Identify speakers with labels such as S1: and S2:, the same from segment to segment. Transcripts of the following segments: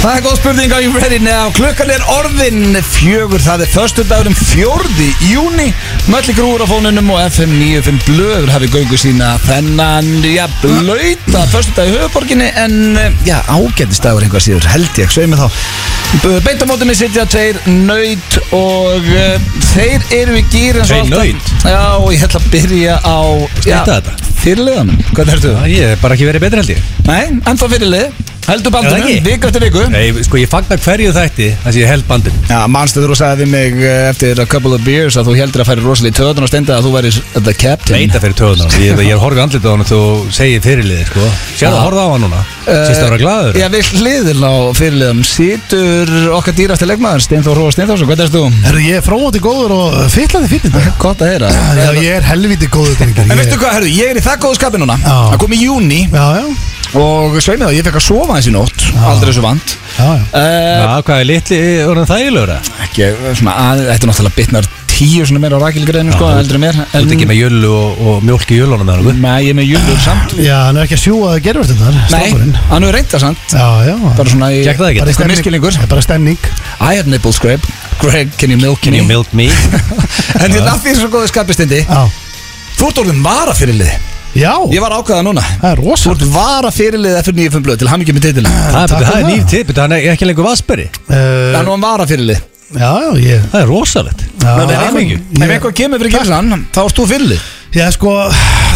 S1: Það er góð spurning, are you ready now? Klukkan er orðin fjögur, það er förstu dagurum fjórði júni Mölli grúur á fónunum og FM 95 blöður hafi göngu sína þennan, já, blöyta förstu dag í höfuborginni en, eh, já, ágættist dagur einhvað síður, held ég, sveimi þá Beintamótinni sitja tveir nöyt og uh, þeir eru í gýr
S2: Tveir
S1: naut? Já, og ég ætla að byrja á já,
S2: Skrýta þetta.
S1: Fyrirliðanum, hvað ertu?
S2: Já, Ég hef bara ekki verið betri held ég
S1: Nei, ennþá fyrirlið, heldur
S2: Er það
S1: bandunum,
S2: ekki?
S1: viku eftir viku
S2: Nei, sko ég fagna hverju þætti þess að ég held bandin
S1: Já, manstu þú sagði við mig eh, eftir a couple of beers að þú heldur að færi rosalega í töðun og stenda að þú væri the captain
S2: Leita fyrir töðunar Ég, ég er horfið andlitað á hann og þú segir fyrirliði sko Sér
S1: Já.
S2: það horfið á hann núna Sýst ára glæður
S1: Eh, Já, við hliðin á fyrirliðum situr okkar dýrasti leikmaður Steinþór Róa Steinþórsson, hvernig erst þú?
S3: Herru, ég er fróðandi góður og fyllandi fyrir þetta
S1: Gott að heyra
S3: Já, ég er helviti góður drengir
S1: En
S3: ég...
S1: veistu hvað, herru, ég er í það góðu skapi núna
S3: Já.
S1: Það kom í júni
S3: Já, já,
S1: og sveimið þá, ég fekk að sofa hans í nótt Aldrei svo vant
S3: já, já
S1: uh,
S2: Já, hvað er litli, orðan þægilegur eh? það?
S1: Ekki, svona, að, þetta er náttúrulega bitnar tíu svona meira á rakilgreinu, sko,
S2: Já.
S1: eldri en mér
S2: Þú ert ekki með jölu og, og mjólk í jölunum með hann
S1: Nei, ég er með júlur samt
S3: Já, hann er ekki að sjúa gerfurtinnar,
S1: Nei,
S3: strákurinn
S1: hann hefur reyndað samt
S3: Já, já
S1: Bara svona í
S2: Gekk það ekki?
S1: bara eitthvað
S3: stemning-
S1: miskilingur
S3: Það er bara stemning
S1: I had nipple scrape Greg, can you milk
S2: Can
S1: me?
S2: you milk me?
S1: En þetta af því er svo góðu skapistindi
S3: Já,
S1: Þú ert orðin vara
S3: já
S1: Ég var ákvæða núna
S3: það er
S1: Þú
S3: rosalega
S1: ert vara fyrirlið eftir nýju fimm blöð Til hann ekki með titilin
S2: Það er-
S3: Takk
S2: það er
S3: fyrir
S2: nýr
S3: það.
S2: tip, það er ekki lengur vasperi
S3: uh,
S1: Það er nú hann vara fyrirlið
S3: Já, já, ég
S2: Það er rosalegt
S3: Já,
S2: Það
S3: já,
S2: er
S3: já.
S2: hamingju.
S1: Ef eitthvað kemur fyrir gilsan Þá ert þú fyrirlið
S3: Já, sko,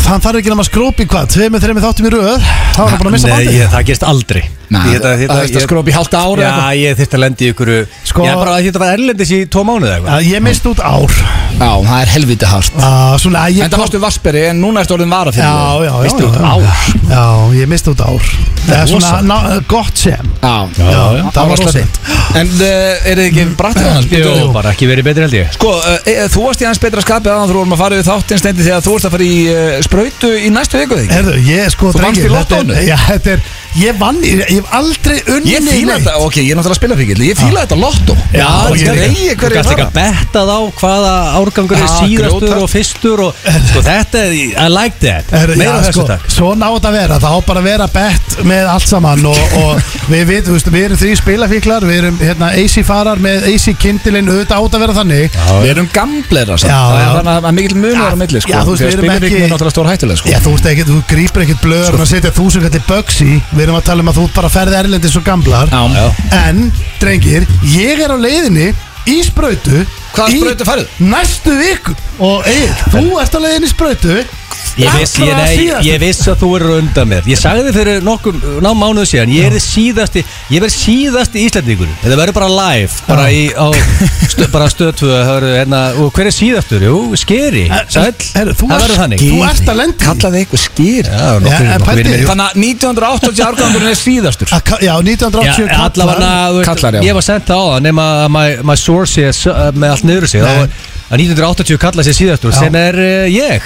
S3: hann þarf ekki nema að skrópi hvað Tveimur, þreimur þáttum í röð Þá er hann búin að missa
S2: Nei,
S3: bandið
S2: ég- það gerst aldrei Ég- þetta- þetta-
S1: Það er
S2: ég-
S1: skróp í halda ára
S2: Já, ég þurfti að lendi ykkur
S3: Sko-
S2: Ég er bara að þetta var erlendis í tvo mánuð eða eitthvað
S3: Já, Ég mist út ár
S1: Já, það er helviti hart
S3: Já, svona, ég
S1: En það varstu vasperi En núna ertu orðin vara
S3: Já,
S1: fyrirlið
S3: já, já
S2: Misti
S3: já,
S2: út
S3: já.
S2: ár.
S3: Já, ég misti út ár Það er svona,
S2: rosalegt.
S3: ná, eh, gott sem
S1: já,
S3: Já, já.
S1: Það var
S3: rosa.
S1: slönt En uh, er þið ekki brattir hann?
S2: Jú, bara ekki verið betri held ég
S1: Sko, uh, e, þú varst í hans betra skapi aðan þú vorum að fara við þáttinn stendi þegar þú varst að fara í uh, sprautu í næstu viku þig
S3: Herðu, ég sko
S1: Þú vannst í
S3: þetta er-
S1: lottóinu?
S3: Já, þetta er Ég vann, ég, ég hef aldrei unni
S1: Ég fíla þetta, ok, ég er náttúrulega að spila fíkil Ég fíla þetta lotto
S3: Já,
S1: og
S3: ég
S1: ég
S3: líka.
S1: reyði
S2: Þú
S1: hverju
S2: gæst
S1: það
S2: ekki að betta þá hvaða árgangur er
S1: Ah,
S2: síðastur
S1: grjótart.
S2: og fyrstur og sko þetta er, I like that
S3: Herðu,
S2: meira
S3: já,
S2: af þessu
S3: sko,
S2: takk
S3: svo ná þetta að vera Það á bara að vera bett með allt saman Og, og við veitum, þú veist, við erum þrý spilafíklar Við erum, hérna, AC farar með AC kindilinn Auðvitað átt að vera þannig
S1: Við erum gamblera samt
S3: Já,
S1: Það er
S3: já.
S1: Þannig að- að mikil munur á milli sko
S3: já, þú veist,
S1: Þegar
S3: við erum
S1: spilafíkil
S3: ekki-
S1: er náttúrulega stór hættulega sko
S3: Já, þú veist ekki, þú grýpur ekkert blöður sko, og setja þúsundkalli bugs í Við erum að tala um að þú bara ferði erlendis og gamlar
S1: Já.
S2: Já.
S3: En, drengir, ég er á leiðinni í sprautu
S1: Hvaða
S3: í
S1: sprautu farið?
S3: Næstu viku Og Egil, þú ert á leiðinni í sprautu
S2: Ég viss, ég,
S3: Allra
S2: nei,
S3: síðast.
S2: ég viss að þú eru undan mér Ég sagði þér fyrir nokkur ná mánuðu síðan Ég er síðasti, ég verð síðasti Íslandingur Þetta verður bara live Bara, í, á, stö, bara stöðtöð hörðu, hérna, Og hver er síðastur? Jú, skeri Sæll,
S3: Herru, þú
S2: það
S3: ert-
S2: verður þannig
S3: Þú ert að lenda í-
S1: Kallaði eitthvað skýr
S2: Já, nokkur,
S3: Ja, en
S2: nokkur,
S3: pældi-
S2: vinir mínir.
S1: Þannig að 1980 árgangurinn er síðastur
S3: Að ka-
S2: Já,
S3: Já, 1980
S2: allavega, þú veist,
S1: Kallar, já.
S2: ég var sendt það á það nema að my, my source sé s- með allt niður úr sig þá
S3: Nei.
S2: var- að 1980 kallar sér síðastur
S3: Já.
S2: sem er uh, ég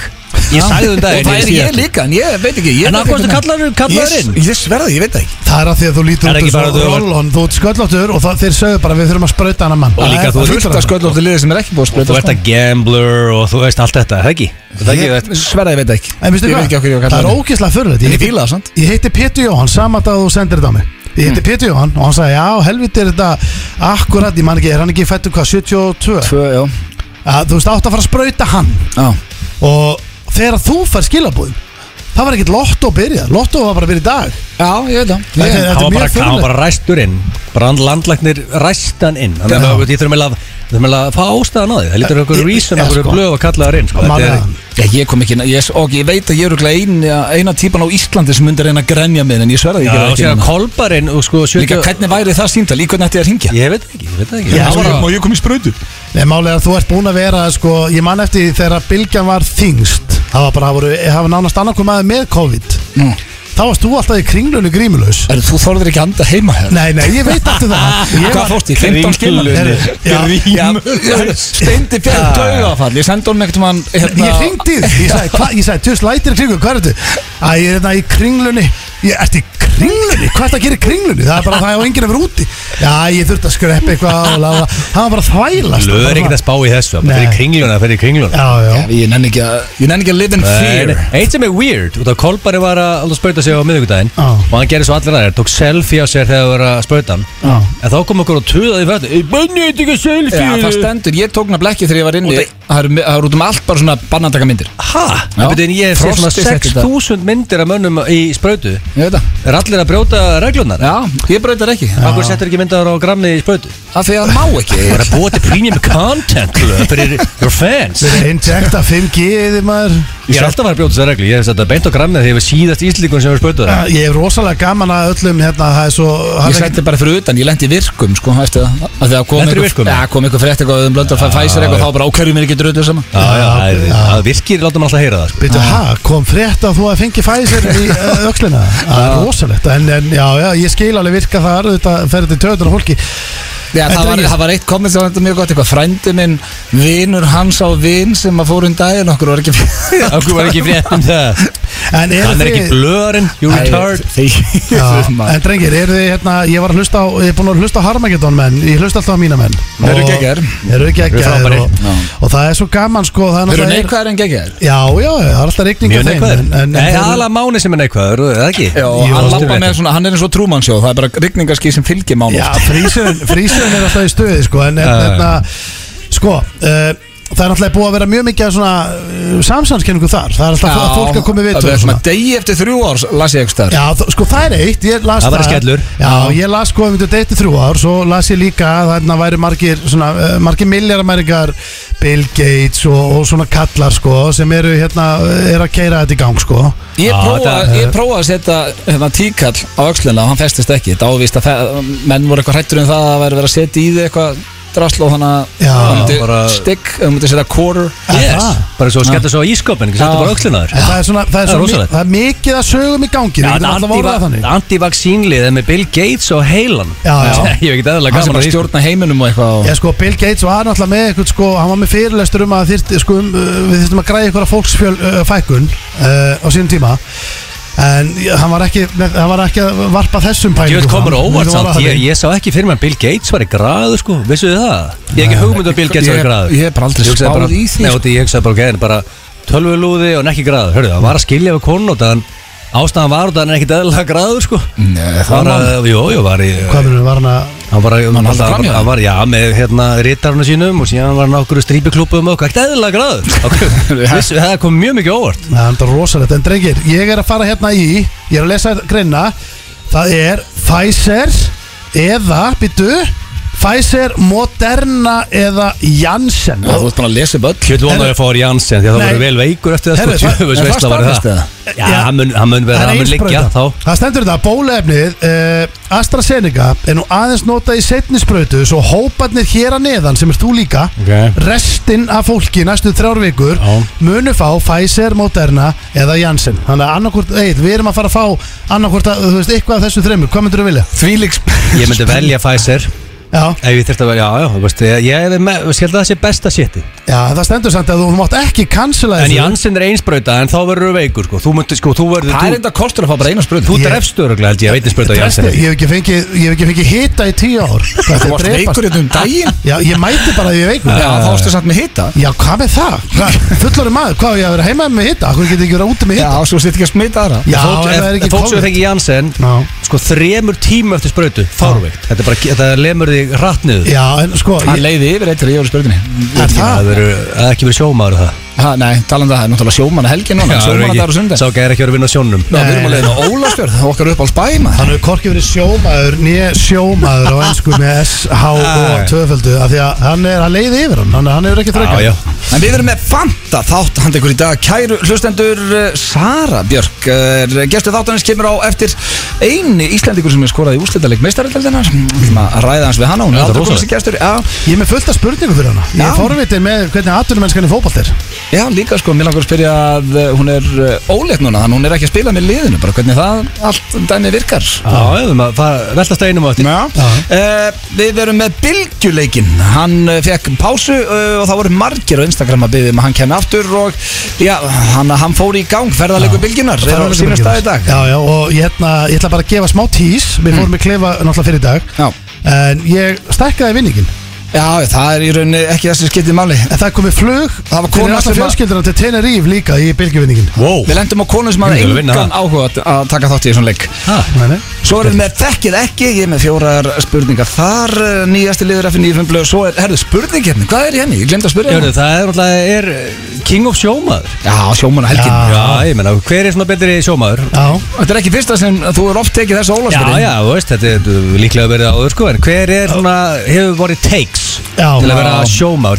S2: ég sagði um
S1: Og
S2: daginn
S1: það er ég
S2: síðastur.
S1: líka, en ég veit ekki
S2: en af hvernig kallar kallar
S1: er
S2: inn
S1: Ég sverði, ég veit það ekki
S3: Það er að því að þú
S2: Er
S3: lítur
S2: ekki
S3: út
S2: bara að
S3: þessu
S2: þú var-
S3: roll-on Þú ert sköllóttur og það, þeir sögðu bara við þurfum að sprauta hana mann
S2: Og líka
S3: Það er-
S2: þú
S3: það
S2: ert- sko-
S3: hlýtur
S1: Fullt
S3: að-
S1: af sköllóttu liði sem er ekki búið að
S2: þú
S1: sprauta
S2: ert að gambler og þú veist allt þetta, það ekki? Það ekki,
S1: Ég-
S2: þú veist.
S1: Sverða, ég veit það ekki
S3: En veistu
S1: Ég veit ekki okkur ég
S3: hvað,
S1: var
S3: það er
S1: kallar inn.
S3: ógislega fyrir þetta
S1: En ég fíla það samt
S3: Ég heiti Pétur Jóhann, sama dag að þú sendir þetta á mig Ég
S2: Mm.
S3: heiti Pétur Jóhann og hann sagði Já, helviti er þetta akkurat Ég man ekki, er hann ekki fættur hvað, 72
S1: Tvö, já
S3: að, Þú veist, átt að fara að sprauta hann
S1: Já
S3: Og þegar þú fær skilabúðin Það var ekkert lotto að byrja Lotto var bara að byrja í dag
S1: Já, ég veit það
S3: Þetta er-
S1: Ég-
S2: hann var bara,
S3: mjög
S2: hann var
S3: furðulegt.
S2: bara ræstur inn bara hann landlæknir ræstan inn þannig
S3: Já.
S2: að þú- ég þurfum eiginlega að þurfum eiginlega að fá ástæðan á því það lítur okkur
S3: Ég-
S2: reason
S3: já,
S2: okkur
S3: sko.
S2: blöð og kallaðar inn sko. Þetta
S3: Maður
S2: er-
S3: að-
S1: Já, ég kom ekki, ég, og ég veit að ég er örugglega eina, eina típan á Íslandi sem myndi reyna að grenja mig en ég sverða
S2: Já,
S1: ég gerði
S2: og sér að
S1: ekki
S2: kolbarinn og sko
S1: Líka
S2: 70
S1: hvernig væri það símtal, í hvernig ætti ég að ringja
S2: Ég veit ekki, ég veit það ekki
S3: Já,
S2: Það var
S3: sko,
S2: að-
S1: ég kom í sprautu
S3: Nei, málið er að þú ert búin að vera sko, Ég man eftir því þegar að bylgjan var þingst Það var bara, það voru, það var nánast annarkum aðeins með COVID Þá varst þú alltaf í kringlunni grímulaus
S1: Er þú þorður ekki að anda heima hér?
S3: Nei, nei, ég veit eftir það Ég
S1: Hvað
S3: var-
S1: fórst í 15 skilur? Steindi fjall dögafall, Ah. ég sendi honum ekkert um hann
S3: Ég ringdi því, ég sagði, hva, ég sagði, tjóðs lætir hérna í kringu, hvað er þetta? Æ, ég er þetta í kringlunni Ég, ertu í kringlunni? Hvað er það að gera í kringlunni? Það er bara það og enginn er verið úti Já, ég þurfti að skreppa eitthvað og la, la. Það var bara að þvælast
S2: Löður er ekkert að spá í þessu Það fyrir
S3: Nei.
S2: kringluna, það fyrir kringluna
S3: Já, já,
S1: Ég nenni ekki að Ég nenni ekki að live in fear
S2: En Eitt sem er weird, út af Kolbari var að láta spauta sig á miðvikudaginn
S3: Já.
S2: og hann gerði svo allir aðeins, tók selfie á sér þegar það var að spauta hann
S3: já
S2: en þá kom okkur og tuðaði í fættu Ég banni þetta ekki selfie
S1: Já, það stendur, ég tók nafnilega ekki þegar ég var inni
S2: Og það-
S1: Það eru- það eru út um allt bara svona bannandaka myndir
S2: Hæ?
S1: Já.
S2: Það byrja en ég sé svona
S1: Frosti setti þetta.
S2: 6.000 myndir af mönnum í sprautu
S1: Ég veit það
S2: Er allir að brjóta reglunar?
S1: Já, ég breytar ekki
S2: Akkur settur ekki myndaður á grammið í sprautu?
S1: Af því að það má ekki
S2: Það er að búa til premium content Klöð, fyrir your fans
S3: Þeir eru injekta 5G eða maður
S2: Ég er alltaf að fara að brjóta þessar reglu Ég hef sett að beint á grammið þegar ég var síðast íslíkun sem hefur sprautað það
S3: Ég hef rosalega gaman að öllum hérna Það er svo það
S1: Ég
S3: er
S1: setti bara fyrir utan, ég lendi í virkum sko, eftir það Af því að kom
S2: Lentirðu í virkum?
S1: einhver- Já, kom einhver frétt eitthvað um blöndar fæ Pfizer eitthvað þá bara ákæru mér ekki dröðu sama
S2: Já, já, það er- það virkir láta maður alltaf að heyra það sko.
S3: Býtu, ha, kom frétt að þú að fengi Pfizer í uh, öxlina Það er rosalegt en, en já, já, ég skil alveg virka þar Þetta ferði til töðunar fólki
S1: Já, það
S3: Þetta
S1: var,
S3: er ekki-
S1: það var eitt komment sem var þetta mjög gott eitthvað frændi minn, vinur hans á vin sem að fór um daginn okkur var ekki
S2: Akkur var ekki frétt um það
S3: En eru
S2: Hann er
S3: þið-
S2: ekki blöðarinn, you retard
S3: Já,
S1: Þegar
S3: en drengir, eru þið hérna, ég var að hlusta á, ég er búin að hlusta á Harmageddon menn, ég hlusta alltaf á mína menn
S1: Þeir eru
S3: Og-
S1: geggjaðir.
S3: Þeir eru geggjaðir
S2: frábærir.
S3: og,
S1: Já.
S3: og það er svo gaman sko það er
S1: Þeir eru
S3: náttúrulega-
S1: neikvæðar en geggjær
S3: Já, já, það er alltaf rigning
S2: Mjög
S3: hjá þeim,
S2: neikvæður
S3: en- en- en
S2: Nei,
S3: þeir-
S2: aðalega máni sem er neikvæður, er það ekki?
S1: Já,
S3: Jú,
S1: hann
S2: ástin
S1: lappa
S2: réttur.
S1: með svona, hann er eins og trúmannsjóð Það er bara rigningarski sem fylgir sko. mánu
S3: Já, frísun, frísun er alltaf í stöði sko, en en,
S2: Já, já.
S3: hérna, sko uh, það er alltaf búið að vera mjög mikið af svona uh, samsænskenningu þar, það er alltaf að fólk að koma
S1: Það
S3: við og
S1: er svona
S3: svona.
S1: degi eftir þrjú árs, las ég ekki þar
S3: Já, þ- sko það er eitt, ég las
S2: Það væri skellur.
S3: Já, ég las sko, við þetta eitt í þrjú ár svo las ég líka að þarna væri margir svona, uh, margir milljaramæringar Bill Gates og, og svona kallar sko, sem eru hérna, er að keira þetta í gang sko
S1: Ég
S2: Já,
S1: prófaði
S2: þetta-
S1: ég prófaði að setja hérna, tíkall á öxlina og hann festist ekki Þetta ávist að fe- menn voru eitthvað hrættur um það að væri verið að setja í þig eitthvað drasl og þannig
S3: Já,
S1: að hann myndi
S2: bara-
S1: stygg, hann myndi setja quarter
S2: Yes,
S3: Aha.
S2: bara svo skellur svo í ískopin, ekki settur
S1: Já.
S2: bara öxlunar
S3: En það er svona, það er,
S2: Það er
S3: svo, mi-
S2: rosalegt.
S3: það er mikið að sögum í gangi við getum alltaf orðað það þannig.
S2: Antivaxínlið með Bill Gates og heilan
S3: Já, já.
S2: Ég hef ekki eðalega
S1: Hann sem
S2: gaman
S1: bara
S2: að stjórn
S1: stjórna heiminum og eitthvað og-
S3: Já sko, Bill Gates var náttúrulega með eitthvað sko, hann var með fyrirlestur um að þyrti, sko, um, uh, við þyrstum að græja ykkur að fólksfjöl uh, fækun uh, á sínum tíma en ég- hann var ekki, með, hann var ekki að varpa þessum pælingum
S2: Ég veit komur á óvart
S3: Þetta
S2: samt,
S3: var að-
S2: ég, ég sá ekki fyrir mér að Bill Gates var í graðu sko, vissuðu þið það? Ég hef ekki hugmynd um að Bill Gates var í
S1: Ég-
S2: graðu
S1: ég hef bara aldrei
S2: hugsaði
S1: spáð
S2: bara-
S1: í því,
S2: Nei,
S1: sko.
S2: óti, ég hugsaði bara, ok, en bara tölvulúði og nekki graðu, hörðu, það var að skilja við konu og þann ástæðan var og þann er ekkit eðalega graður sko
S1: Nei, það
S2: Var
S1: var
S2: að, jú, jú, var í
S3: Hvað mennum, var hann að
S2: Hann var, að-
S1: haldi
S2: hann
S1: framhjá
S2: var,
S1: þér?
S2: hann var, já, með hérna rítarna sínum og síðan var hann á okkur strípiklúpum og okkur, ekkert eðlilega gráður Ok, Vissu, það kom mjög mikið á óvart
S3: Nei, það er rosalegt, en drengir, ég er að fara hérna í ég er að lesa greina það er Pfizer eða, byttu Pfizer, Moderna eða Janssen
S1: Þú ert búin að lesa upp öll
S2: Kjöld vonar
S3: Herru-
S2: ég fór Janssen því að það
S3: Nei.
S2: voru vel veikur eftir það
S3: Herru,
S2: sko,
S3: það-
S1: en
S2: tjöfus
S1: það
S2: veistla var
S1: staðfest
S2: það
S1: eða?
S2: Já, hann mun, hann mun vera,
S3: Það er
S2: hann mun liggja
S3: einsprauta.
S2: þá
S3: Það stendur þetta, bólefnið eh, AstraZeneca er nú aðeins notað í setni sprautu svo hóparnir hér að neðan sem er þú líka
S2: Ok.
S3: restinn af fólki næstu þrjár vikur
S2: Já.
S3: munu fá Pfizer, Moderna eða Janssen þannig að annarkvort, eitthvað, við erum að fara að fá annarkvort, að, þú veist, eitthvað af þessu þreymur hvað myndur þú vilja?
S1: Þvílíks
S2: Ég myndi velja Pfizer
S3: Já,
S2: ef ég þurfti að velja, já, já, þú veist, ég, ég, er með- ég held að það sé besta sétti
S3: já, það stendur samt að þú mátt ekki cancela
S2: En
S3: þessu
S2: Janssen er einsprauta en þá verður þú veikur sko, þú myndir sko, þú verður
S1: Það er
S2: þú-
S1: enda kostur að fá bara eina spröð
S2: Þú
S3: Ég-
S2: drefst öruglega held ég, veitir sprauta á
S3: Drepstu-
S2: Janssen
S3: Ég hef ekki fengið, ég hef ekki fengið hita í tíu ár
S1: Þú
S3: Þetta er
S1: varst
S3: drepast.
S1: veikur hérna um daginn
S3: Já, ég mæti bara að ég er veikur
S1: Já, þá varstu samt með hita
S3: Já, hvað með það? Hvað, fullori maður, hvað á ég að vera heima með hitta? Hvað getur ekki verið úti með
S1: Já,
S3: hitta?
S1: svo sitt ekki að smita aðra
S3: Já,
S2: fólk,
S3: ef það er
S2: ef,
S3: ekki
S2: ef fólk sem
S3: COVID.
S2: fengi Janssen
S3: Já.
S2: sko þremur tíma eftir sprautu fárveikt, þetta er bara, þetta lemur þig hratt niður
S3: Já, en sko,
S1: Hann
S3: ég,
S1: leiði yfir eitt til ég voru spurningi
S3: er það?
S2: það verður það er ekki verið sjómaður það
S1: ha, Nei, talandi að það er náttúrulega sjómanna helgin núna Sjómanna dagur og sundi
S2: sá gæri ekki verið að vinna á sjónum
S1: Ná, við erum að leiðin á Ólafsfjörð Okkar upp á spæma
S3: Hann hefur korkið verið sjómaður, nýja sjómaður á ennsku með SH og tvöföldu af því að hann er að leiði yfir hann, hann, hann hefur ekki
S2: já,
S3: þrökkað.
S2: já,
S1: En við erum með Fanta þátt handa ykkur í dag Kæru hlustendur eh, Sara Björk er Gestu þáttanins kemur á eftir eini Íslandingur sem er skorað í úrslitaleg meistaröldeldinar að ræða hans við hana Hún er
S2: Þetta er
S1: aldrei
S2: rosalegt.
S1: komið sem gestur Já,
S3: Ég er með fullt af spurningum fyrir hana. Ég
S1: Já.
S3: er forvitið með hvernig aðtunumennskan í fótbolt er.
S1: Já, líka sko, mér langar að spyrja að eh, hún er óleitt núna, þannig hún er ekki að spila með liðinu, bara hvernig það allt dæmi virkar.
S2: Já, við maður fara, veltast að einum á eftir
S1: Já. Eh, við verum með Bilgjuleikin, hann uh, fekk pásu uh, og það voru margir á Instagram að byggja um að hann kemur aftur og já, hann, hann fór í gang, ferðarleikur Bilgjunar, er á
S3: Ferðarleikur
S1: sínum stað í
S3: Bylgjunnar.
S1: dag.
S3: Já, já, og ég, hérna, ég ætla bara að gefa smá tís Við fórum í klefa náttúrulega fyrir í dag
S1: Já.
S3: En ég stækkaði vinningin
S1: Já, það er í rauninni ekki þessi skiptið máli.
S3: En það komið flug
S1: Það var
S3: fyrir
S1: kona
S3: alla
S1: sem að-
S3: fjölskylduna til Tenerife líka í bylgjuvinningin
S2: Wow
S1: Við lendum á konum sem hafði
S2: Ég vil vinna
S1: engan
S2: það.
S1: áhuga að- að taka þátt í þessum leik.
S2: Ha,
S3: Nei, nei
S1: Svo erum við með þekkið ekki, ég er með fjórar spurningar þar, eh, nýjasti liður eftir nýjum blöð, svo er, herðu, spurning hérna, hvað er í henni? Ég glemt að spyrja
S2: Jörðu,
S1: hérna.
S2: það er náttúrulega er eh, King of Sjómaður
S1: Já, sjómanna helgin.
S3: Já.
S2: Já, ég menna, hver er svona betri sjómaður?
S3: Já,
S1: Þetta er ekki fyrsta sem þú er oft tekið þessu
S2: Já,
S1: ólagsbyrðin.
S2: já, þú veist, þetta er þetta er líklega verið áður sko En hver er svona, hefur vorið takes
S3: Já.
S2: Til að vera
S1: Já.
S2: sjómaður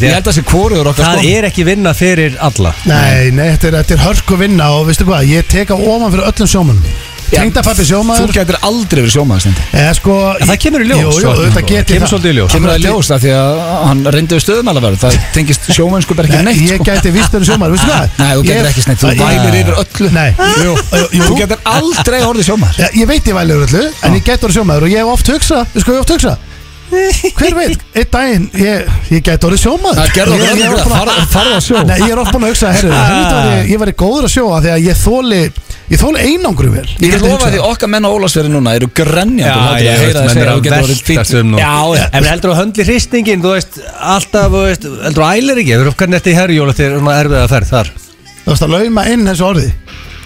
S1: Ég
S2: Því að Sko-
S1: held að það sé kóruður okkar sko.
S2: Það er ekki vinna fyrir alla
S3: Nei, nei, þetta er, þetta er hörku vinna og veistu hvað, ég tek á ofan fyrir öllum sjómanum Tengdafabbi
S1: Þú
S3: sjómaður
S1: gætir aldrei verið sjómaður stendi.
S3: eða sko
S2: En það kemur í ljós
S3: Jú, jú,
S2: svo.
S3: þetta
S2: Það
S3: get ég
S2: kemur svolítið í ljós.
S1: Kemur það ljóst af því að hann reyndi við stöðumælaverð, það tengist sjómennsku bara ekki
S3: Nei,
S1: neitt.
S3: ég
S1: sko.
S3: gæti vist verið sjómaður, veistu hvað
S1: Nei, þú
S3: Ég-
S1: getur ekki snett, þú
S3: Ég-
S1: vælir yfir öllu.
S3: Nei,
S1: Jú, þú getur aldrei orðið sjómaður.
S3: Já, ég veit ég væli yfir öllu, en ég gæti orðið sjómaður og ég hef oft hugsa, við sko ég hef oft hugsa Hver veit, einn daginn, ég, ég gæti orðið sjómaður
S1: Það gerði okkur
S3: Ég- ég er
S1: öllum
S3: oft
S1: það,
S3: búinn
S1: farðu- farðu á sjó. Ah.
S3: Nei, ég er oft búinn að hugsa, herru, helvita var ég, ég væri góður að sjóa þegar ég þóli, ég þóli einangru vel
S1: Ég get lofa
S3: gæti hugsað.
S1: því okkar menn á Ólasfjörði núna eru grenjandi hlátur að heyra þess að þú getur orðið fýtt
S2: um nú
S1: Já, já.
S2: En heldur þú að höndli hristningin, þú veist, alltaf, þú veist, heldur þú að ælir ekki Þú hvernig þetta í herjóla þegar svona erfið að ferð þar
S3: Þú veist að lauma inn þessu orði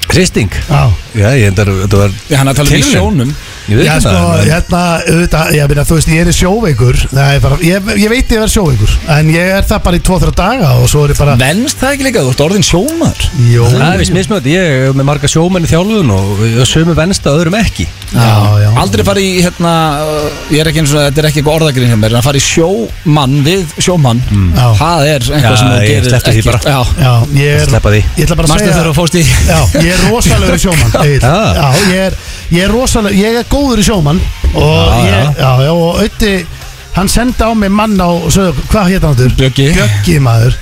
S2: Hristing?
S3: Já
S2: Já, ég endar, þetta var
S1: Já, hann er að tala um í
S2: Tilviljun.
S1: sjónum.
S2: Ég veit
S3: Já,
S2: ekki
S3: sko,
S2: það en-
S3: hérna, auðvitað, ég meina, þú veist, ég er sjóveikur Það er bara, ég, ég veit ég er sjóveikur En ég er það bara í 2-3 daga og svo er ég bara
S1: Venst það ekki líka, þú ert orðin sjómaður
S3: Jó,
S2: Það er
S3: já,
S2: vist mismönd, ég er með marga sjómenn í þjálfun og og sömu venst að öðrum ekki
S3: já
S1: Aldrei fara í, hérna, uh, ég er ekki eins og þetta er ekki eitthvað orðagrinn hjá mér En að fara í sjómann við sjómann
S3: Já.
S1: Það er
S2: Já,
S1: eitthvað sem þú
S2: ég
S1: gerir
S2: sleppti því
S1: ekki-
S2: bara.
S1: Já,
S3: Já, ég er
S2: Sleppa því.
S3: Ég ætla bara að
S1: Manstu
S3: segja
S1: þegar þú fórst í
S3: Já, ég er rosalegur sjómann Egill.
S2: Já.
S3: Já, ég er, ég er rosalegur Ég er góður í sjómann Og
S2: Já,
S3: ég, já, já, og auðviti Hann sendi á mig mann á, sög, hvað hétt hann þurr?
S1: Bjöggi.
S3: Bjöggi maður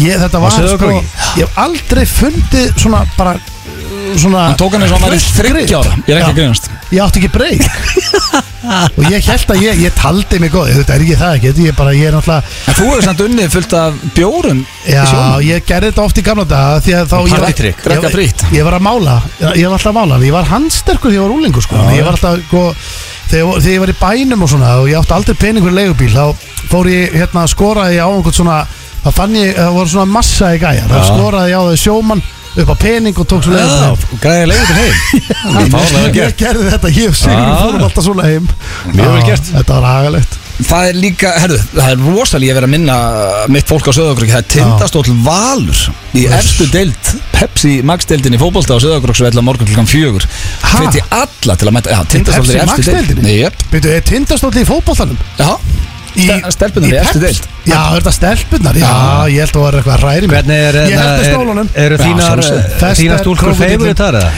S3: Ég, þetta var sko
S2: Sauðárkróki?
S3: Ég hef aldrei fundið svona bara uh, Svona
S1: Hann tók hann eins og hann væri
S3: Fullt grip.
S1: 30 ára. Ég er ekki
S3: Já.
S1: að grínast.
S3: Ég átti ekki breyk Og ég held að ég, ég taldi mig góð Þetta er ekki það ekki, ég bara, ég er náttúrulega
S1: En þú hefur samt unnið fullt af bjórum
S3: Já,
S1: í sjónum
S3: ég gerði þetta oft í gamla daga því að þá ég var,
S2: partytrikk,
S1: drekka
S3: ég,
S1: frítt.
S3: ég var að mála, ég var alltaf að mála ég var handsterkur þegar ég var úlingur sko. ég var alltaf, sko, þegar, ég- þegar ég var í bænum og svona og ég átti aldrei peningur leigubíl þá fór ég hérna að skora ég á einhvern svona, þá fann ég, það voru svona massa í gæjar, þá skoraði ég á þau sjómann upp á pening og tók svo
S2: Já,
S3: leigubíl
S2: Græði leiði til heim
S3: Ég,
S2: Fárlega
S3: ég,
S2: gert.
S3: gerði þetta, ég og Sigrun
S2: Já.
S3: fórum alltaf svona heim
S2: Mjög vel
S3: Já,
S2: gert.
S3: Þetta var agalegt
S1: Það er líka, herru, það er rosalega ég verið að minna mitt fólk á Söðagrökk Það er tindastóll Valur í efstu deild Pepsi Max-deildin í fótbolta á Söðagrökksvella morgun klukkan fjögur
S3: Ha?
S1: Hviti alla til að mæta, já, tindastóll er
S3: Pepsi
S1: í efstu deild
S3: Max-deildinni?
S1: Jöp,
S3: Byrju, er tindastóll í fótboltanum?
S1: já,
S3: Í-
S1: stelpunar í
S3: Pepsi?
S1: efstu deild
S3: Já, er þetta stelpunar? Já, ég held að það var eitthvað að ræri mig
S2: Hvernig er,
S3: Ég held að stólunum
S2: er, eru
S1: Já,
S2: þínar, eh,
S1: sjálfsögðu.
S3: Festar,
S2: þínar stúlkur
S3: krókódíllinn.
S2: feimur þar eða?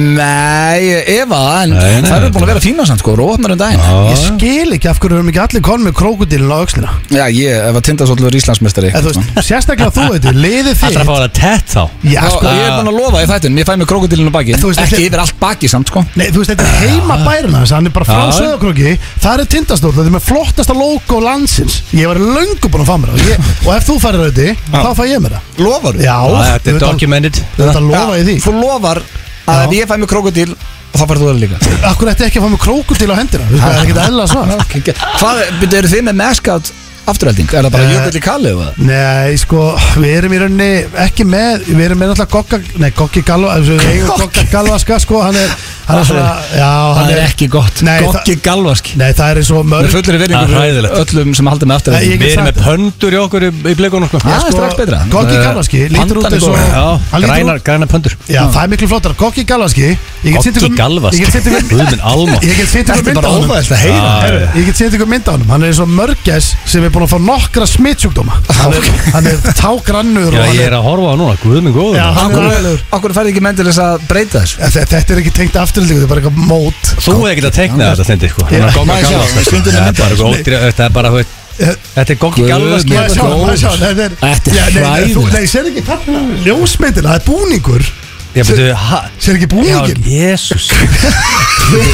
S1: Nei, Eva, en
S2: Nei, nei,
S1: það
S2: nei.
S1: eru búin að vera fína samt, sko, rótnar um daginn
S3: Ég skil ekki af hverju við erum ekki allir konn með krókudilin á öxlina
S1: Já, ég, ef að tindastóll er Íslandsmestari
S3: En þú veist, sérstaklega þú veitir, liðið
S2: Allra að
S3: þitt
S2: fá það tett þá
S3: Já,
S1: Já,
S3: sko,
S1: ég er búin að lofa í þættin, ég fæ mig krokodilinu baki
S3: Þú veist,
S1: Ekki
S3: þetta-
S1: yfir allt baki samt, sko
S3: Nei, þú veist, þetta er heima bærin hans, hann er bara frá
S2: Já.
S3: söðakróki Það er tindastól, þetta er með flottasta logo landsins Ég var löngu búin að fá mér það Ég- Og ef þú farir auðviti, þá fæ ég mér það
S1: Lofar
S3: Já,
S2: Þetta er
S3: auðvitað-
S2: documented
S3: Þetta lofa ég því
S1: Þú lofar að
S3: Já.
S1: ef ég fæ mig krokodil, þá færðu þú það líka
S3: Akkur ætti ekki að fá mér krókudil á hendina Þú veist, það er ekki að ella svar
S1: Hvað, byrju, eru þið með mascot afturhalding? Er það bara
S3: Eh,
S1: Jökull í Kali eða?
S3: Nei, sko, við erum í rauninni ekki með, við erum með náttúrulega Gokka, nei, Gokki Galva, við eigum Gokka Galvaska, sko, hann er, hann er svona, já, hann er,
S1: ekki gott
S3: Nei,
S1: Gokki galvask
S3: nei, það er eins og
S1: Með
S3: mörg,
S1: fullri
S2: Það er
S1: verðingur
S2: hræðilegt.
S1: öllum sem haldi með
S3: Nei,
S1: afturhalding
S3: ég-
S2: Við erum
S3: sagt
S2: með pöndur í okkur í, í bleikunum sko
S1: Já, strax betra.
S3: Gokki
S2: Eh,
S3: Galvaski, lítur
S1: pandan
S3: út
S1: er
S3: eins og,
S1: góð.
S2: Já,
S3: hann lítur
S2: grænar,
S3: út,
S2: grænar pöndur
S3: já, það er miklu flottar, Gokki Galvaski, ég get sýnt
S2: Gokki
S3: ykkur,
S2: galvask
S3: ég get sýnt ykkur,
S2: Guðminn sko. Alma
S3: ég get sýnt ykkur
S1: Þetta er
S3: mynd á
S1: bara
S3: honum,
S1: óvæðist að heyra
S2: Já,
S3: Heyrðu, ég get sýnt ykkur mynd á honum, hann er eins og mörgæs sem er búin að fá nokkra smittsjúkdóma, hann er, hann er tágrannur
S2: Já,
S3: og hann
S2: ég
S3: er,
S2: er að horfa á núna Guðminn góður
S3: Já, hann er
S1: Akkur,
S3: ræðilegur.
S1: akkur færði ekki menn til þess að breyta þessu
S3: Þe- þetta er ekki tengt afturlíku, þetta er bara eitthvað mót
S2: Þú hefði getað teiknað þetta stendi sko
S3: Já,
S2: Hann er að
S1: maður
S2: ganga
S1: sjá,
S2: gamla
S1: stundum er
S2: sko. Það er
S1: myndað.
S3: sko.
S2: bara eitthvað ódýra- þetta er bara þú veit, Þetta er Goggi
S1: Guð
S2: Galva
S1: minn
S3: Maður
S2: skilur
S3: sjá,
S1: góður.
S3: maður sjá, þetta er
S1: Þetta er
S3: Já, nei, nei, þú-
S1: hræðilegt.
S3: Nei, sér ekki pappina Ljósmyndina, það er búningur
S2: Já, betur, ha
S3: Sér ekki
S2: Já,
S3: búningin
S2: jésús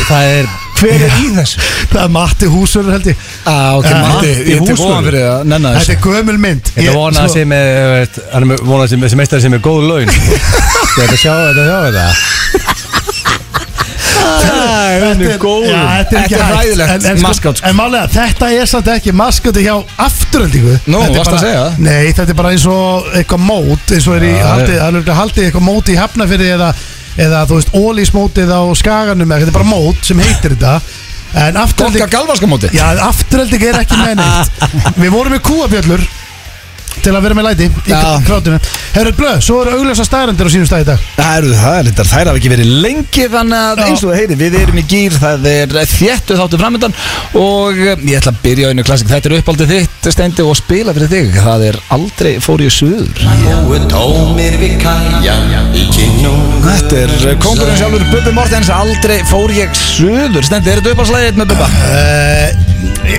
S2: Það er
S1: Hver er í þessu?
S3: Það er Matti Húsur held ég
S1: Á, ok,
S3: Eh,
S1: Matti,
S2: Matti
S1: ég er til
S2: Húsvörður.
S1: góðan fyrir að nennan
S3: Þetta
S1: þessu
S3: er gömul mynd
S2: Þetta
S3: Ég-
S2: vona
S3: sko,
S2: sem er, þú veist, hann er með- vona sem, sem meistari sem er góð laun sko. Þetta sjá þetta, sjá þetta Það er
S3: þetta
S2: henni
S3: er-
S2: góð
S3: Já, þetta er
S1: Þetta
S3: ekki
S1: er
S3: hægt.
S1: hræðilegt
S3: En- en sko-
S1: maskot, sko.
S3: En málega, þetta er samt ekki maskoti hjá afturöldingu
S1: Nú,
S3: Þetta er
S1: varstu að
S3: bara-
S1: segja það?
S3: Nei, þetta er bara eins og eitthvað mót eins og er í
S1: Já,
S3: haldið, það er örugglega haldið eitthvað mót í Hafnafirði eða, eða þú veist, ólísmótið á skaganum eða þetta er bara mót sem heitir þetta En afturölding
S1: Gogga Galvaskamóti
S3: Já, afturölding er ekki með neitt Við vorum með kúabjöllur til að vera með læti í
S1: Já.
S3: krátinu Herrið Blöð, svo eru augljósa staðarendir á sínum stað í dag
S1: Það eru það, er þetta, þær hafa ekki verið lengi þannig að
S3: Já.
S1: eins og það heyri, við erum í gýr það er þéttu þáttu framöndan og eh, ég ætla að byrja á einu klassik þetta er uppáldið þitt stendi og spila fyrir þig það er aldrei fór ég suður
S4: Búið tómir við kajan í kinnum
S1: Þetta er eh, kóngurinn sjálfur Bubbi Mortens aldrei fór ég suður stendi, er þetta uppáldið með Bubba?
S3: Eh,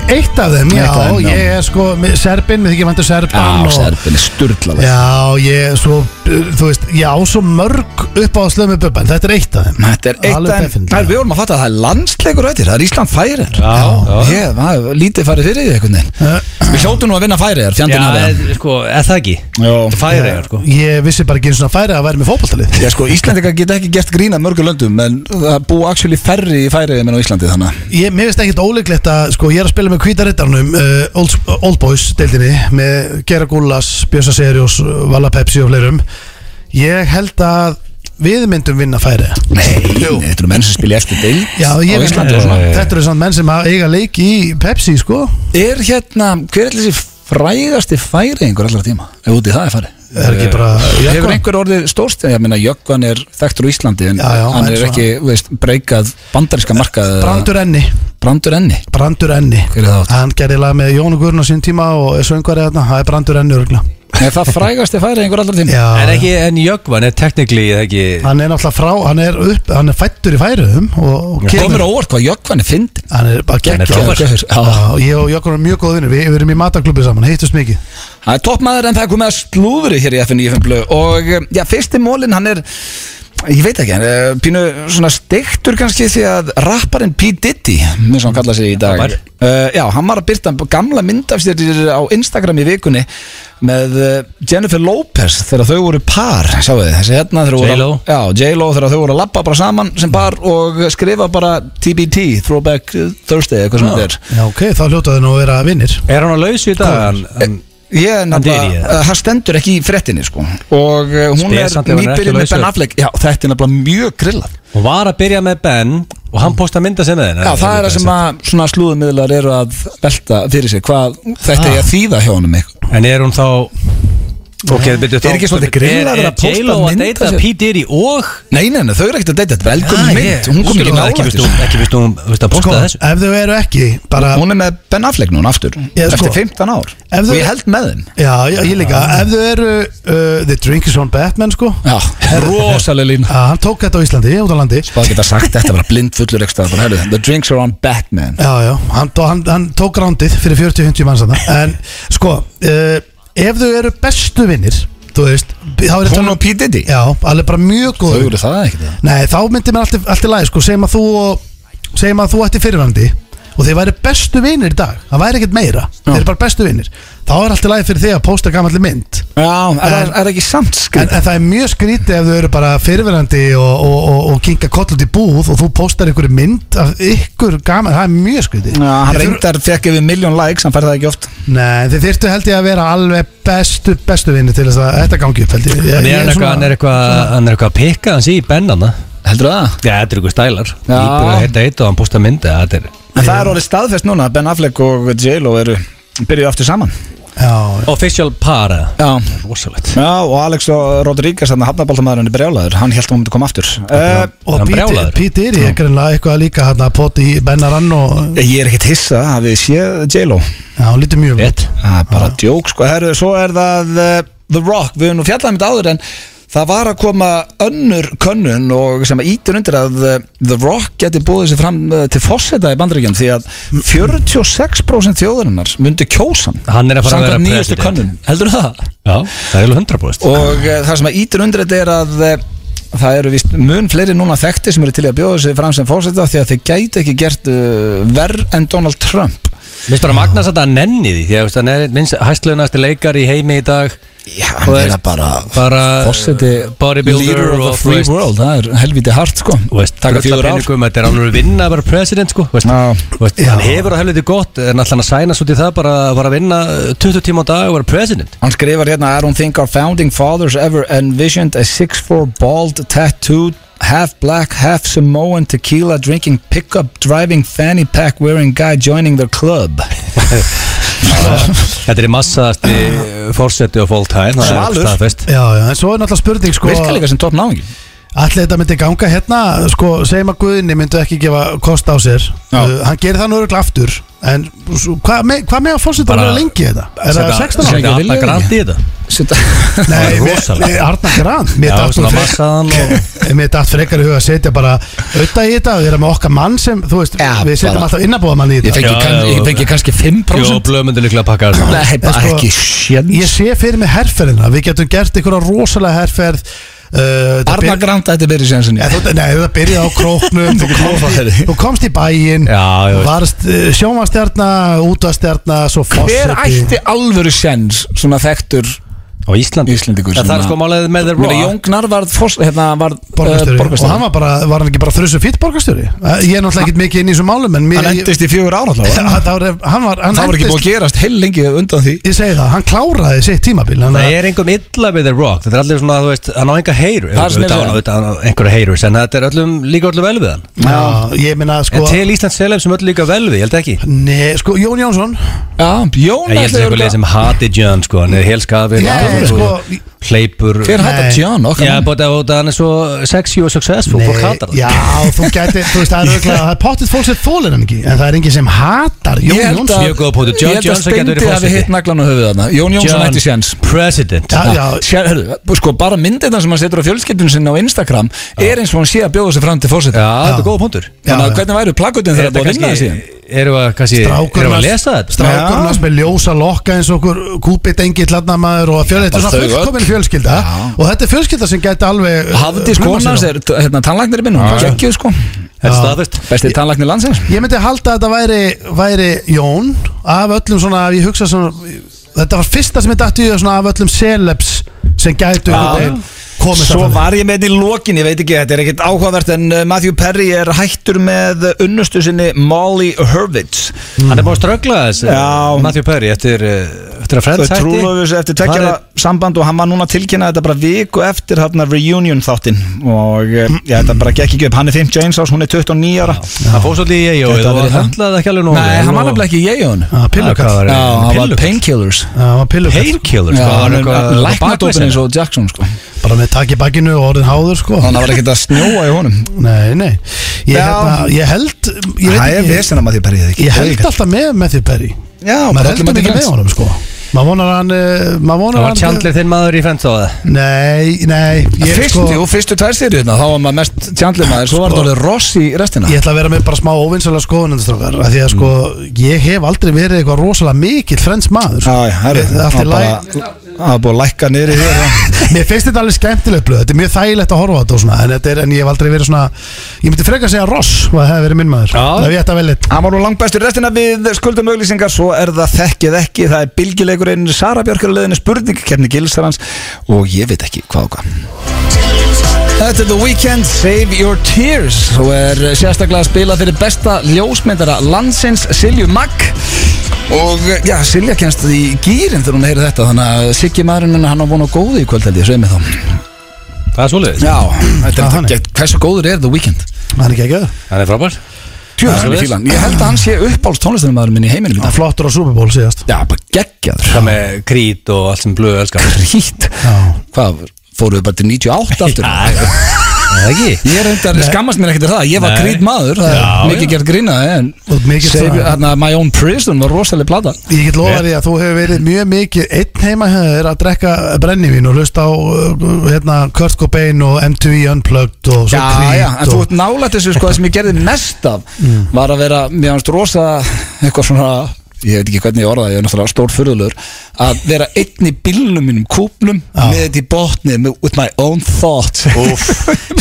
S3: Eitt af þeim, já,
S1: Eitt af þeim, já.
S3: ég er sko með Serbin, við þykir vantur Serban
S1: Já,
S3: og,
S1: Serbin er sturglaður
S3: Já, ég svo, uh, þú veist, já, svo mörg upp á slöð með bubban, þetta er eitt af þeim
S1: Þetta er eitt
S3: Alveg
S1: en,
S3: definitely.
S1: það er við vorum að fatta að það er landsleikur öttir, það er Ísland færir
S2: Já, já.
S1: Ég, maður, lítið farið fyrir því einhvern veginn Við hljóttum nú að vinna færir, fjandinn
S2: Já,
S1: hafi hann.
S2: en, sko, er það ekki?
S1: Jó.
S2: Þetta færi eiga, sko
S3: Ég vissi bara ekki eins og að færi að væri með fótballtalið
S1: Já sko, Íslandika geta ekki gert grín að mörgum löndum en það búa actually færri í færiðum en á Íslandi þannig að-
S3: Ég, mér finnst ekkert óleiklegt að, sko, ég er að spila með kvítarittarnum uh, old, old Boys deildinni með Gera Gullas, Bjösa Seriós, Vala Pepsi og fleirum Ég held að við myndum vinna færi
S1: Nei, Jú. þetta eru menn sem spila í eftir deild
S3: Já,
S1: á
S3: ég veit
S1: Íslandi og
S3: að
S1: svona
S3: þetta eru samt menn sem að eiga leik í Pepsi, sko
S1: Er hérna, hver er þessi frægasti færiðingur allar tíma? Ef úti það er farið
S3: Er ekki bara
S1: Eh, Hefur einhver orðið stórst? Ég meina, Jökvan er þekktur á Íslandi en
S3: Já, já,
S1: hann
S3: en
S1: er
S3: svona-
S1: ekki, þú veist, breykað bandaríska markað
S3: Brandur Enni
S1: Brandur enni
S3: Brandur Enni
S1: Hver er það átt?
S3: Hann gerði lag með Jónu Guðrun á sín tíma og söngvar eða það er brandur enni örgla
S1: Er það frægasti færiðingur allar tíma?
S3: Já,
S2: En ekki, en Jögvan er teknikli ekki
S3: hann er náttúrulega frá, hann er upp, hann er fættur í færuðum og, og
S1: Komur á óvart hvað Jökvan er fyndin
S3: Hann er bara
S1: Hann er
S3: geggjör
S1: geggjaður, já.
S3: Ég og Jökkur erum mjög góð vinnur, við, við erum í mataklubu saman, heittust mikið
S1: Það er toppmaður en það er komið að slúðri hér í FNF Blu og eh, já, fyrsti mólin hann er ég veit ekki, hann er eh, pínu svona steiktur kannski því að rapparinn P. Diddy, eins og hann kallaði sig í dag
S2: Rappar.
S1: uh, já, hann var að byrta gamla mynd af sér á Instagram í vikunni með eh, Jennifer Lopez þegar þau voru par, sjáu þið þessi hérna þegar voru,
S2: J.Lo.
S1: já, J.Lo þegar þau voru að labba bara saman sem par og skrifa bara TBT, Throwback Thursday, eitthvað sem þetta er
S3: Já, ok, þá hljótaðu nú að vera vinnir
S2: Er hann á lausu í dag? Hann, hann,
S1: Ég er
S2: deyr í
S1: nefnilega, Eh,
S2: það.
S1: það stendur ekki í frettinni sko Og eh, hún
S2: Spes
S1: er
S2: samt ef hann er ekki
S1: nýbyrjum með
S2: laus við.
S1: Ben Affleck Já, þetta er nefnilega mjög grillað
S2: hún var að byrja með Ben og hann posta mynda sem með henn
S1: Já, það er það sem að svona slúðumiðlar eru að velta fyrir sig Hvað þetta er að þýða hjá honum eitthvað
S2: En er hún þá Ok, byrju þá
S1: Er ekki svolítið grillað að vera að posta
S2: J.Lo að
S1: mynd af
S2: deyta
S1: sér?
S2: P. Diddy og
S1: Nei, nei, nei, þau eru ekkert að deyta þetta er
S2: Ah,
S1: Velkomin
S2: ég-
S1: mynd, hún kom ekki
S2: skilur,
S1: nálægt
S2: veistu hún-
S1: þessu.
S2: Ekki veist hún, veist um að
S3: Sko,
S2: posta
S1: eh,
S2: þessu
S3: ef þau eru ekki, bara
S1: Hún er með Ben Affleck núna aftur
S3: Já, sko.
S1: Eftir 15 ár
S3: Ef
S1: Og
S3: þau-
S1: ég held með þeim
S3: Já, já, ég líka, ef þau eru uh, The Drink is on Batman, sko
S1: Já, rosalega lína
S3: að Hann tók þetta á Íslandi, út á landi
S1: Hvað geta sagt þetta, bara blind fullur ekstra The drinks are on Batman
S3: Já, já, hann, tó- hann, hann tók rándið fyrir 40-50 manns þarna En sko, uh, ef þau eru bestu vinnir Þú veist þá er
S1: Hún
S3: þetta-
S1: og P. Diddy
S3: Já, alveg bara mjög
S1: Þau
S3: góð
S1: eru það ekkert það
S3: Nei, þá myndir mér allt, í- allt í lagi sko, segjum að þú og segjum að þú ætti fyrirvændi og þeir væri bestu vinir í dag það væri ekkert meira, þeir eru bara bestu vinir þá er allt í lagi fyrir þig að pósta gamalli mynd en,
S1: Já, er, er, er ekki samt
S3: en
S1: skrið
S3: það er mjög skrítið ef þau eru bara fyrirvændi og, og, og, og kinka kollut í búð og þú póstar einhverju mynd af ykkur gamal, það er mjög skrítið
S1: Já, hann
S3: Þeir þur-
S1: reyndar fekk yfir miljón likes, hann fær það ekki oft
S3: Nei, þeir þyrftu held ég að vera alveg bestu, bestu vinir til þess að þetta gangi upp held ég, ég,
S2: Hann er
S3: ég
S2: hann eitthvað, hann er eitthvað, hann er eitthvað að pikka hans í bennana
S1: Heldur það?
S2: Já, þetta er eitthvað stælar
S1: Já.
S2: Íbúið að heita eitt og hann posta myndi Þetta er
S1: En það er orðið staðfest núna, Ben Affleck og J.Lo eru byrjuð aftur saman
S3: Já,
S2: official para
S1: Já,
S2: Rosalegt
S1: Já og Alex og Rodríguez, hann hafnabaltamæðurinn er brjálæður, hann held að hún myndi koma aftur uh,
S3: Og
S2: Hann
S3: Pete
S2: brjálaður.
S3: Pete Diddy er greinlega eitthvað líka hann að poti í bennarann og
S1: Ég er ekkit hissa að við sé J.Lo
S3: já, hún lítur mjög vel
S2: Rétt
S1: eh, Það er bara djók, sko, herru, svo er það uh, The Rock, við höfum nú fjallað um þetta áður en Það var að koma önnur könnun og sem ítur undir að uh, The Rock geti búið sér fram uh, til fósetta í bandaríkjum því að 46% þjóðurinnar myndi kjósan
S2: Hann er að fara að vera
S1: nýjustu
S2: president.
S1: könnun Heldur það?
S2: Já, það er alveg 100%
S1: Og uh, það sem að ítur undir þetta er að uh, það eru vist mun fleiri núna þekkti sem eru til í að bjóða sér fram sem fósetta því að þeir gæti ekki gert uh, verð en Donald Trump
S2: Mér finnst bara Magnars að það nenni því Því að veist, hann er minnst hæstlunasti leikar í heimi í dag
S1: Já,
S2: Og
S1: hann er
S2: veist,
S1: að bara
S2: bara
S1: Forseti-
S2: Bodybuilder
S1: Leader of the
S2: og,
S1: free
S2: veist,
S1: world, það er helviti hart sko
S2: og veist,
S1: Taka
S2: fulla
S1: fjögur ár
S2: peningum, Þetta er alveg vinna að vera president sko veist,
S1: Já.
S2: Þú veist, Hann hefur á helviti gott En alltaf hann að sæna svo til það bara að fara að vinna eh, 20 tíma á dag og vera president
S1: Hann skrifar hérna I don't think our founding fathers ever envisioned a 6'4 bald tattooed half black half Samoan tequila drinking pickup driving fanny pack wearing guy joining their club
S2: Þetta er í massaðasti fórseti og full time það er
S1: Svalur.
S2: staðfest.
S3: Já, já, en svo er náttúrulega spurning sko
S1: Virka líka sem topp náðingi
S3: Allir þetta myndi ganga hérna sko, segjum að Guðni myndi ekki gefa kost á sér uh, Hann gerir það nú örugglega aftur En svo- hvað me, hva með að fórseta að
S2: Bara-
S3: vera lengi í þetta? Er það
S2: Setja-
S3: 16 ára?
S1: Ekki
S2: Setja
S1: vilja
S2: alla grandi í þetta það
S3: Nei,
S2: er
S3: mér-
S2: rosalegt.
S3: mér- Arnar Gran Mér
S2: Já,
S3: datt nú
S2: svona
S3: frekar-
S2: massaðan og
S3: Mér datt frekar í huga að setja bara auðvitað í þetta, við erum með okkar mann sem þú veist,
S1: Já,
S3: við setjum
S1: bara-
S3: alltaf innabóðamann í
S1: Ég
S3: þetta
S1: fengi,
S2: Já,
S1: kann,
S2: já,
S1: ég
S2: já.
S1: fengi kannski 5%
S2: Jó, blöð myndi líklega að pakka þessu
S1: Nei, bara
S3: sko,
S1: ekki
S3: Ég
S1: sjens
S3: sé fyrir mig herferðina, við getum gert einhverja rosalega herferð uh, það byr-
S1: Arna Granda þetta verið sjensin
S3: Ja, þú, nei, það byrjaði á króknum þú, komst í, þú komst í bæinn
S2: Já, já, já.
S3: Varst uh, sjómanstjarna, útastjarna Svo fórseti
S1: Hver ætti alvöru sjens svona þektur
S2: Á Íslandi
S1: Íslendingur
S2: Það
S1: sem
S2: er
S1: að-
S2: sko málega með The
S1: Mér
S2: Rock
S1: að Jóngnar varð, fors, hérna, varð eh,
S3: Borgarstjóri Og hann
S1: borgarstjóri
S3: var bara, var hann ekki bara þrjusu fýtt borgarstjóri Eh, Ég er náttúrulega ekkert mikið inn í þessum málum En mér,
S1: Hann
S3: ég,
S1: endist í fjögur ára allavega
S3: það, það var, hann var hann
S1: Það var ekki búið
S3: endist-
S1: að gerast heil lengi undan því
S3: Ég segi það, hann kláraði sitt tímabil hann
S2: Það er engum illa við The Rock Þetta er allir svona, þú veist, hann á enga heyrur
S1: Það er sem ég
S2: Þetta
S1: segi.
S2: hann á einhverja heyrur En þetta er öllum, líka öllum vel við hann
S3: Já, ég meina sko
S2: En til Íslands selef sem öll líka vel við, ég held ekki
S3: Nei, sko, Jón Jónsson
S1: Já, Jón ætlaði
S2: Ég held eitthvað leið
S1: örugglega-
S2: sem hati John, sko Hann er helskafir,
S3: Nei, sko-
S2: hleypur
S1: Hver hatar
S3: Nei.
S1: Jón okkar?
S2: Já, bara það hann er svo sexy og successful Fólk hatar
S3: já,
S2: það
S3: þú gæti, þú veist, það er örugglega- það er pottitt fólk sem þólir hann ekki En það er engin sem hatar Jón
S1: Ég held
S3: Jónsson
S1: að
S2: Mjög góða punktur. John
S1: Ég held að
S2: Johnson getur verið
S1: Steindi hafi
S2: forseti.
S1: hitt naglan á höfuð þarna Jón Jónsson ætti séns
S2: President
S3: Já, já,
S1: Sér, hörru, sko bara myndirna sem hann setur á fjölskyldun sinna á Instagram er eins og hann sé að bjóða sig fram til fórseta
S2: þetta er góða punktur
S1: Þannig
S3: Já,
S1: að
S3: já.
S1: hvernig væru plaggutin
S2: Er
S1: þegar það
S2: þetta
S1: búið að vinna þessi
S2: kannski, erum við kannski,
S3: Strákurinn
S2: erum við að
S3: hans-
S2: lesa þetta?
S3: Strákurinn hans með ljósa lokka eins og okkur kúpit engi tladnamaður og fjöl, þetta er
S1: bara
S3: svona
S1: þau öll.
S3: fullkomin fjölskylda
S1: Já.
S3: og þetta er fjölskylda sem gæti alveg uh,
S1: Hafði sko
S3: plumað sig
S1: hann
S3: á.
S1: er hérna, tannlagnir minn hún geggjuð sko
S2: Þetta er staðfest
S1: Besti tannlagnir landsins
S3: Ég myndi halda að þetta væri, væri Jón af öllum svona, ef ég hugsa svona þetta var fyrsta sem ég dætti í það svona af öllum celebs sem gætu einhvern veginn komið
S1: Svo
S3: það þannig.
S1: var ég með þetta í lokin, ég veit ekki, þetta er ekkit áhugavert en uh, Matthew Perry er hættur með uh, unnustu sinni Molly Hurwitz
S2: Hann er búin að ströggla þess
S1: Já.
S2: Matthew Perry eftir, eh, eftir að Friends
S1: Þau trúlofus eftir tveggjara
S2: Hann
S1: samband og hann var núna að tilkynna þetta bara viku eftir hérna reunion þáttinn og eh, já, þetta bara gekk ekki upp, hann er 50 eins ás, hún er 29 ára
S2: Hann fór svolítið í E EIO
S1: Gæti
S2: Það
S1: verið það.
S2: höndlaði ekki alveg nóg
S1: Nei,
S2: vel
S1: hann var
S2: og-
S1: nefnilega ekki í jeigun
S3: Ah,
S2: Ah,
S3: Pillukall
S2: hvað
S1: Já, hann
S2: var-
S1: var
S2: pillukall.
S1: painkillers
S3: Já, hann var pillukall
S1: Já,
S2: Painkillers hvað, var
S1: hann
S2: eitthvað-
S1: er
S2: eitthvað
S1: læknadópin
S2: bakvæsina?
S1: eins og Jackson sko
S3: bara með takk í bakkinu og orðin háður sko
S1: Þannig að það var ekkert að snjóa í honum
S3: Nei, nei Ég,
S1: Já.
S3: hérna, ég held ég, veit
S1: Það er
S3: ekki,
S1: vesina maður því perrið ekki
S3: ég held alltaf með með því Perry
S1: Já,
S3: maður
S1: bara
S3: heldur
S1: öllum
S3: mikið
S1: ekki
S3: með honum sko maður vonar hann eh, maður vonar
S2: Það var Chandler þinn maður í Friends á það
S3: nei, nei ég,
S1: Fyrstu
S3: sko,
S1: og fyrstu tvær seriðna, þá var maður mest tjandlið maður, svo var þetta orðið ross í restina
S3: ég ætla að vera með bara smá óvinnsala skoðunandastrákar af því að sko ég hef aldei verið eitthvað rosalega mikill frends maður sko.
S1: Já, já, herru,
S3: Það er allt í
S1: það var bara- það var búið að lækka niður í hér
S3: mér finnst þetta alveg skemmtilegt blöð þetta er mjög þægilegt að horfa á þetta og svona en, þetta er, en ég hef aldrei verið svona ég myndi frekar segja Ross og það hefði verið minn maður
S2: Já.
S3: það er þetta vel eitt
S1: Hann var nú langbæstur í restina við skuldum auglýsingar Svo er það þekkið ekki Það er bylgileikurinn Sara Björk er á leiðinni spurning Kefni Gilsarans Og ég veit ekki hvað og hvað Þetta er The Weeknd, Save Your Tears og er eh, sérstaklega að spila fyrir besta ljósmyndara landsins Silju Magg og eh, já, Silja kennst í gýrin þegar hún heyri þetta þannig að Siggi maðurinn hennar, hann á vonu góði í kvöld held ég, segir mig þá
S2: Það er svolítið
S1: Já, þetta
S3: Ah,
S1: er
S3: hann er.
S1: gegn- hversu góður er The Weeknd?
S3: hann er ekki ekki
S2: Hann er frábær
S1: Tjóðan, ég fíla hann. Ég held að hann sé uppáls tónlistarmaðurinn minn í heiminum í dag.
S3: hann flottur á Super Bowl síðast
S1: Já, bara geggjaður
S2: Það með krít og allt sem blöðu elskar
S1: Rít
S3: já
S1: Hvað, fóruðu bara til 98 aftur?
S2: Það það ekki
S1: Ég reyndar, skammast mér ekkert af það, ég var
S2: Nei.
S1: grít maður það er
S2: Já,
S1: Mikið
S2: já.
S1: gert grínaði en
S3: Og mikið
S1: Save-
S3: það.
S1: þarna, My Own Prison var rosalega plata
S3: Ég get lofa því að þú hefur verið mjög mikið einn heima hjá þér að drekka brennivín og hlusta á uh, hérna, Kurt Cobain og M2E Unplugged og svo
S1: Já,
S3: Creed
S1: já, en þú
S3: og... Mm.
S1: ert nálætt þessu sko, það sem ég gerði mest af var að vera, mér fannst rosa eitthvað svona, ég veit ekki hvernig ég orða það, ég er náttúrulega stór furðulegur að vera einn í bílnum mínum, kúpnum
S3: Já.
S1: með þetta í botni, með- with my own thoughts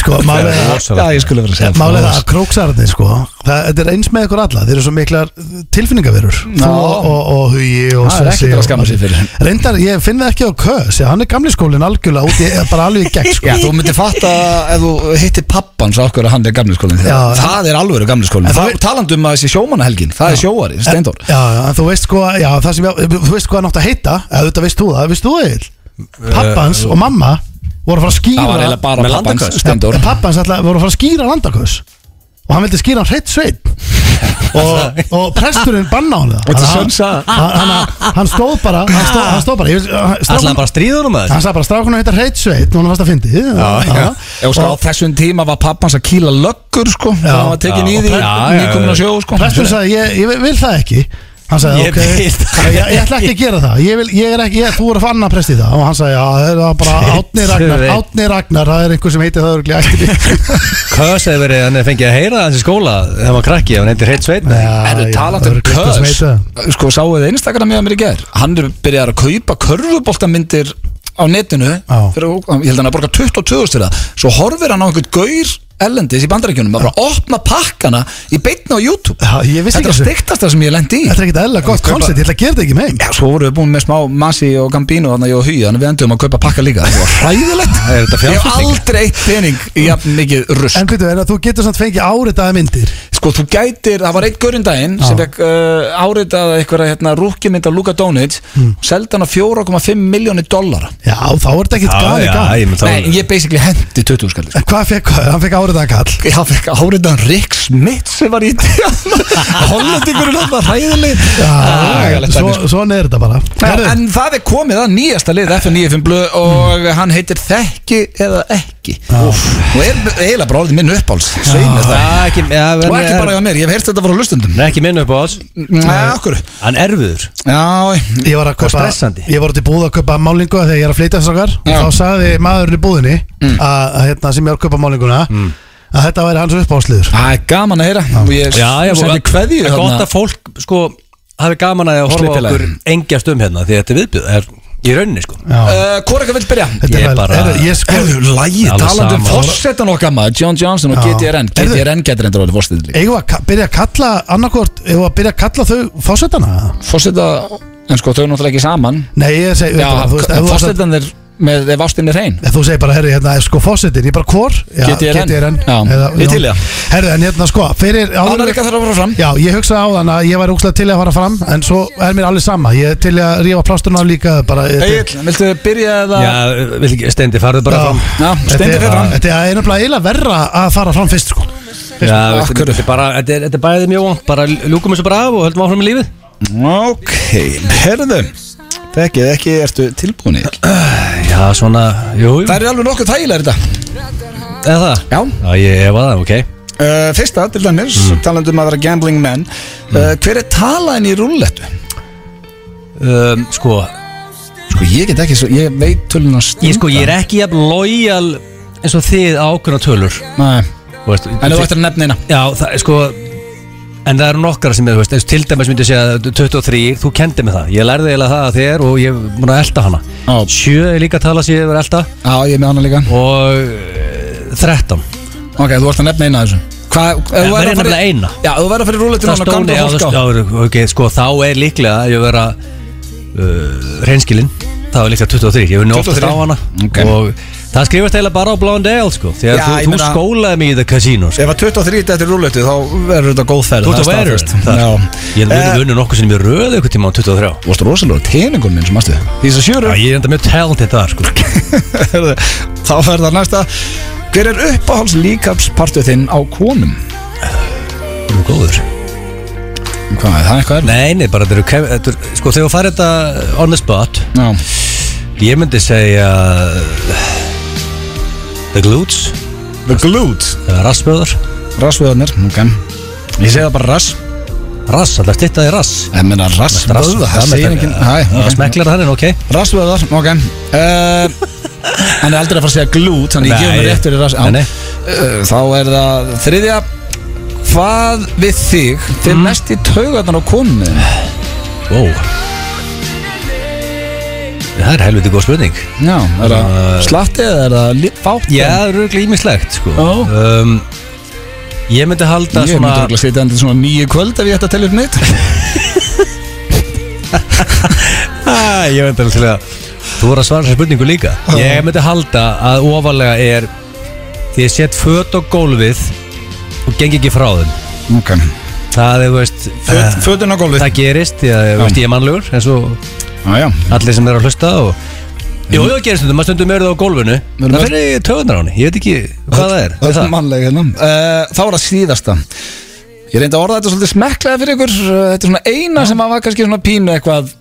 S3: Sko, málið er að-
S1: Já, ég skulle vera að segja
S3: málið er að króksarðin sko, það, þetta er eins með ykkur alla þeir eru svo miklar tilfinningaverur þú og, og, og hugi og
S1: Það er
S3: Sessi
S1: ekkert að
S3: og-
S1: skamma sig fyrir.
S3: Reyndar, ég finn það ekki á kös já, hann er gamli skólinn algjörlega út í, bara alveg í gegn sko.
S1: Já, þú myndir fatta ef þú hittir pappans af hverju hann er gamli skólinn
S3: Já.
S1: Það er alvöru gamli skólinn
S3: En
S1: Þá
S3: þú-
S1: talandu um að þessi sjómanahelgin, það er sjóari, steindór
S3: Já, já, en þú veist sko, já, það sem ég, þú veist hvað hann átt að heita, eða þetta veist þú það, veist þú það, pappans og mamma voru að fara að skýra
S1: Það var eiginlega bara
S2: Með
S1: pappans,
S2: landaköst.
S1: steindór
S3: Pappans alltaf voru að fara að skýra landakös og hann vildi skýra hann hreitt sveit og, og presturinn banna hann það
S1: What's the
S3: Þannig
S1: sun said?
S3: að- hann, hann, hann stóð bara hann stóð, hann stóð bara ég- hann-
S2: Ætlaði hann
S3: strákun-
S2: bara að stríða honum að
S3: hann sagði bara strákunum heitar hreitt sveit og hann fannst að fyndi
S1: Já, sko, á
S3: og
S1: þessum tíma var pappans að kýla löggur sko,
S3: Já.
S1: það var tekin
S2: Já,
S1: í
S2: og
S1: því
S2: pre- já, já,
S1: nýkomin á
S2: já.
S1: sjó sko.
S3: presturinn sagði ég, ég vil það ekki hann sagði
S2: Ég
S3: ok,
S2: vil það
S3: ég, ég ætla ekki að gera það ég vil, ég er ekki, ég, þú er að fanna presti það og hann sagði já, það er bara Átni Ragnar
S2: Shit.
S3: Átni Ragnar, það er einhver sem heitir það örugglega ætli.
S2: Kös hefur verið, hann hefur fengið að heyra hans í skóla þegar hann var krakki, hann heitir Hreit Sveit
S3: Já,
S1: Það
S3: já,
S1: eru talandi um
S3: örugglega einhver sem
S1: kös
S3: heitir það.
S1: Sko, sáu þið einstakana mjög að mér í gær Hann er byrjar að kaupa körfuboltamyndir á netinu
S3: Já.
S1: fyrir, Ég held að hann að borga 22 til það Svo horfir hann á einhvern gaur ellendis í bandarækjunum að bara opna pakkana í beitna á YouTube
S3: Já, ég
S1: Þetta
S3: vissi
S1: er
S3: ekki þessu.
S1: stiktast það sem ég lendi í
S3: Þetta er ekkert eðla gott
S1: kaupa-
S3: koncept, ég ætla að gera þetta ekki með
S1: Já, svo vorum við búin með smá Masi og Gambino þannig að ég og Hugi, þannig að við endum að kaupa pakka líka Það var hræðilegt
S2: Er þetta
S1: Ég hef
S2: fjárfesting?
S1: aldrei eitt pening í jafn mikið rusk
S3: En byrju, er að þú getur samt fengið áritaða myndir
S1: Sko, þú gætir, það var einn gaurinn daginn sem fekk uh, áritað eitthvað hérna, rúkimynd af Luka Donage og seldi hann á 4,5 miljónir dollara
S3: Já, þá er þetta ekkert gali gali
S2: menn
S1: Nei, ég basically hendi sko. 20 skall
S3: En hvað fekk hann? Hann fekk áritaða kall
S1: Ég fekk áritaðan Rick Smith sem var í Hollandingurinn hann var hræðileg
S3: Já,
S1: Agalegt dæmi, sko.
S3: svo- svona er þetta bara
S1: En,
S3: Herðu,
S1: en það er komið að nýjasta lið F95 blöð og hann heitir Þekki eða ekki Úff. og er eiginlega bara orðið minn uppáls Sveinu
S2: Það
S1: það
S2: er ekki, ja,
S1: og ekki bara Mm. hjá mér, ég hef heyrst þetta frá hlustundum
S2: Nei, ekki minn upp á alls
S1: Nei, okkur
S2: Hann erfiður
S1: Já,
S3: Ég var að kaupa,
S2: stressandi.
S3: ég voru til búð að kaupa málingu þegar ég er að flytja þess okkar
S1: Já. Mm.
S3: og þá sagði maðurinn í búðinni að, að hérna sem ég var að kaupa málinguna að þetta væri hans uppáðsliður
S1: það er gaman að heyra og ég sendi kveðju hérna.
S2: Það er gott
S1: þarna
S2: að fólk, sko, hafi gaman að því að horfa á
S1: Slipilega.
S2: okkur engjast um hérna Því að þetta er viðbjöð, er í rauninni, sko
S1: Uh, Hvor ekki vil byrja?
S3: Þetta
S2: Ég
S3: er vel,
S2: bara-
S3: herðu, ég sko
S1: Erðu lægi,
S2: Alveg
S1: talandi um
S2: sama.
S1: fórsetan okkar maður John Johnson og
S3: Já.
S1: GTRN
S3: Heyrðu-
S1: GTRN getur endur orðið fórsetan líka
S3: Eigum við að ka- byrja að kalla annarkvort, eigum við að byrja að kalla þau fósettana?
S1: Fórseta, en sko þau eru náttúrulega ekki saman
S3: Nei, ég segi,
S1: Já,
S3: þú veist, ef þú varst að-
S1: fórsetan er með ef ástin er hrein
S3: Ef Þú segir bara, herri, hérna, sko, fósettin, ég bara hvor Já,
S1: GTRN.
S3: GTRN
S1: Já,
S3: Eða,
S1: ég til í það.
S3: Herri, en hérna, sko, fyrir áður-
S1: Annar ykkar þarf að fara fram
S3: Já, ég hugsaði áðan að ég væri úkslega til í að fara fram En svo er mér alveg sama Ég er til í að rífa plásturinn af líka bara, þetta-
S1: Egil, viltu byrja eða
S2: Já, vil ekki, Steindi, farðu bara
S3: Já.
S2: fram
S1: Já,
S3: Þetta
S1: stendur
S3: er-
S1: fyrir fram
S3: Þetta er nefnilega eiginlega verra að fara fram fyrst, sko
S2: Já, veistu,
S1: Akkur.
S2: þetta er bara, þetta er- þetta er bæðið mjög vant Bara ljúkum þessu bara af og höldum áfram í lífið
S1: Ok, herðu Þekkið ekki, ertu tilbúin í
S2: Já, svona, jú, jú
S1: Það eru alveg nokkuð þægilega þetta
S2: Eða það?
S1: Já
S2: Já, ég hefa það, ok
S1: uh, Fyrsta, til dæmis,
S3: Mm.
S1: talandi um að vera gambling menn uh, Hver er talaðin í rúllettu?
S2: um, Sko,
S1: Sko ég get ekki, svo, ég veit tölun að stunda
S2: ég, sko, ég er ekki jafn lojal eins og þið á ákveðna tölur
S1: Nei,
S2: Þú veist,
S1: en þú ættir að nefna eina
S2: Já, það er sko En það eru nokkara sem ég, þú veist, eins og til dæmis myndi ég segja 23, þú kendi mig það Ég lærði eiginlega það að þér og ég er múin að elda hana
S1: Já.
S2: Sjö er líka að tala sem ég hefur elda
S1: Já, ég er með hana líka
S2: Og eh, 13
S1: Ok, þú ættir að nefna eina af þessu Hvað, ef
S2: En
S1: þú verður að
S2: verð ég
S1: fara
S2: nefnilega
S1: í-
S2: eina?
S1: Já, ef þú verður að fara í rúllettu
S2: Það stóni á þess
S1: á
S2: Ok, sko, þá er líklega að ég vera uh, reynskilinn Þá er líklega 23, ég vunni oftast
S1: 23.
S2: á hana
S1: Ok.
S2: Og það skrifast eiginlega bara á bláan del, sko Því
S1: Já,
S2: að
S1: ég
S2: þú, þú
S1: meina-
S2: skólaði mig í það kasínu, sko
S1: Ef að 23 þetta er rúllettu þá verður þetta góð ferð
S2: Þú ert sko. að
S1: það er
S2: vera
S1: staðfest.
S2: það.
S1: Já
S2: Ég
S1: Eh,
S2: hef vunnið nokkuð sem ég röði ykkur tíma á 23
S1: Þú varst rosalega teiningum minn sem aðstu Því þess að
S2: Já,
S1: sjöru
S2: ég er enda mjög talented þar sko
S1: Heyrðu, Þá verður það næsta Hver er uppáhalds líkapspartuð þinn á konum?
S2: Þú er góður
S1: Hvað, er það eitthvað er?
S2: Nei, nei, bara þetta eru kef- þetta eru Sko, þegar þú farið þetta on the spot
S1: Já,
S2: Ég myndi segja uh, The glutes
S1: The Glute
S2: Eða rassböður
S1: Rassvöðarnir, ok Ég segi það bara rass
S2: Rass, alltaf stittaði rass
S1: Ég meina rassvöðar, það segir enginn Hæ,
S2: Það
S1: ok.
S2: smeklar það henni, ok
S1: Rassvöðar, ok uh, Hann er aldrei að fara að segja glút Þannig ég
S2: Nei.
S1: gefum við réttur í rass á.
S2: Nei, nei.
S1: Uh, Þá er það þriðja Hvað við þig Fyrir mm. mest í taugarnar á konu
S2: Wow Það er helviti góð spurning
S1: Já, er það slatti eða er það li- fátt
S2: Uh, Já, það eru auðvitað ímislegt sko. um, Ég myndi halda
S1: Ég myndi
S2: svona
S1: örugglega setja hann til svona nýju kvöld ef ég ætti að telja upp mitt
S2: Ah, Ég myndi alveg til að Þú voru að svara þessar spurningu líka Ég myndi halda að ofalega er Því ég set föt á gólfið Og geng ekki frá þeim
S1: Ok
S2: Það er, þú veist
S1: Föt-
S2: eh,
S1: Fötin á gólfið
S2: Það gerist, því að þú veist, ég er mannlegur En svo
S1: Já, já
S2: allir sem eru að hlusta og Jú, jú, gerist þetta, maður stundum meira það á gólfinu
S1: Við erum
S2: Það
S1: öll-
S2: fyrir í töðunar á henni, ég veit ekki hvað það er Við
S1: Það er
S2: það.
S1: mannlega hérna uh, Þá er það síðasta Ég reyndi að orða þetta svolítið smekklega fyrir ykkur uh, Þetta er svona eina sem að var kannski svona pínu eitthvað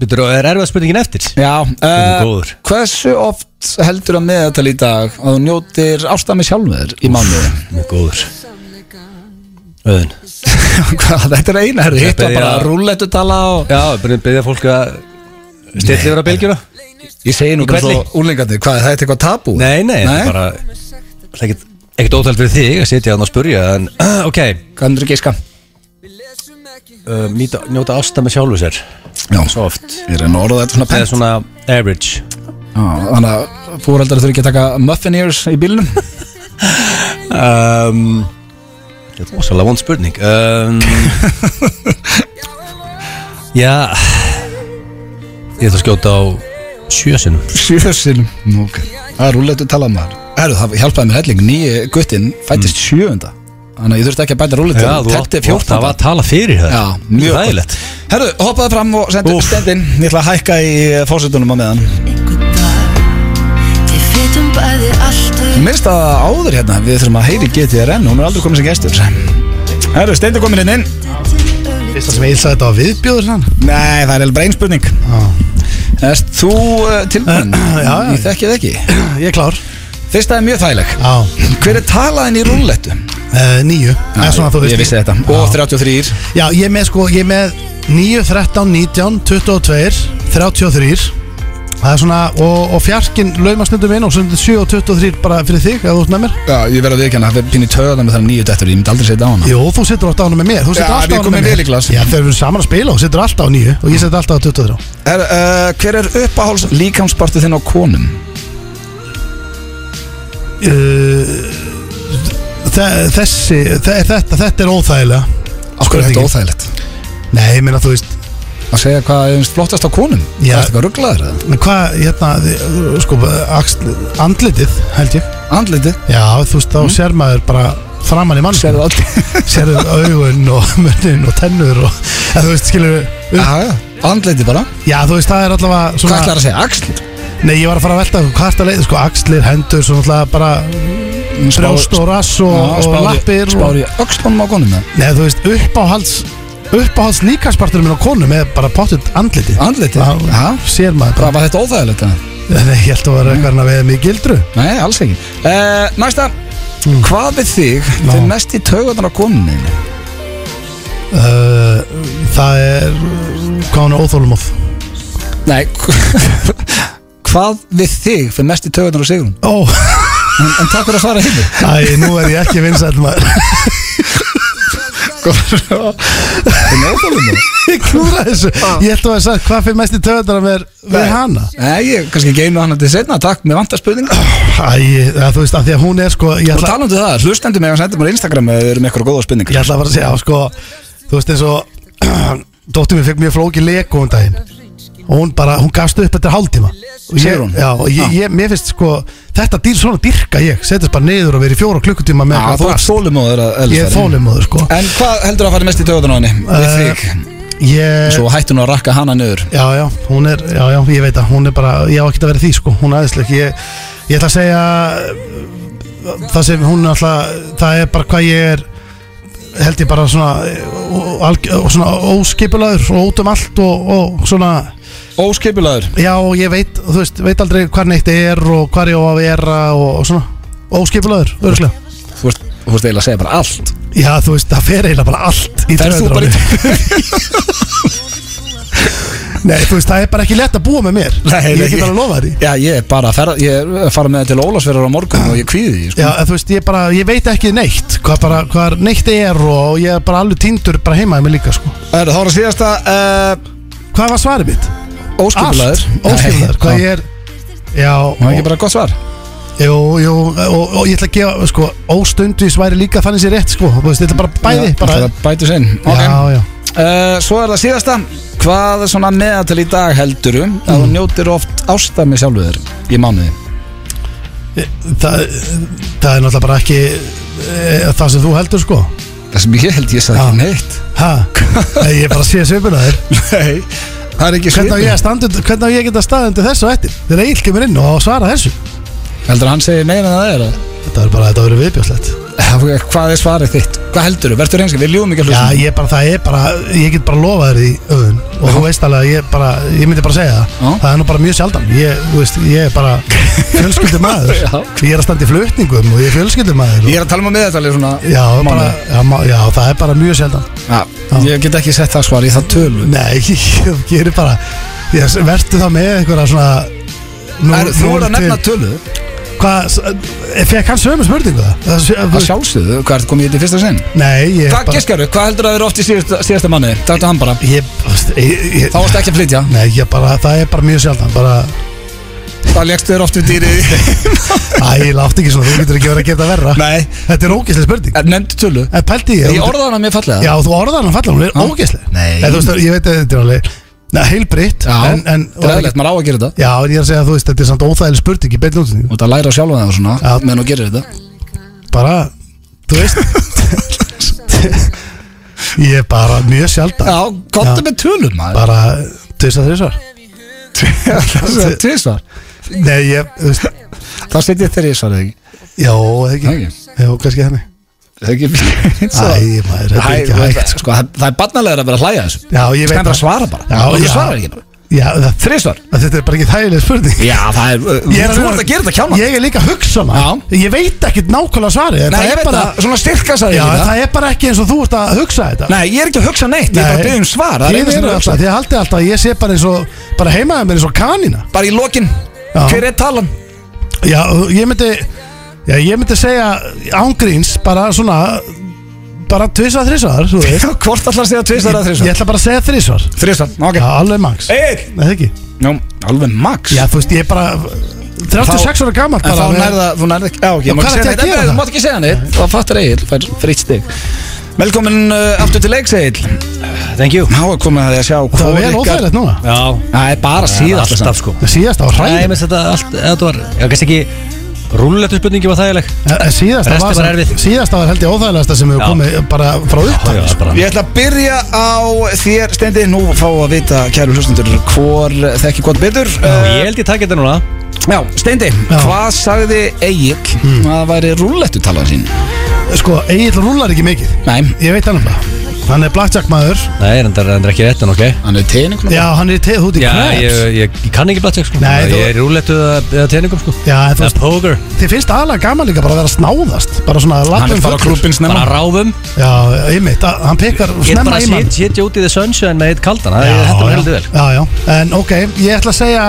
S2: Bittur, og er erfið spurningin eftir
S1: Já
S2: er nú
S1: uh,
S2: góður.
S1: Hversu oft heldur að meðatal í dag að þú njótir ástami sjálfur í mánuði?
S2: Mjög góður Öðun
S1: Hvað, þetta er eina, herri, hitt var
S2: Þetta er-
S1: bara
S2: já.
S1: rúllettu tala og
S2: Já, bara beðja fólk að stilla yfir að bylgjuna
S1: Ég segi nú
S2: Í
S1: bara
S2: hvelli?
S1: svo úlingandi, hvað, það er eitthvað tabú?
S2: Nei, nei, það
S1: Nei?
S2: er bara það er ekkert, ekkert óþælt fyrir þig að sitja þarna og spurja en ok,
S1: Hvað myndir gíska?
S2: uh, nýta, njóta ásta með sjálfu sér
S1: Já,
S2: svo oft
S1: ég reyndi að orða þetta svona
S2: Það
S1: pent
S2: er svona average
S1: Já, Þannig að fóreldar þurfi ekki að taka muffin ears í bílnum
S2: um, Þetta er rosalega vond spurning um, Já Ég ætla að skjóta á sjösinum
S1: Sjössin Ok, það er rúllettu tala maður Herru, það hjálpaði mér helling, nýi guttinn fættist sjöunda Þannig að ég þurfti ekki að bæta rúllettu
S2: Mm. Já, þú átt,
S1: Þetta er
S2: þú átt að tala fyrir það
S1: Já, mjög gott.
S2: Þægilegt
S1: Herru, hoppaðu fram og sendu
S2: Úff.
S1: stendinn Ég ætla að hækka í fósitunum á meðan
S5: einhvern dag Þið vitum bæði allt um
S1: Minnst að áður hérna, við þurfum að heyri GTRN Hún er aldrei komin sem gestur Herru, stendur komin hérna inn inn
S3: Fyrsta sem ég sagði þetta var viðbjóður hérna. sann
S1: Nei, það er alveg breinspurning Erst þú uh, tilbúin?
S3: já, já.
S1: Ég þekki það ekki
S3: Ég er klár
S1: Fyrsta er mjög þægileg
S3: Já
S1: Hver er talaðin í rúllettu?
S3: uh, Nýju Eða svona þú veist
S1: Ég vissi þetta Og 33
S3: Já, ég er með sko, ég er með 9, 13, 19, 22, 33 Það er svona, og, og fjarkinn lauma stundum inn og stundum 7 og 23 bara fyrir þig, eða þú ert með mér
S1: Já, ég verða að viðkjanna Það er pínu töðan með það nýju dettur Ég myndi aldrei setja á hana
S3: Jú, þú setur alltaf á hana með mér, þú
S1: Já,
S3: setur alltaf á
S1: við
S3: hana
S1: komum
S3: með
S1: vel í glas.
S3: Já, þegar við erum saman að spila og setur alltaf á 9 og ég setur alltaf á 23
S1: Herru,
S3: eh,
S1: uh, Hver er uppáháls líkamspartu þinn á konum?
S3: uh, þe- Þessi, þe þetta, þetta er óþægilega
S1: Akkur er Sko,
S3: Spurningin.
S1: þetta óþægilegt
S3: Nei, ég meina þú veist,
S1: Að segja hvað er flottast á konum? Það er
S3: Já.
S1: eitthvað rugglaður eða?
S3: hvað, hérna, þi- sko, axl, andlitið, held ég Mm.
S1: Andliti
S3: Já, þú veist, þá sér maður bara framan í mann
S1: Serðu aldrei
S3: sérðu augun og munnin og tennur og eða, þú veist, skilur við
S1: Já, já, andliti bara
S3: já, þú veist, það er allavega
S1: Hvað
S3: svona,
S1: ætlar að segja? Axlir?
S3: nei, ég var að fara að velta hvað er að leiða, sko, axlir, hendur, svona allavega bara brjóst og rass og, og lappir og,
S1: Spári öxlunum á konum eða?
S3: nei, þú veist, uppáhalds uppáhalds líkarsparturinn minn á konu með bara pottitt andliti
S1: Andliti?
S3: Já.
S1: Já
S3: sér maður
S1: Hvað
S3: bara,
S1: var þetta óþægilegt eða?
S3: nei, ég held að vera eitthvað hann að veða mig í gildru
S1: Nei, alls ekki uh, Næsta
S3: Hmm.
S1: Hvað við þig
S3: Já.
S1: fyrir mest í taugarnar á konunni?
S3: uh, það er hvað hann er óþólumóð
S1: Nei Hvað við þig fyrir mest í taugarnar á Sigrun?
S3: ó,
S1: En, en takk fyrir að svara hérna
S3: æ, nú er ég ekki vinsæl maður
S1: Það er óþægilegum það
S3: ég klúra þessu Ég ætla að sagði hvað fyrir mest í töðunar með, með hana
S1: Ah. Nei, ég kannski geinu hana til setna Takk, mér vantar spurninga
S3: Æ, það, þú veist að því að hún er sko Ég
S1: Og
S3: ætla,
S1: talandi um það, hlustendur mig að senda mér á Instagram eða við erum eitthvað góða spurningar
S3: ég ætla að fara að segja sko, Þú veist eins og Dóttir mér fekk mjög flóki leku um daginn Og hún bara, hún gafst upp eftir hálftíma Og ég-
S1: Segir hún?
S3: Já, og ég,
S1: Ah.
S3: ég, mér finnst sko Þetta dýr svona dyrka ég Setjast bara niður og verið í fjóra klukkutíma með
S1: Já,
S3: eitthvað
S1: þú ert
S3: drasl.
S1: þólumóður að
S3: Ég er þólumóður sko
S1: En hvað heldur að fara mest í töðan á henni? Við
S3: Eh,
S1: þig
S3: Ég
S1: Svo hættu nú að rakka hana niður
S3: Já, já, hún er, já, já, ég veit að hún er bara, ég á ekki að vera því, sko, hún er aðeinsleik ég, ég ætla að segja uh, það sem hún er alltaf það er bara hvað ég er held ég bara svona, uh, alg- uh, svona óskipulaður og út um allt og, og svona,
S1: Óskipulaður
S3: já, og ég veit, þú veist, veit aldrei hvað neitt er og hvað ég á að vera og, og svona óskipulagur, örgulega
S1: Þú veist, þú veist eiginlega að segja bara allt
S3: Já, þú veist, það fer eiginlega bara allt í
S1: Ferð þú
S3: taugarnar á
S1: bara í-
S3: mér. Nei, þú veist, það er bara ekki lett að búa með mér Ég get alveg lofa því
S1: Já, ég er bara að ferða, ég er að fara með það til Ólafsverðar á morgun og ég kvíði því, sko
S3: Já, en þú veist, ég bara, ég veit ekki neitt Hvað bara, hvað neitt er og ég er bara alveg tindur bara heimaði mig líka, sko
S1: Það er það síðasta, uh,
S3: Hvað var svarið mitt?
S1: óskipulaður
S3: óskipulagur,
S1: Nei,
S3: hvað ég er Já,
S1: Það er ekki bara gott svar
S3: jú, jú, og, og ég ætla að gefa, sko, óstundvis væri líka þannig sér rétt, sko Þú veist, þetta er bara bæði,
S1: Já,
S3: bara
S1: það Bætu sinn
S3: Já, já
S1: Uh, svo er það síðasta Hvað er svona meðatal í dag heldurum að
S3: Mm.
S1: þú njótir oft ásta með sjálfu þér í mánuði?
S3: það, það er náttúrulega bara ekki e, það sem þú heldur sko
S1: Það sem ég held ég sagði
S3: Já.
S1: ekki neitt
S3: ha, Nei, ég er bara að sé svipuna þér
S1: Nei, það er ekki
S3: hvernig á ég,
S1: svipið
S3: að standa undir- hvernig á ég geta staðið undir þessu á eftir þegar Egil kemur inn og á að svara þessu
S1: Heldur að hann segir meira en það er að
S3: þetta er bara, þetta verður viðbjóðslegt
S1: Eh, Hvað er svarið þitt? Hvað heldur þú? Verður reynskið? Við ljúum ekki að
S3: já,
S1: hlusta
S3: ég bara, það er bara, ég get bara lofað þér í öðun og þú veist alveg að ég bara, ég myndi bara segja það
S1: Já.
S3: það er nú bara mjög sjaldan, ég, þú veist, ég er bara fjölskyldur maður
S1: Já.
S3: ég er að standa í flutningum og ég er fjölskyldur maður
S1: Ég
S3: og,
S1: er að tala um að meðatalið svona
S3: já, bara, já, má- já, það er bara mjög sjaldan
S1: Já, Ég get ekki sett það svar í það tölu
S3: Nei, ég gerir bara ég Vertu það með einhverja svona nú,
S1: Er, Þú voru að nefna
S3: til-
S1: tölu
S3: Hvað, eh, fekk hann sömu spurningu það? það? sé-
S1: Það sjálfsögðu, hvað er komið í þetta í fyrsta sinn?
S3: Nei, ég
S1: Hvað geskjaru? Hvað heldur að vera oft í síðasta, síðasta manni? Þetta hann bara
S3: Ég, ég, ég
S1: Þá varst ekki að flytja
S3: Nei, ég bara, það er bara mjög sjaldan bara,
S1: Það legstu þér oft við dýrið
S3: Æ, ég látti ekki svona, þú getur ekki verið að gera það verra
S1: Nei
S3: Þetta er ógeðslega spurning
S1: Nefndu tölu
S3: En pældi ég,
S1: Ég
S3: þú-
S1: orðaði hana mér fallega
S3: Já, þú orðaði hann falla, hún er
S1: Ha?
S3: ógeðslega
S1: Nei.
S3: En þú veist, ég veit að þetta er alveg Nei, heilbritt
S1: Já,
S3: en, en,
S1: þetta er eðlilegt, maður á að gera þetta
S3: Já, en ég er að segja, þú veist, þetta er samt óþægileg spurning í beinni útsendingu.
S1: Þú ert að læra sjálfa það og svona
S3: Já.
S1: meðan þú gerir þetta
S3: bara, þú veist ég er bara mjög sjaldan
S1: Já, gott
S3: Já.
S1: með tölum maður
S3: bara tvisar þrísar
S1: Tvísvar
S3: nei ég, þú veist,
S1: Þá setjum ég þeirri í svarið ekki
S3: já, eða ekki
S1: Ekki.
S3: já, kannski henni
S1: Það er ekki
S3: Æ, maður, þetta er ekki
S1: Æ,
S3: hægt
S1: sko, það- Það er barnalega að vera að hlæja þessu
S3: já, ég veit
S1: Skal bara svara bara
S3: Já,
S1: Og þú
S3: já.
S1: svarar ekki bara
S3: já, það,
S1: Þrísvar
S3: að þetta er bara ekki þægileg spurning
S1: Já, það er Þú
S3: Ég
S1: ert
S3: alveg-
S1: að gera þetta kjána
S3: uh, ég er líka að hugsa maður ég veit ekkert nákvæmlega svari en
S1: Nei,
S3: það
S1: ég
S3: er
S1: veit
S3: bara
S1: það Svona styrka sagði
S3: já,
S1: ég
S3: en
S1: það
S3: það er bara ekki eins og þú ert að hugsa þetta
S1: Nei, ég er ekki að hugsa neitt Ég er bara að byggja um svar Það er einu
S3: þið
S1: sem er
S3: eru
S1: að
S3: alltaf
S1: hugsa
S3: þið haldið alltaf að ég sé bara eins og bara heimaðið mér eins og kanina
S1: Bara í lokin
S3: Já.
S1: Hver er talan?
S3: Já, ég myndi Já, ég myndi segja ángríns bara svona bara tvisa þrísvar, þú veist
S1: Hvort ætlar að segja tvisvar eða
S3: Ég
S1: þrísvar?
S3: ætla bara að segja þrísvar
S1: Þrisvar, ok
S3: Já, alveg max Nei,
S1: Egil
S3: það ekki
S1: Nú, alveg max
S3: Já, þú veist, ég er bara 36 ára gammal
S1: En
S3: bara
S1: þá
S3: með-
S1: nærða, þú nærða ekki, já ok,
S3: Já,
S1: ég má
S3: hvað
S1: ekki
S3: ertu
S1: segja
S3: að
S1: neitt,
S3: gera
S1: en þú
S3: það?
S1: mátt ekki segja neitt, þá fattar Egil, fær fritt stig. Velkomin uh, aftur til leiks Egil,
S2: Thank you
S1: þá er komið að því að sjá
S3: Það
S1: hvor
S3: var vel
S1: ykkar-
S3: óþægilegt núna
S2: Já
S1: Það er bara síðast
S2: Alltaf sko
S3: Það síðast, það var
S2: Nei,
S3: hræðið
S2: minnst þetta allt, þetta var, já, kannski ekki Rúllettu spurningi var þægileg
S3: Síðast,
S2: Resti
S3: það Eh, var
S2: var
S3: samt-
S2: erfið.
S3: síðast það var held ég óþægilegasta sem hefur
S2: Já.
S3: komið bara sko. frá upptak
S2: var bara
S1: sko. Ég ætla að byrja á þér Steindi, nú fá að vita kæru hlustendur hvor þekki gott betur Uh,
S2: Ég held ég takk þetta núna
S1: já Steindi, hvað sagði Egil
S3: Hmm.
S1: að væri rúllettu talað sín?
S3: Sko, Egil rúlar ekki mikið
S1: Nei,
S3: Ég veit hann um það Hann er blackjack maður
S2: Nei, en það er ekki rétt en ok
S1: hann er tegningunum
S3: Já, hann er í teð út í
S2: Já, ég,
S3: kreps
S2: ég, ég kann ekki blattjök sko
S3: Nei, þú-
S2: Ég er rúllettu eða eða teningum sko
S3: Já, en þú
S2: Eða
S3: veist,
S2: póker
S3: þið finnst aðalega gaman líka bara að vera að snáðast Bara svona að
S1: Hann
S3: lappa
S1: er sko.
S3: um
S1: fara
S3: fullur.
S1: klubin
S2: Bara
S1: snemma
S2: ráfum
S3: Já, einmitt, að- hann pekar
S2: Ég er
S3: snemma
S2: bara
S3: í mann
S2: að sitja út í the sunshine með eitt kaldan Það er þetta var heldur vel
S3: Já, já, en ok, ég ætla að segja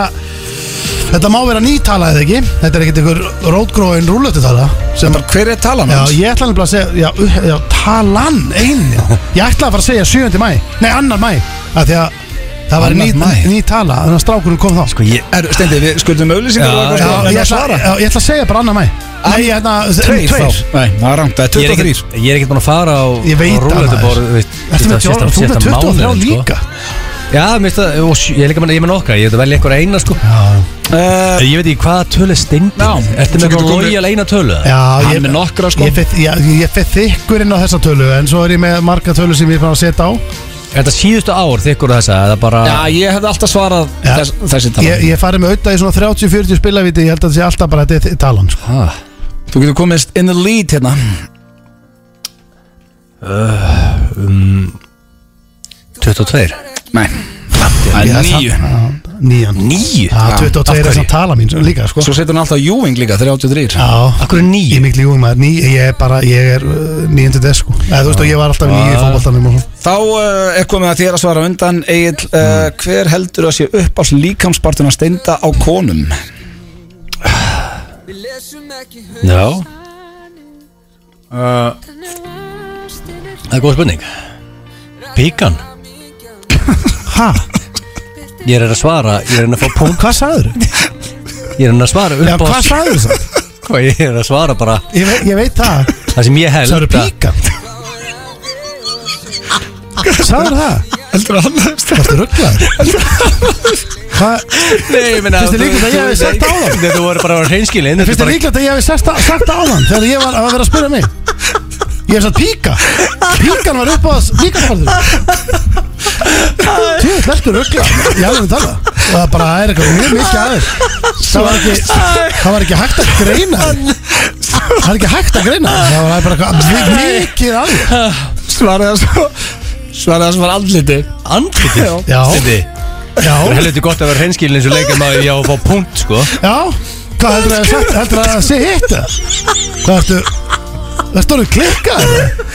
S3: Þetta má vera nýtala eða ekki Þetta er ekkert einhver rótgróin rúlötu tala sem,
S1: Bara hver er talan
S3: Já,
S1: hans?
S3: ég ætla nefnilega að segja Já, uh, já talan einn já. Ég ætla að fara að segja 7. mæ Nei, annar mæ af Því að það var
S1: Annar
S3: ný,
S1: maí.
S3: nýtala Þannig að strákurinn kom þá
S2: Sko ég
S1: Er, Steindi, við skuldum auðlýsingar
S2: Já,
S1: og
S3: Já,
S1: eitthvað
S3: ég
S1: svona.
S3: ætla, já, ég ætla að segja bara annar mæ Nei, ég ætla að
S1: Tveir þá
S3: tveir.
S1: Nei, það er rangt, það er
S2: Ég er
S1: 23
S2: ekkert- ég er ekkert búin að fara á
S3: Ég veit það,
S2: Rúllettu borð
S3: maður. Ertu með fjóra- Þú ert með 23 líka
S2: sko. Já, mér finnst það, og sj- ég er líka með, ég með nokka, ég veit að velja eitthvað eina sko
S1: uh,
S2: Ég veit ekki hvaða tölu steindi
S1: Já,
S2: Ertu
S1: svo
S2: með
S1: getur
S2: eitthvað
S1: komið-
S2: lojal eina tölu? eða?
S3: Já,
S1: Hann er með nokkra, sko.
S3: Ég fett, já, ég fett þykkur inn á þessa tölu En svo er ég með marga tölu sem ég er bara að setja á
S2: Er þetta síðustu ár þykkur þessa? eða bara
S1: Já, ég hefði alltaf svarað
S3: Já.
S1: þess, þessi talan
S3: Ég, ég farið með auðvitað í svona 30-40 spilaviti Ég held að það sé alltaf bara þetta er talan sko.
S2: Ah,
S1: Þú getur komist in the lead hérna Já,
S2: 22
S1: Nei, það er
S3: Já,
S1: nýju
S3: það- nýjan
S2: Níu?
S3: Já, 22 er
S2: Af
S3: þess
S2: hverju?
S3: að tala mín líka sko
S1: Svo setur hann alltaf Júing líka, 33
S3: Já,
S2: Akkur er
S3: ég er
S2: níu?
S3: miklu júum maður ný, Ég er bara, ég er uh, nýjan til þess sko Eða þú veist og ég var alltaf nýja í
S2: Já.
S3: fótboltanum og svona.
S1: Þá uh, er komið að þér að svara undan Egil, uh, hver heldur að sé upp á líkamspartun að steinda á konum?
S2: Já Það er góð spurning Píkan
S3: Ha,
S2: Ég er að svara Ég er að fá punkt
S3: hvað sagður?
S2: Ég er að svara upp
S3: Já,
S2: á
S3: hvað sagður það?
S2: Hvað ég er að svara bara
S3: Ég, veit- ég veit það
S2: Það sem ég held
S3: Sagður
S2: að-
S3: píkan Sagður það?
S1: Heldur að hann hefst
S3: Varstu rugglaður? Hvað?
S2: Nei, menna
S3: Finnst þér líklegt að ég hafi sagt á það?
S2: Þú voru bara hreinskilin
S3: Finnst þér líklegt að ég hef sagt, sagt það áðan þegar ég var að vera að spyrja mig? Ég hef sagt píka Píkan var upp á þess líkanspartur Þú veist, verður ökla Ég alveg að tala Og það bara er eitthvað mjög mikið aðeins Það var ekki, það var ekki hægt að greina þig. Það var ekki hægt að greina þig. Það var bara eitthvað mjög mikið aðeins
S1: Svaraði það svo Svaraði það sem var andliti
S2: Andrið
S3: Já.
S2: Stundi Það er
S3: Já,
S2: helviti gott að vera hreinskilin eins og leikum að ég á að fá punkt sko
S3: já Hvað heldur að sagt, heldur að sé hitt eða? Hvað ertu Ertu orðið klikkað eða?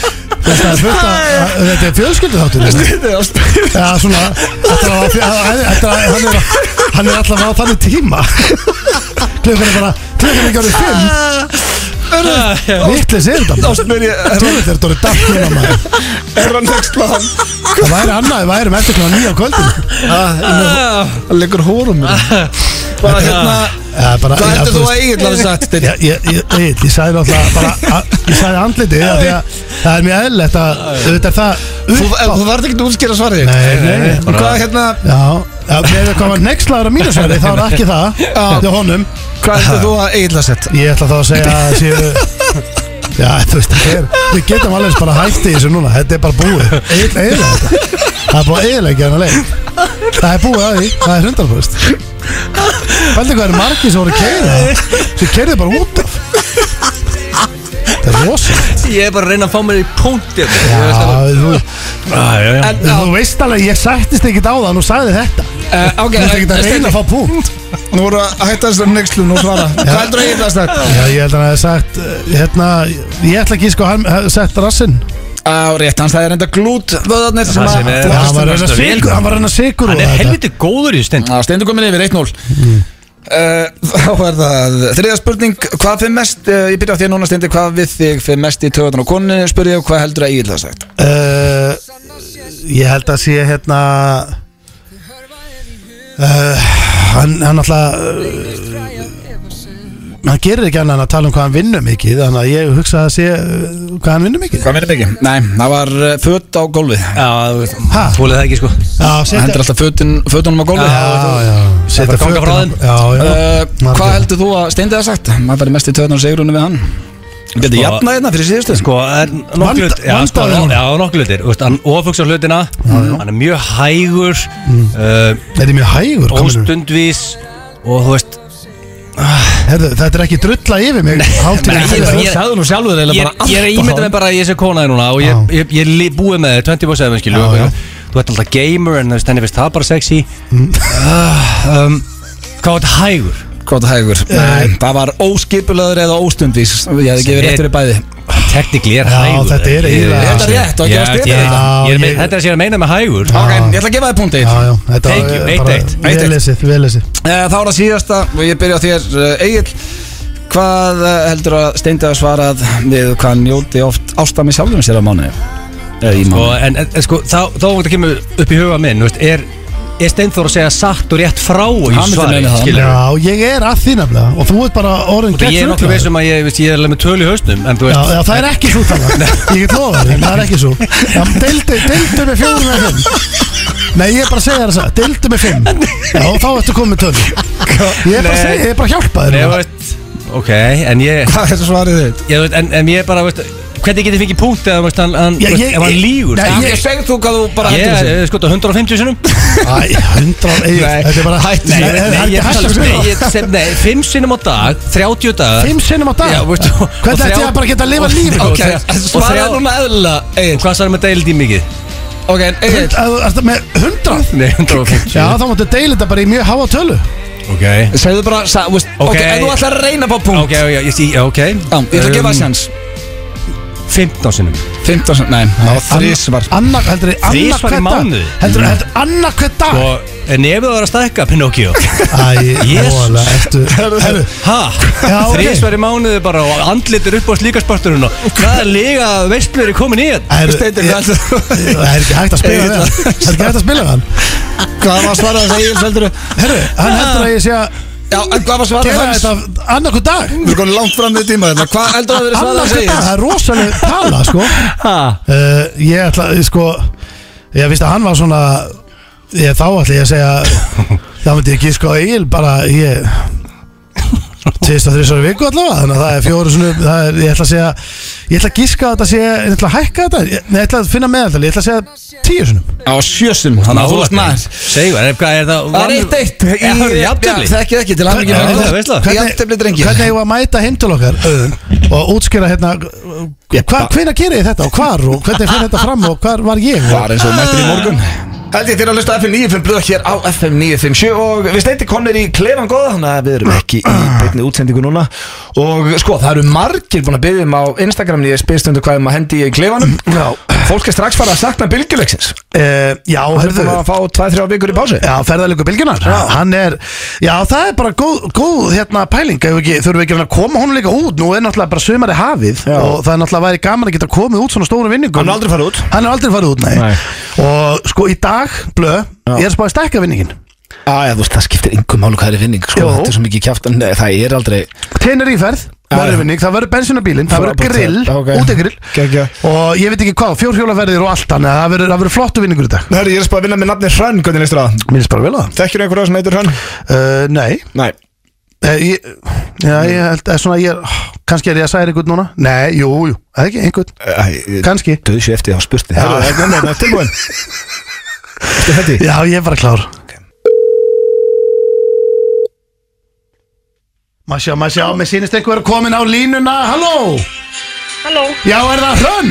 S3: Þetta er fullt af, þetta er fjölskyldu þáttur Já, svona Þetta var Þetta var Hann er, hann er alltaf á þannig tíma Klukkan er bara Klukkan er ekki árið fimm
S1: Ah,
S3: Vittlis er þetta maður.
S1: Ástmur ég er-
S3: Djöfull er þetta orðið dagt núna maður
S1: Er hann next plan
S3: Það væri annað Það væri með eftir klukkan nýja á kvöldin
S1: Það liggur hórum Hvað hérna
S3: Það er bara
S1: Hvað
S3: já,
S1: heldur þú
S3: veist,
S1: að Egil hafi sagt Steinn?
S3: Ég, ég, ég, ég, ég sagði náttúrulega bara að, Ég sagði andlitið af því að það er mjög eðlilegt að Þetta er það
S1: Þú eh,
S3: upp á-
S1: þú þarft ekki að útskýra svarið þitt.
S3: Nei, nei, nei.
S1: En Hvað hérna
S3: Já, já, með hvað var nexlaður á mínu sværi þá er það ekki það, þetta er honum
S1: Hvað heldur þú að Egil hafi sagt?
S3: Ég ætla þá að segja að séu Já, þú veist, það er, við getum alveg eins bara hætti þessu núna, þetta er bara búið Eðla, eðla þetta Það er búið að eðleggja hann að leið Það er búið að því, það er hundarfust Fældi hvað eru margir sem voru að keira Sem keirðu bara út af Það er rosa
S2: Ég er bara að reyna að fá mér í punkt hérna. Já,
S3: Já, þú,
S2: já, já
S1: En á,
S3: þú veist alveg, ég sættist ekkit á það og sagði þetta Þú
S1: eh, ok
S3: veist ekkit að reyna að fá punkt
S1: Nú voru að hætta þessum nexlum og svara Hvað heldur að Egil hafi sagt?
S3: Já, ég held að hann hefði sagt eh, hérna, Ég ætla ekki sko, hann hefði sett rassinn
S1: Á rétt hans, það er enda glút vöðarnir sem
S2: Það
S1: að
S2: sem er-
S1: þú
S3: Já,
S1: varst
S3: hann var að
S2: Varstu
S3: reyna
S2: vel
S3: sigur- hann var að reyna sigur
S2: Hann
S3: úr
S2: er
S3: þetta.
S2: helviti góður í stund
S1: Já, steindu komin yfir 1-0 uh, Þá er það Þriða spurning, hvað fyrir mest uh, Ég byrja á því núna steindi, hvað við þig fyrir mest í töðan og konu Spurði ég og hvað heldur að Egil það sagt
S3: Uh, ég held að sé hérna uh, hann, hann alltaf uh, hann gerir ekki annað en að tala um hvað hann vinnur mikið þannig að ég hugsa að sé uh, hvað hann vinnur mikið
S1: Hvað minnum ekki? Nei, það var uh, föt á gólfið
S2: Já,
S3: Ha?
S2: þúlega það ekki sko
S3: Já,
S1: Það
S3: setja
S1: hendur alltaf fötin, fötunum á gólfið
S3: Já, já, setja
S2: bara ganga frá þeim.
S3: fötin
S2: Eh,
S3: á- Já, já,
S1: uh, Hvað
S3: margir.
S1: heldur þú að steindi það sagt? Maður fyrir mest í töðan og segrunum við hann Getur jafna hérna fyrir síðustu
S2: Sko, er
S3: Vanda-
S2: nokkuð Já, sko,
S3: vandaður hún.
S2: no- já, nokkuð hlutir Þú veist, Hann ofugsar hlutina Hann er mjög hægur eh,
S3: þetta Mm. er mjög hægur kominur.
S2: Óstundvís Og þú veist
S3: Herðu, Þetta er ekki drulla yfir mig
S2: Nei,
S3: Hálftíma
S2: ég-
S3: fyrir
S2: ég-
S3: þess
S1: sagði nú sjálfur
S2: Ég
S1: eiginlega
S2: ég er að ímynda mig bara að ég sé konaði núna Og
S3: Já.
S2: ég- ég ég li- búið með þið 24-7 skilju
S3: Já, já.
S2: Þú ert alltaf gamer En þú veist, henni finnst það bara sexy
S3: Mm.
S2: Ah, um, Hvað er þetta hægur?
S1: Kvota hægur Nei, það var óskipulaður eða óstundís Ég hefði gefið rétt fyrir bæði
S2: Technically er
S3: Já,
S2: hægur
S3: þetta er
S2: Ég-
S3: eiginlega-
S2: ég-
S3: Þetta
S1: er rétt, og ekki
S2: Já,
S1: að stela
S2: ég-
S1: þetta.
S2: ég er
S3: Já,
S2: með-
S3: ég-
S2: Þetta er sér að meina með hægur
S1: Ok, ég ætla að gefa þið punktið
S3: Já, já, þetta
S2: Thank you, eitt, eitt.
S1: Eitt,
S3: Vel
S1: eitt.
S3: lesið, vel lesið
S1: Eh, Þá er það síðasta og ég byrja á þér Egil Hvað eh, heldur að Steindi hafi svarað við hvað hann njóti oft ásta með sjálfum sér á mánu? Eða í
S2: Sko,
S1: mánu
S2: en, en en sko, þá, þá er þetta kemur upp í huga minn, þú veist, er, er Steinþór að segja satt og rétt frá og
S1: Hann
S2: ég
S1: myndi
S2: svari,
S1: meina það.
S2: skilur
S3: Já, ég er að því nefnilega Og þú ert bara orðin
S2: Og það ég er nokkuð
S3: ruglaður.
S2: veist um að ég, veist, ég er alveg með tölu í hausnum, en þú
S3: Já,
S2: veist,
S3: já, það er ekki svo tala Ég get lofa þér, það er ekki svo Já, Deildu, deildu með fjórum eða fimm Nei, ég er bara að segja þér þess að Deildu með fimm Já, þá ertu komið töl Ég er bara að segja, ég er bara að hjálpa
S2: en
S3: þér
S2: ég
S3: núna.
S2: veist, ok, en ég,
S1: Hvað heldur svarið þitt?
S2: ég veist, en, en ég er bara, veist, hvernig getið fengið punkt eða, veist, hann, hann,
S3: Já,
S2: veist,
S3: ég-
S2: ef hann
S3: ég-
S2: lígur,
S3: Nei,
S2: sko.
S1: Ég segð þú hvað þú bara
S2: ég
S1: heldur
S2: er sko, 150 sinum
S3: Æ, hundra Nei,
S1: Nei,
S3: þetta er bara
S1: hættu
S3: Nei,
S1: þessu.
S3: það er
S2: ég
S3: ekki hættu
S2: tala- um nei,
S3: þessu.
S2: ég- sem- nei, 5 sinum á dag, 30 dagar
S3: Fimm sinnum á dag
S2: Já, veistu, og- og
S3: Hvernig ætti
S2: þrjá-
S3: ég að bara geta að lifa
S2: og-
S3: lífinu?
S2: og-
S1: Ok,
S2: og þrjá-
S1: svaraði núna eðlilega
S2: og
S1: Egil
S2: hvað sagði með deildi mikið?
S1: Ok, en
S3: Hund-
S1: Egil,
S3: ef þú ert með 100
S2: Nei, 150
S3: Já, þá máttu deila þetta bara í mjög háa tölu
S2: Ok
S1: segðu bara sa, veist,
S2: Ok.
S1: ok, ef þú ætlar að reyna på punkt
S2: Ok, já, já, ég sé, já, ok
S1: Já, ég ætla að gefa það sjans
S2: 15 sinnum
S1: 15, sem- nei, það var þrísvar
S3: Anna- anna- heldur þið annar
S2: Þrisvar í
S3: hvert dag
S2: mánuði?
S3: Heldur þið annar hvert dag
S2: Og nefið var að stækka, Pinocchio
S3: Æ,
S2: Jesus.
S3: vola, ertu Herru,
S2: Ha?
S3: Já, ok.
S2: Þrísvar í mánuði bara og andlitir upp á slíkarsporturinn og hvað er líka veistlur er komin í þetta?
S3: herru,
S1: Steindór,
S3: ég-
S1: hvað ætlar-
S3: Það er ekki hægt að spila við hann Það er ekki hægt að spila við hann
S1: Hvað var svarað þess að Egil heldur
S3: Herru, hann heldur að ég sé að
S1: Já, en hvað var svarað
S3: gera
S1: hans?
S3: þetta annar hvert dag
S1: Við erum komin langt fram við tíma þetta Hvað heldur að vera svarað
S3: Annar
S1: hans
S3: hvert dag,
S1: Egil?
S3: það er rosalega tala, sko
S2: Ha?
S3: Uh, ég ætla, ég sko Ég vissi að hann var svona ég, Þá ætla ég að segja Þá myndi ég gíska á Egil bara eh, ég, Tvist og þrjusar viku allavega Þannig að það er fjóru svona það er, Ég ætla að segja Ég ætla að gíska á þetta sé Ég ætla að hækka þetta ég, Nei, ég ætla að finna meðaldal Ég ætla að segja tíu sunum
S1: Á sjösum, þannig að þú varst nær
S2: Segjum, er, hvað er það?
S1: Það er eitt eitt í-
S2: Já, það er jafntefli.
S1: Já, Þekkið ekki til aðmyggjum
S2: Já, það er veistla.
S1: Jafntefli drengir
S3: Hvernig ég var að mæta heim til okkar Auðun, Og útskýra hérna hva, Hvenær gerir ég þetta og hvar Og hvernig fyrir þetta fram og hvar var ég og,
S1: Var eins og mættir í morgun Held ég til að hlusta á FM 95 blöð hér á FM 957 og við steinti konir í klefan góða þannig að við erum ekki í beinni útsendingu núna og sko það eru margir búin að byggjum á Instagramni ég spyrst undir hvað um að hendi í klefanum
S3: Já.
S1: Fólk er strax farið að sakna bylgjuleiksins
S3: uh, Já,
S1: Það er
S3: herðu
S1: búin að fá 2-3 vikur í pási
S3: Já, ferðalegu bylgjunar Hann er, já það er bara góð, góð hérna pæling, ef ekki, þurfum við ekki að koma honum líka út, nú er náttúrulega bara sumari hafið
S1: Já.
S3: og það er náttúrulega væri gaman að geta komið út svona stórum vinningum
S1: Hann er aldrei farið út.
S3: Hann er aldrei farið út, nei, Og sko í dag, blö, ég er spáðið stækka vinningin
S1: Æja, þú veist, það skiptir yngum málu hvað er í vinning sko,
S3: Jó.
S1: þetta er svo mikið kjáft en eh, það er aldrei
S3: Tenir íferð,
S1: Já, já.
S3: verður vinning, það verður bensín á bílinn, það verður
S1: Frábært,
S3: grill,
S1: já, ok.
S3: okay. útegrill
S1: Geggjað.
S3: Og ég veit ekki hvað, fjórhjólaverðir og allt Þannig að það verður- það verður flottu vinningur í dag
S1: Herri, ég er spáð að vinna með nafni Hrönn, hvernig leistur það?
S3: Mér er bara vel að það
S1: Þekkir einhverja sem heitir Hrönn?
S3: uh, Nei,
S1: Nei
S3: Eh, Ég, já, ég held að svona ég er, kannski er ég að særa einhvern núna Nei, jú, jú, eða ekki, einhvern, kannski
S1: Döðu sér eftir að hafa spurt þig
S3: Já.
S1: Herru, ekki annað, tilbúin Þetta er
S3: Já, ég er bara klár Maður sjá, maður sjá, mér sýnist einhver komin á línuna Halló,
S6: Halló,
S3: já, er það Hrönn?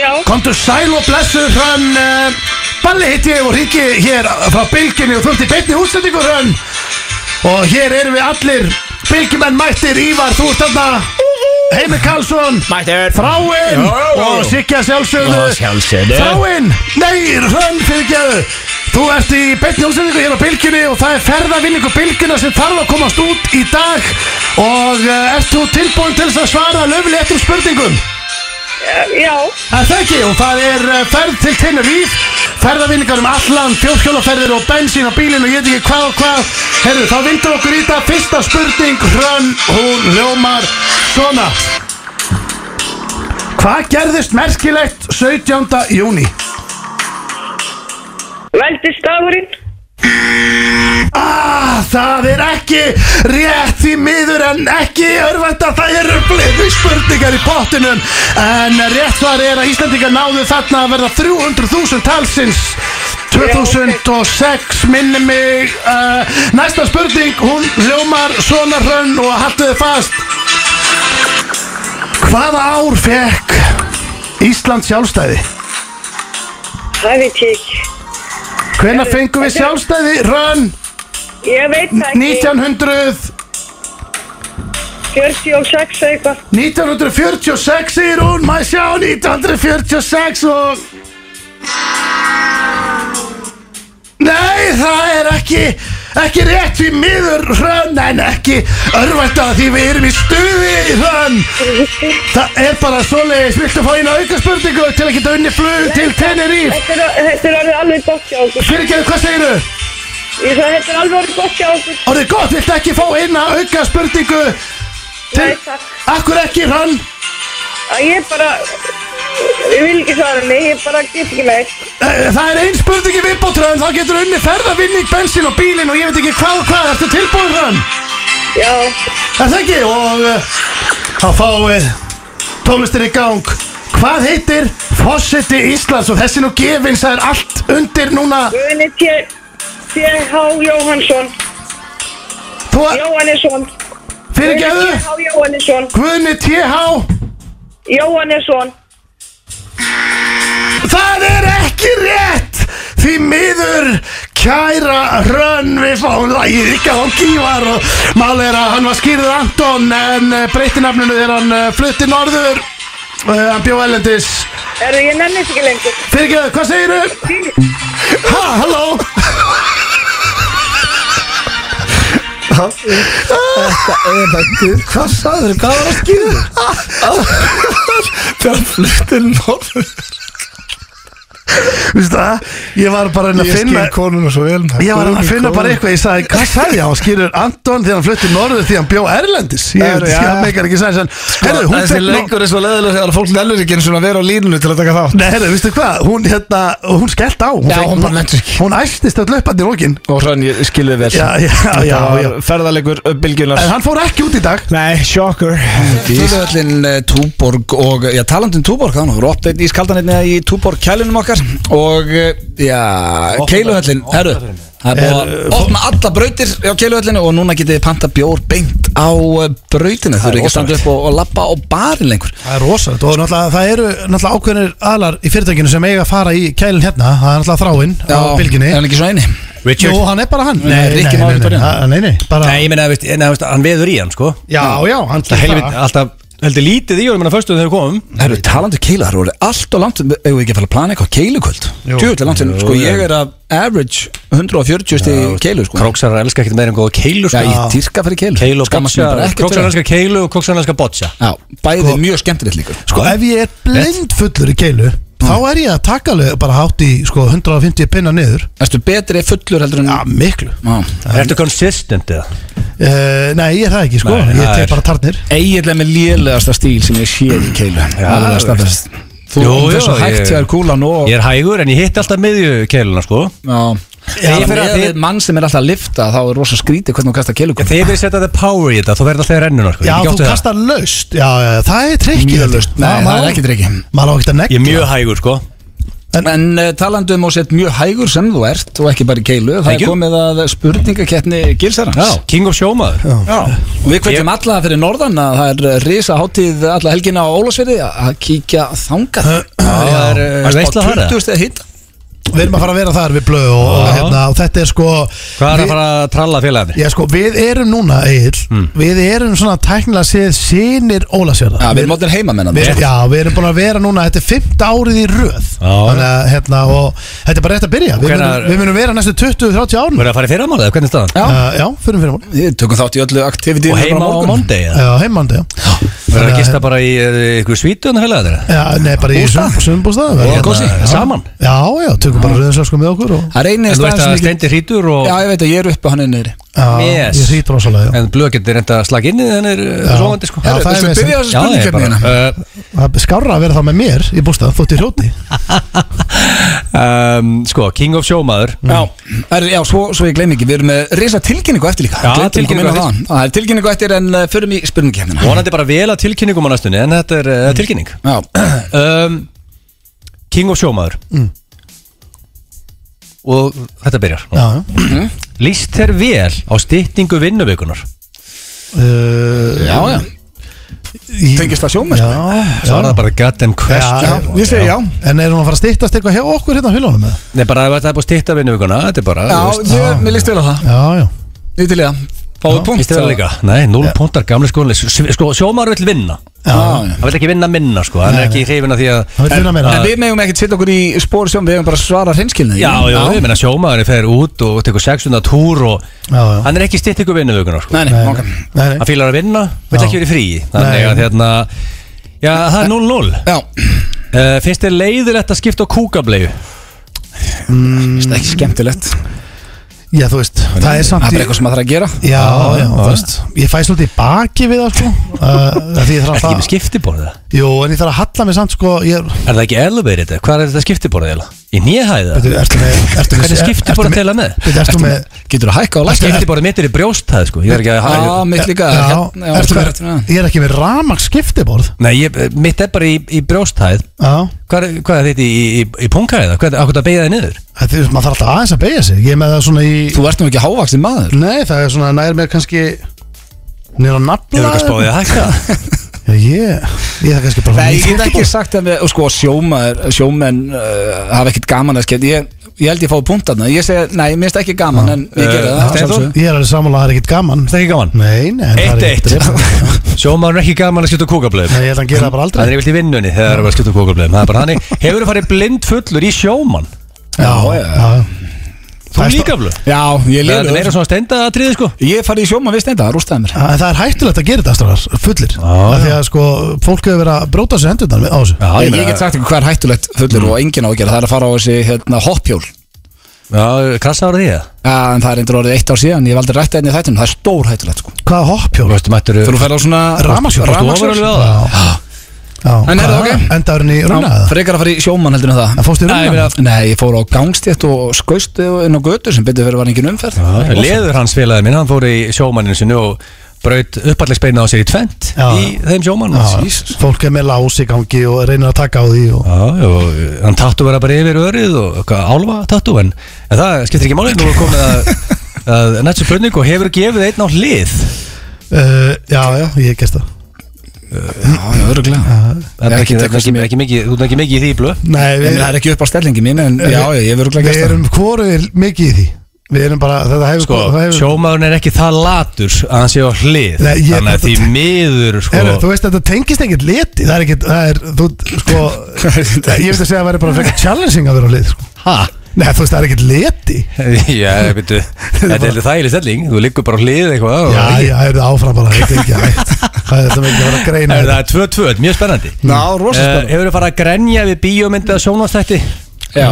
S6: já,
S3: Komdu sæl og blessu Hrönn eh, Balli hitti ég og ríki hér frá Bilginni og þú ert í beinni útsendingu Hrönn Og hér erum við allir Bilgimenn mættir, Ívar, þú ert þarna Heimir Karlsson
S1: Mættur
S3: Þráinn
S1: Já, já.
S3: og Sigga sjálfsögðu
S1: Og sjálfsögðu.
S3: Þráinn, nei, Hrönn fyrirgeðu Þú ert í beinni útsendingu hér á Bilginni og það er ferðavinningu Bilgina sem þarf að komast út í dag og uh, ert þú tilbúin til þess að svara löfli eftir spurningum?
S6: eh, já,
S3: Það er það ekki og það er eh, ferð til Tenerife ferðavinningar um allan, fjórhjólaferðir og bensín á bílinn og ég veit ekki hvað og hvað Herru, þá vindum okkur í það fyrsta spurning Hrönn, hún ljómar svona Hvað gerðist merkilegt 17. júni?
S6: veldistagurinn,
S3: Ah, það er ekki rétt í miður en ekki örvænt að það eru fleiri spurningar í pottinum en rétt þar er að Íslandingar náðu þarna að verða 300.000 talsins 2006 minni mig uh, næsta spurning, hún hljómar svona hrönn og haltu þið fast hvaða ár fekk Ísland sjálfstæði?
S6: það veit ég ekki,
S3: Hvenær fengum við sjálfstæði? Hrönn,
S6: ég veit það ekki,
S3: 1900
S6: 46 eða eitthvað,
S3: 1946 segir hún, maður sjá 1946 og... Nei, það er ekki, ekki rétt því miður hrönn en ekki örvænta því við erum í stuði hrönn. Það er bara svoleiðis, viltu fá eina auka spurningu til að geta unni flug til Tenerife?
S6: þetta er- þetta er orðið alveg gott hjá okkur,
S3: Fyrirgeðu, hvað segiru?
S6: ég sagði þetta er alveg orðið gott hjá okkur,
S3: Orðið gott, viltu ekki fá eina auka spurningu til...
S6: nei takk,
S3: Akkur ekki hrönn?
S6: að ég bara, ég vil ekki svara mig, ég bara get ekki neitt,
S3: Eh, Það er einn spurning í viðbótröðum, þá getur unni ferðavinning, bensín og bílinn og ég veit ekki hvað og hvað, ertu tilbúin hann?
S6: já,
S3: Er það ekki? Og uh, þá fáum við tónlistin í gang. Hvað heitir Fossetti Íslands og þessi nú gefins, það er allt undir núna.
S6: Guðni T. T.H. Jóhannsson,
S3: Þú
S6: Jóhannesson, Guðni
S3: fyrirgeðu?
S6: T.H. Jóhannesson,
S3: Guðni TH,
S6: Jóhannesson,
S3: það er ekki ekki rétt Því miður Kæra Hrönn Við fáum lagið ekki á kývar Og mál er að hann var skýrður Anton En eh, breytti nafninu þegar hann eh, flutti norður Eh, Hann bjó ellendis
S6: Erðu, ég nenni þetta ekki lengur.
S3: Fyrirgeðu, hvað segirðu? Ha, halló
S7: Hvað sagður, hvað var að skýra?
S1: Þegar fluttir norður
S3: Vistu það, ég var bara að reyna
S7: Ég
S3: að
S7: skil
S3: finna
S7: konuna svo vel maður.
S3: Ég var að
S7: Konur,
S3: finna
S7: konur.
S3: bara eitthvað, ég sagði, hvað sagði ég? Hann skýrur Anton þegar hann flutti norður því hann bjó Erlendis Ég
S7: Er,
S3: veit,
S7: já.
S3: það meikar ekki sæðis en Herðu, hún
S1: Þessi
S3: fekk nóg
S1: leikur er svo leðilega þegar fólk lennur ekki eins og að vera á línunu til að taka þátt
S3: Nei, herðu, veistu hvað, hún hérna, hún skellt á Hún,
S1: Já,
S3: fékk-
S1: hún bara lendir ekki.
S3: Hún æstist öll uppandi í lókin
S1: Og hrann, ég skilði vel
S3: Já, já,
S1: Þetta
S3: já,
S1: var
S3: já.
S1: Ferðalegur bylgjunar
S3: En hann fór ekki út í dag
S7: Nei, sjokker
S1: Tölvöllin eh, Túborg og eh, já, talandin Túborg, þannig að uppdeitt í skaldanirni í Túborg kælinum okkar og eh, já, Keiluhöllin, herru það er búið að opna alla brautir á Keiluhöllinu og núna getið þið panta bjór beint á eh, brautinu, þurfið ekki að standa upp og, og lappa á barinn lengur
S3: Það er rosalegt og náttúrulega það eru náttúrulega ákveðnir aðlar í fyrirtækinu sem eiga að fara í kælinn hérna Það er náttúrulega þráinn á bylginni
S1: er hann ekki svo eini?
S2: Richard
S3: Jú, hann er bara hann
S1: Rikki Már er bara hann.
S3: nei, nei, bara
S2: Nei, ég meina, veist, en, veist, hann veður í hann, sko
S3: Já, já, hann
S2: Það helvit, alltaf, heldur lítið í honum en að fyrstu þegar við komum
S1: Herru, talandi Keila, það voru allt og langt Ef við ekki að fara að plana eitthvað Keilukvöld Tjóðlega langt, en sko ég er af average 140 stig Keilu sko
S2: Króksarar elskar ekkert meira en góða keilu
S1: Já,
S2: sko.
S1: ég dýrka fyrir Keilu
S2: Keilu og
S1: Skammast
S2: botja
S1: mín bara ekkert
S2: Króksarar
S1: fyrir það.
S2: elskar keilu og króksarar elskar botja
S1: Já, bæði mjög skemmtilegt líka
S3: Sko Mm. ef ég er blind fullur í keilu Þá er ég að taka alveg bara hátt í sko, 150 pinna niður
S1: Erstu betri fullur heldur en
S3: Já, miklu
S1: Já
S2: Ertu consistent eða?
S3: uh, Nei, ég er það ekki sko
S2: Nei,
S3: Ég
S2: það
S3: tek
S2: er-
S3: bara tarnir
S1: Egillega með lélegasta stíl sem ég sé í Keilu Það er að staðast Þú
S2: Jú,
S1: er
S2: jú,
S1: svo hægt
S2: ég-
S1: hjá þér kúlan og
S2: Ég er hægur en ég hitti alltaf miðju keiluna sko
S1: Já
S2: Ég fer
S1: Þegar
S2: að-
S1: ég er mann sem er alltaf að lifta þá er rosa skrítið hvernig hún kastar
S2: En
S1: Keiluköld
S2: Þegar við setja það power í þetta þú verður alltaf í rennuna sko. Ég
S3: Já,
S2: get ekki
S3: þú
S2: átt við það.
S3: kastar laust Já, já, það er trikkið
S1: Mjög laust. Nei, það er ekkert ekki.
S3: Maður á ekkert að negla
S2: Ég er mjög hægur sko
S1: En, en eh, talandi um og sett mjög hægur sem þú ert og ekki bara í keilu, það
S2: Thank
S1: er
S2: you.
S1: komið að spurningakeppni gilsarans
S2: Já, King of Showmaður
S1: Já. og við kveitjum
S2: Ég-
S1: alla fyrir norðan að það er risa hátíð alla helgina á Ólasverði að kíkja þangað það er eh,
S2: Varstu
S1: spáð
S2: veisla þar, eða?
S1: 20 stið hitt
S3: Við erum að fara að vera þar við blöð og, og,
S2: Já.
S3: hérna, og þetta er sko
S2: Hvað er
S3: við-
S2: að fara að tralla félagafni?
S3: Já sko, við erum núna, Egil Við erum svona tæknilega séð Sýnir
S1: Já,
S3: Ólasjörða
S1: við erum allir heimamenn
S3: Við,
S1: þarna.
S3: já, við erum búin að vera núna, þetta er fymta árið í röð Þannig að, hérna, og þetta er bara rétt að byrja Við,
S2: Hvenær-
S3: munum, við munum vera næstu 20-30 árun
S2: Verður að fara í fyrramálið eða hvernig er staðan?
S1: Já.
S3: uh, Já, fyrir fyrir mál
S1: við tökum þátt í öllu aktivitið
S2: Og heima á Monday eða?
S3: Já, heimandi, já
S2: Verður að gista bara í eh, ykkur svítu en félagafni þeirra?
S3: Já, nei, bara í
S1: Bústað?
S3: sumbústað
S2: Og kósí, saman
S3: Já, já, tökum bara röðinslösku með okkur og,
S1: það er einið
S2: En þú veist
S1: staðan
S2: að
S1: sem ég
S2: stendi hrítur
S1: get-
S2: og
S1: já, ég veit að ég er uppi og hann er niðri
S3: já,
S2: Yes.
S3: Ég hrýtur rosalega,
S2: En blöð getur reynda að slagja inn í þennir Svovandi sko
S3: Já,
S1: Herru,
S3: það er
S1: þú
S3: vesen.
S1: veist, byrja þessu spurningakeppni hérna
S2: uh,
S3: já Það er skárra að vera þá með mér í bústað, þótt í hrjóti
S2: um, Sko, King of Showmaður
S3: Mm.
S1: Já, er, já svo, svo ég gleym ekki, við erum með risa tilkynningu eftir líka
S2: Já,
S1: Gleymdum að
S2: tilkynningu
S1: koma inn á
S2: eftir.
S1: það. Það er tilkynningu eftir en uh, förum í spurningkefnina
S2: Vonandi bara vel að tilkynningum á næstunni En þetta er
S3: Mm.
S2: uh, tilkynning
S1: Já,
S2: um, King of Showmaður
S3: Mm.
S2: Og þetta byrjar
S3: Já,
S1: Mm.
S2: Lýst þér vel á styttingu vinnuvikunar
S3: uh,
S1: já, já
S3: í-
S1: Tengist það sjómenn?
S3: Já,
S2: Svaraði
S3: já.
S2: bara goddamn question
S3: Já,
S1: ég segi já.
S3: En erum við að fara að stýttast eitthvað hjá okkur hérna á hulunum með?
S2: Nei, bara ef þetta er búið að stytta vinnuvikuna Þetta er bara,
S1: Já,
S2: þú veist
S1: ég, mér líst vel á það
S3: Já, já
S1: Ég til í það Fáðu punkt
S2: Lýst þér vel líka? Nei, 0 punktar, gamli skóli Sko, sjómaður vill vinna
S1: Já, já
S2: Hann vill ekki vinna minna, sko Hann er ekki hrifin að því að
S3: Það vil finna meira
S1: Ah. En við megum ekkert setja okkur í spór sjón Við hefum bara að svara hreinskilni
S2: Já, já, ég meina sjómaðurinn fer út og tekur 600 túr og
S3: Já, já.
S2: hann er ekki stitt ykkur vinnuðugunar sko.
S1: Nei, nei, ok
S3: Nei, nei
S2: hann fílar að vinna, vill
S3: Já.
S2: ekki verið frí þannig að
S3: Nei.
S2: hérna já, það er 0-0 uh,
S1: Já,
S2: finnst þér leiðilegt að skipta á kúkablegu?
S1: það er ekki skemmtilegt
S3: Já, þú veist, það er
S1: Það er
S3: samt í
S1: bara eitthvað sem að það er að gera
S3: Já, já, þú veist Ég fæ svolítið í baki við það, sko uh, Því ég þarf
S2: er
S3: að
S2: það ekki með
S3: það
S2: skiptiborða?
S3: Jú, en ég þarf að halla mig samt, sko Ég
S2: er
S3: er
S2: það ekki elevated? eða? hvað er þetta skiptiborða? eiginlega? í nýjahæða?
S3: Bíddu, Ertu með ertu með-
S2: hvernig
S3: er- ertu
S2: skiptiborða
S3: með-
S2: teila með?
S3: bíddu, Ertu með
S1: Getur að hækka og lækka
S2: skiptiborða mitt er í brjósthæð sko. ég er ekki að
S1: Já, Ah, mitt líka
S3: Já,
S1: hérna, já,
S3: ertu
S1: hvað-
S3: með Ég er ekki með ramak skiptiborð
S2: Nei, ég, mitt er bara í, í brjósthæð
S3: Já
S2: hvað er, hvað er þetta í, í, í punghæða? hvað er þetta að beigja það niður?
S3: Það er, maður þarf alltaf aðeins að beigja sig Ég er með það svona í
S1: Þú ert nú ekki hávaksin maður
S3: Nei, það er svona nær mér kannski Nýra nafnblæð
S2: Hefur eitthvað spáðið að hækka?
S7: Já, ég, ég það kannski bara
S1: Nei, ég
S7: Ég
S1: get
S7: þekki
S1: ekki
S7: bara-
S1: sagt að við, sko, sjómaður, sjómenn uh, hafa ekkert gaman að skemmt ég, ég held ég fái punkt þarna, ég segi, nei, mér finnst ekki gaman en ég
S2: Eh,
S1: gerði það
S2: Steinþór?
S1: sjálfsögðu.
S7: Ég er alveg sammála að það er ekkit gaman
S2: Það er ekki gaman
S7: Nei, nei, en það er ekkit drepandi.
S2: Sjómaður er ekki gaman að skipta kókablöðum
S7: Nei, ég held að hann gera það bara
S2: Það
S7: aldrei
S2: er yfirleitt í vinnunni þegar það er að skipta kókablöðum Það er bara hannig Hefur þú farið blind fullur í sjóman?
S7: Já,
S1: já.
S7: já
S2: Þú
S7: Það er
S2: líka blöð
S1: Já, ég
S2: Það er meira
S1: lefði
S2: svona stenda atriði sko
S1: Ég farið í sjóma við steinda, það rústaði mér
S7: En það er hættulegt að gera þetta strafar, fullir ah, Því að sko, fólk hefur verið að bróta sér hendurnar á þessu
S2: Já,
S1: Ég,
S2: meina-
S1: ég get sagt ykkur hvað er hættulegt fullur og enginn á að gera, það er að fara á þessi hérna, hoppjól
S2: Já, krassaður því það
S1: Já, en það er endur orðið eitt ár síðan, ég hef aldrei rætt einnig þættinum, það er stór hættulegt sko.
S7: Hvað hoppjól?
S2: Þú mættur
S1: Þegar þú uh, ferð á svona
S7: Rafmagnsjól?
S1: Rafmagnsjól?
S2: ofarlega á það
S7: Já, já
S1: En heyrðu,
S7: hvað,
S1: ok.
S7: Endaðurinn í runa
S1: Já,
S7: eða?
S1: Frekar að fara í sjómann heldur en það
S7: En fórstu í
S1: Nei, ég
S7: rúna?
S1: meina- Nei, ég fór á gangstétt og skaustu inn á götu sem betur fyrir var engin umferð
S2: Já, Leður hans félagi minn, hann fór í sjómanninu sinu og braut uppallegsbeina á sér í tvent
S7: Já.
S2: í þeim sjómann
S7: Já, Fólk er með lás í gangi og reynir að taka á því og...
S2: Já, og uh, hann tattu vera bara yfir örið og eitthvað álfa tattu en, en það skiptir ekki máli, nú er komið að, að nættu spurning og hefur gefið einn á hlið
S7: uh, Já, já, ég gerst það
S1: Já, já, öruglega
S2: Það er
S1: Ekki
S2: ekki, ekki,
S1: tekur
S2: ekki,
S1: sem ég-
S2: ekki mikið, þú er ekki mikið í því blöð
S7: Nei,
S1: En
S7: við,
S1: það er ekki upp á stellingi mín En já, já, ég hef öruglega
S7: við
S1: gæst það
S7: erum hvoruð mikið í því Við erum bara, þetta hefur
S2: Sko,
S7: það hefur,
S2: sjómaðurinn er ekki það latur að hann sé á hlið
S7: Nei, ég-
S2: Þannig að því miður sko,
S7: Heru, þú veist þetta tengist ekkert liti Það er ekkert, það er, þú, sko Ég veist að segja að það væri bara frekar challenging að vera á lið sko.
S2: ha?
S7: Nei, þú veist, það er ekkert liti
S2: Já, veitu, þetta er heldur þægileg stelling Þú liggur bara á hlið eitthvað og-
S7: Já, já, það er áfram bara, þetta er ekki að hægt Það er þetta mikið að vera að greina hérna.
S2: Er
S7: þetta
S2: það er 2-2, þetta er mjög spennandi
S1: Já, rosa
S2: Uh,
S1: spennandi.
S2: hefur þið farið að grenja við bíómyndið að sjónastætti?
S1: Já,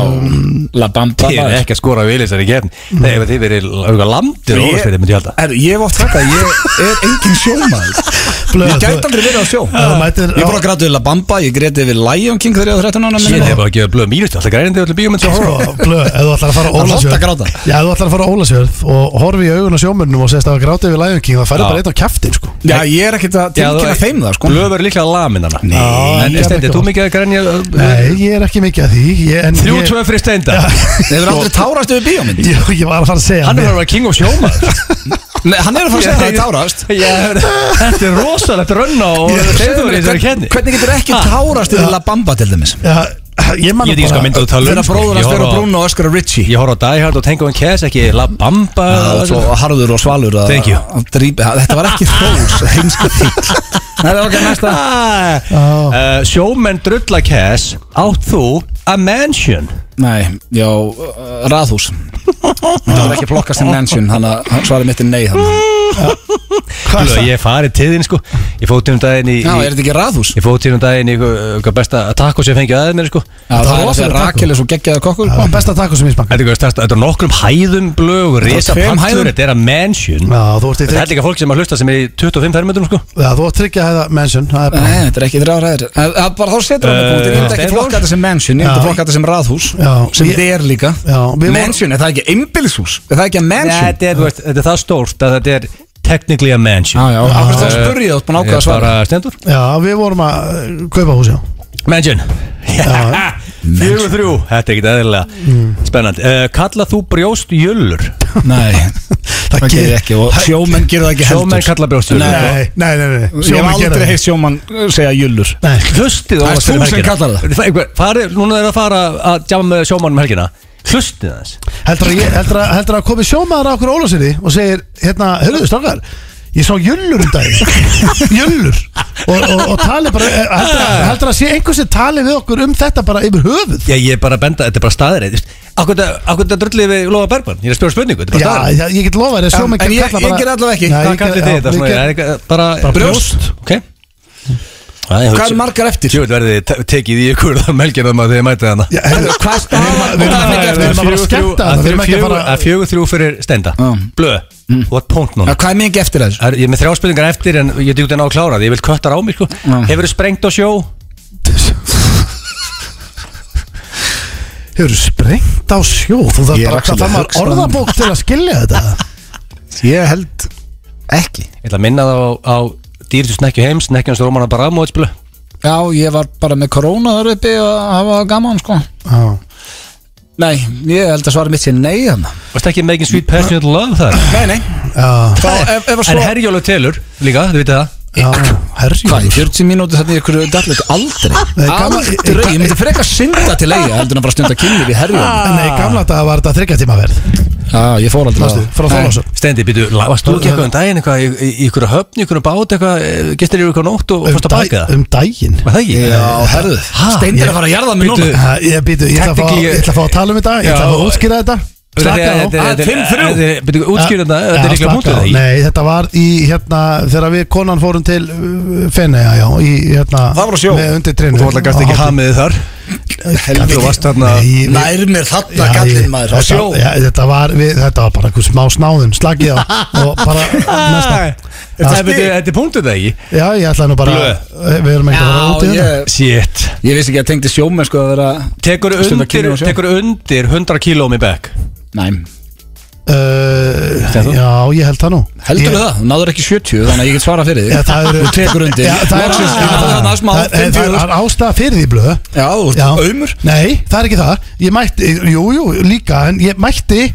S1: la bamba
S2: Þið er ekki að skora við þessari gefn Nei, ef þið verið auðvitað landir og ósverðið myndi ég halda
S1: Herru, ég hef oft sagt að ég er engin sjómaður
S7: Blöð,
S1: Ég
S7: þú-
S1: gæti aldrei verið á sjó
S7: þú mætir
S1: Ég
S7: á-
S1: fór að gráta við La Bamba, ég gréti við Lion King þegar ég var 13 ára
S2: Ég
S1: minni.
S2: hef bara að gefa blöð mínustu, alltaf grænandi öllu bíómynd sem horfa á.
S7: Sko, blöð, ef þú ætlar að fara á
S1: Hann
S7: Ólasjörð
S1: hótt að gráta.
S7: Já, ef þú ætlar að fara á Ólasjörð og horfi í augun á sjómönnum og segist að það gráti við Lion King, það færði
S2: Já.
S7: bara eitt á kæftin, sko
S1: Já, ég er ekkert að
S2: Já,
S1: tilkynna
S2: þú-
S1: þeim það sko
S2: Blöð verður líklega lamin hana
S7: Já,
S2: En
S7: ég er
S2: Steindi,
S7: ekki
S2: þú
S7: oft.
S2: mikið að grænja
S7: Nei, ég er ekki mikið að því ég, en ég-
S2: 3-2 fyrir Steinda
S1: Þeir eru aldrei tárast yfir bíómynd
S7: Jú, ég var að fara að segja
S2: Hann er
S7: mér-
S2: bara að vera king og sjóma
S1: Nei, Hann er að fara að segja að það er tárast
S2: Þetta er rosalegt rönn á Steindum er þessari
S1: Hvern-
S2: kenni
S1: Hvernig getur ekki tárast yfir La Bamba til dæmis?
S7: Já, ég man
S2: Ég veit ekki hvað
S7: bara-
S2: myndið þú tala um
S1: Þegar
S2: sko.
S1: bróður
S2: Ég
S1: hans fer á
S2: horfa á-
S1: Bruno og öskar á Richie
S2: Ég horf á Die Hard og Tango and Cash ekki La Bamba
S1: og svo harður og svalur að,
S2: Thank you.
S1: að drípa, þetta var ekki þós heimsku fíl það er okkar næsta
S2: uh, Sjómenn drulla Cash átt þú a mansion
S1: nei, já, uh, raðhús það var ekki flokka sem mansion þannig að svarið mitt er nei þannig.
S7: Hvað
S2: Blö,
S7: sa-
S2: Ég farið til þín sko Ég fóð til um daginn í,
S1: já, er
S2: í
S1: þetta ekki raðhús?
S2: Ég fóð til um daginn í eitthvað besta taco sem ég fengið aðeins mér sko
S1: Já, það er
S7: var
S1: að
S7: rosalega
S1: segja
S7: taco.
S1: Rakel er svo geggjaður kokkur
S7: Það var besta taco sem ég smakka
S2: Þetta er, eitthvað stærsta- þetta er nokkrum hæðum blög og
S1: er
S2: risa
S1: tveim
S2: pantur,
S1: hæðum.
S2: þetta er a mansion
S7: Já, þú ert í
S2: Þetta er
S7: þrygg
S2: líka fólk sem að hlusta sem er í 25 fermetrum sko
S7: Já, þú ert tryggja að hefða mention Það er bara
S1: nei, þetta er ekki þrjáraðir bara þá setur hann
S2: Eh,
S1: það punkt ég myndi ekki
S2: Stefán?
S1: flokka þetta sem mansion ég myndi
S7: Já.
S1: flokka þetta sem raðhús
S7: Já,
S1: sem
S7: ég-
S1: þetta er líka
S7: Já, við vorum-
S1: mansion, er það ekki einbilshús? er það ekki að mansion?
S2: Þetta er, þú veist, þetta er það stórt að þetta er technically a
S1: já,
S2: mansion
S1: já, Eh, ákveð það spurði þú ert búin að ákveða að svara
S2: bara stendur
S7: Já, við vorum að uh, kaupa hús, já
S2: Mansion Fjögur þrjú, þetta er ekki eðlilega
S1: Mm.
S2: Spennandi, uh, kalla þú brjóst jöllur
S1: nei Það
S7: Það
S1: gerir
S7: ger-
S1: ekki og sjómenn gerir það ekki
S2: Sjómenn
S1: heldur
S2: kalla brjóst jöllur
S7: Nei, nei, nei, nei
S1: Ég hef
S7: Sjómenn gera
S1: aldrei
S7: það.
S1: heitt sjómann uh, segja jullur
S7: Nei,
S2: Hlustið á
S1: Það er
S2: oss fyrir
S1: þú sem
S2: helgina.
S1: kallar það.
S2: Það er einhver- farið- Núna er að fara að djama með sjómannum helgina Hlustið þess
S7: heldur að, ég- heldur að, heldur að komi sjómaður á okkur ólásinni og segir, hérna, hörðu, strákar Ég sá jöllur um daginn Jöllur Og, og, og tali bara eh, heldur
S1: Ah.
S7: að, heldur að sé einhver sem tali við okkur um þetta bara yfir höfuð
S2: Já, ég er bara að benda, þetta er bara staðir Akkur þetta drullið við Lóa Bergman Ég er að spjóra spurningu, þetta er bara
S7: Já,
S2: staðir
S7: já, ég get lofa þér að sjómenn
S1: en ég-
S7: kalla
S1: ég
S7: bara-
S1: ger allavega ekki.
S7: Nei,
S1: Hvað
S2: Hvað
S7: ég ger-
S2: kallir þið
S7: já,
S2: þetta?
S7: við
S2: svona,
S7: ger-
S2: er eitthvað- Bara
S7: Bara
S1: brjóst.
S2: Ok Hvað
S1: Hvað eru margar eftir?
S2: Jú, verðið þið te- tekið í ykkur það melgjana maður þegar þið mætið hana
S7: Já, heyrðu,
S1: Hvað er staðan?
S7: Við erum að-
S1: Hvað er mikið eftir?
S7: við erum að fara að skemmta þarna, við erum ekki að fara
S2: Að fjögur þrjú fyrir stenda
S1: Já. Mm.
S2: Blöð, þú ert punkt núna
S1: Ja, Hvað er mikið eftir þessu?
S2: Það er- Ég er með þrjá spurningar eftir en ég djúti ná að klára því Ég vil köttar á mig sko Hefur þú sprengt á sjó?
S7: Hefur sprengt á sjó Þú þarf
S1: Ég er
S7: bara
S1: actually
S7: það þarf
S1: að hugsa
S7: maður orðabók til að skilja þetta
S1: Ég held ekki
S2: Ég ætla að minna það á, á dýrtu snekkju heims Snekkjans Rómana Baramovic blöð
S1: Já, ég var bara með korona þar uppi og hafa gaman sko
S7: Já.
S1: Nei, ég held að svara mitt sé nei hérna. þannig
S2: Varst ekki making sweet passionate love þar?
S1: Nei, nei
S7: Já.
S1: Þá, ef, ef að
S2: En
S1: svo
S2: herjólu telur líka, þú veit það
S7: Já,
S1: Hvað, í
S7: herjum
S1: 40 mínúti þarna í ykkur dallet aldrei
S7: Nei, gaman-
S1: Aldrei, ég myndi frekar synda til eiga heldur en að bara stunda kynlíf í herjum
S7: Nei, í gamla þetta var þetta þryggja tíma verð
S1: Já, ég fór aldrei á
S7: Manstu,
S1: það.
S7: frá Þorlásson
S2: Stendi, býtu, la- varst þú ekki eitthvað um daginn eitthvað í, í, í ykkur höfn, í ykkur bát eitthvað, eh, gestir yfir ykkur nótt og og fórst að baka það?
S7: um daginn
S2: Var það ekki?
S1: Já, herðu
S2: Ha?
S1: Steindir að fara að jarða mig
S2: Bíddu,
S1: núna
S7: Ha, Ég býtu, ég ætla að fá-
S2: Technically-
S7: ég ætla að fá að tala um þetta Ég ætla að fá að
S2: Já.
S7: útskýra þetta Slaka á
S1: þetta- þetta- þetta-
S2: Býtu, útskýra þetta, þetta er líklega
S7: slaka
S2: mútið
S7: á.
S2: það í
S7: Nei, þetta var í hérna Þegar við konan fórum til Fenneja, já í, hérna,
S1: Það var á sjó.
S7: Með undir trinu
S2: Þú alltaf gæst ekki hamið þar Helviti, þú varst þarna
S1: Nær mér þarna gallin maður á sjó
S7: já, þetta, var, við, þetta var bara einhver smá snáðun Slakið á og bara næsta
S2: Þetta er- býtu, þetta er punktið það ekki
S7: Já, ég ætlaði nú bara Eh, Við erum ekki að fara út í
S1: Já,
S7: þetta
S1: ég,
S2: Shit
S1: ég vissi ekki að tengdi sjómen sko að vera
S2: Tekur
S1: Stunda kynlíf
S2: undir,
S1: á sjó.
S2: tekur undir 100 kílómi bekk
S1: Næm
S7: Uh, já, ég held það nú
S1: Heldur
S7: Ég-
S1: það, þú náður ekki 70 þannig að ég get svara fyrir þig
S7: Já, það eru-
S1: Þú tekur undir
S7: Já, það er-
S1: Loksins,
S7: já,
S1: ég náði þarna smá
S7: það er- það
S1: 50.
S7: er ástæða fyrir því blöð
S1: Já, þú
S7: Já.
S1: ert aumur
S7: Nei, það er ekki það Ég mætti, jú, jú, líka En ég mætti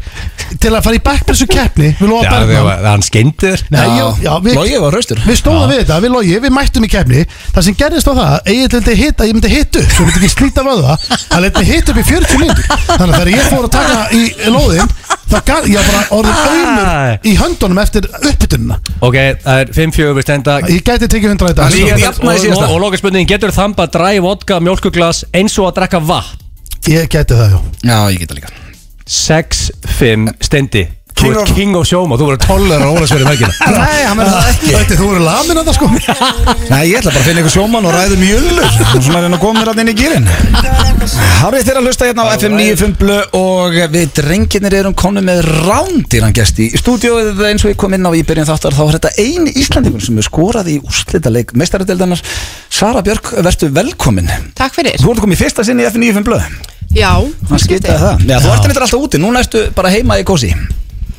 S7: til að fara í backpressu keppni Við lofa
S2: Já,
S7: Bergman
S2: það var- hann skeindi þér
S7: Nei, já, já, við,
S1: Logi var hraustur
S7: við stóðum við þetta, við logi, við mættum í keppni Það sem gerðist á það, Egil vildi hitta, ég myndi hitta upp Svo myndi ekki slíta vöða Hann leit mig hitta upp í 40 mínútur Þannig að þegar ég fór að taka í lóðin Það gaf, ég var bara orðin auðmur í höndunum eftir uppbytununa
S2: Ok, það er 5-4 við stenda
S7: Ég gæti tekið 100 í dag
S1: Hann
S2: Ég-
S1: Þú jafnaði
S2: Og,
S1: síðasta.
S2: og, og loka spurningin, getur þamba dræ, vodka, mjólkuglas eins og að drekka vatn
S7: Ég gæti það, já
S1: Já, ég get það líka
S2: 6-5 stendi Þú
S1: King
S2: ert
S1: of-
S2: king of sjóma, þú verður 12 ára ólæsverið mækina
S1: Nei, hann verður það ekki
S7: Þetta, þú eru lamin að það sko
S1: Nei, ég ætla bara að finna ykkur sjóman og ræðum jöllur Svona er hann að koma mér að inn í gýrin Hárið þeirra að hlusta hérna á FM 95 blö og við drenginir erum konu með rándýran gest í stúdíóið eins og ég kom inn á í byrjun þáttar þá er þetta eini Íslandingur sem er skorað í úrslitaleik meistaradeildarnar Sara Björk, vertu velkomin
S8: Takk fyrir.
S1: Þú ert komið fyrsta sinni í FM 95 blö
S8: Já,
S1: Það skiptaði það Já, þú ert neitt alltaf úti, núna ertu bara heima í kósi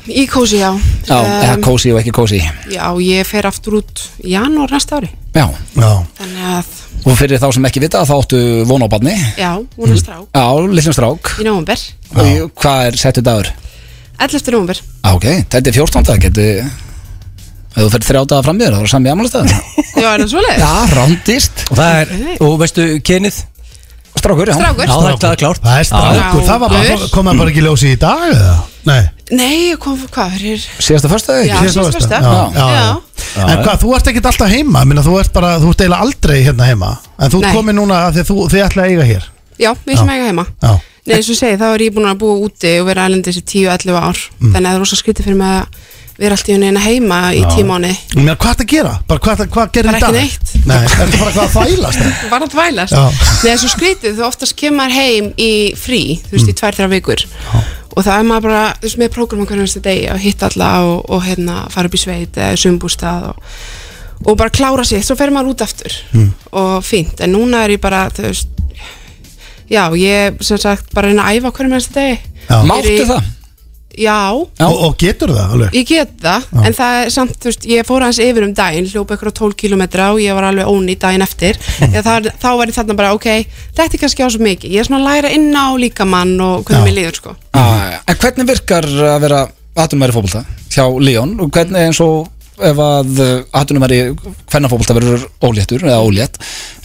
S8: Í kósi, já.
S1: Já,
S8: Em,
S1: eða kósi og ekki kósi
S8: já, ég fer aftur út í janúar næsta ári.
S1: Já,
S7: Já,
S8: Þannig að,
S1: og fyrir þá sem ekki vita þá áttu von á barni
S8: já, hún er strák
S1: Já, litlum strák
S8: í nóvumber.
S1: Og hvað er settu dagur?
S8: 11. nóvumber.
S1: Ah, ok, þetta er 14. dag, getur Ef þú fyrir þrjá daga fram í þér, þá er sami afmælstæð
S8: Já, er það svoleiðið?
S1: Já, rándist
S2: Og það er, og veistu, kynið
S1: Strákur, já
S8: Strákur?
S2: Já, það er kláð klárt
S7: það er strákur
S8: Já.
S7: Það var bara,
S8: Strákur.
S7: kom hann bara ekki í ljósi í dag eða? Nei,
S8: Nei, ég kom, hvað, fyrir?
S1: Síðasta fyrsta dag,
S8: Já,
S1: ekki?
S8: síðasta
S7: föstudag. já,
S8: föstudag.
S7: já,
S8: Já.
S7: já. En hvað, þú ert ekkert alltaf heima Minna, þú ert bara, þú ert eiginlega aldrei hérna heima En þú
S8: Nei.
S7: komið núna að því að þú, þið ætla að eiga hér
S8: Já, við sem eiga heima.
S7: Já,
S8: Nei, eins og ég segi, þá er ég búin að búa úti og vera ælendis í 10-11 ár.
S7: Mm.
S8: Þannig að það er rosa skrítið fyrir mig að vera allt í henni hérna heima í tímáni.
S7: Mér, hvað ert að gera? Bara hvað, ertu- hvað gerir
S8: Bara
S7: í dag?
S8: ekki neitt.
S7: Nei, er þetta bara hvað að þvælast?
S8: Var að þvælast.
S7: Já.
S8: Nei, svo skrítið, þú oftast kemur heim í frí, þú
S7: Mm.
S8: veist, í tvær, þrjá vikur. Og það er maður bara, þú veist, með prógrama hvernig þessi degi og hitta alla og, og hérna fara upp í sveit eða sumbústað og, og bara klára sér, svo fer maður út aftur
S7: Mm.
S8: og fínt. En núna er ég bara, þú veist, já, ég sem sagt bara að reyna að æfa hvernig með þessi degi.
S7: Já.
S1: Máttu
S8: Fyrir-
S1: það?
S8: Já,
S7: Og, og getur það alveg?
S8: Ég get það, en það er samt, þú veist, ég fór aðeins yfir um daginn, hljópa ykkur á 12 kilometra og ég var alveg óni daginn eftir. Ég, það, þá var ég þarna bara, ok, þetta er kannski á svo mikið. Ég er svona að læra inn á líkamann og hvernig mér líður, sko.
S1: Ah, en hvernig virkar að vera atunumæri fótbolta hjá Leon og hvernig eins og ef að eh, atunumæri hvernig fótbolta verður óléttur eða ólétt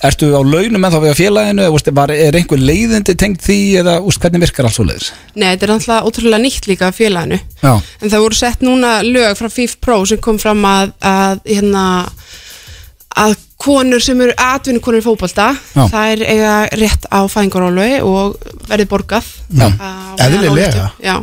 S1: ertu á launum en þá við á félaginu eða, úst, var, er einhver leiðindi tengd því eða úst, hvernig virkar alls svo leiðis
S8: Nei, þetta er náttúrulega ótrúlega nýtt líka af félaginu.
S1: Já.
S8: En það voru sett núna lög frá FIF Pro sem kom fram að, að hérna, að konur sem eru atvinnukonur í fótbolta,
S1: Já.
S8: þær eiga rétt á fæðingarólfi og verði borgað.
S1: Já.
S8: á meðan
S7: Eðlilega.
S8: óléttu. Já.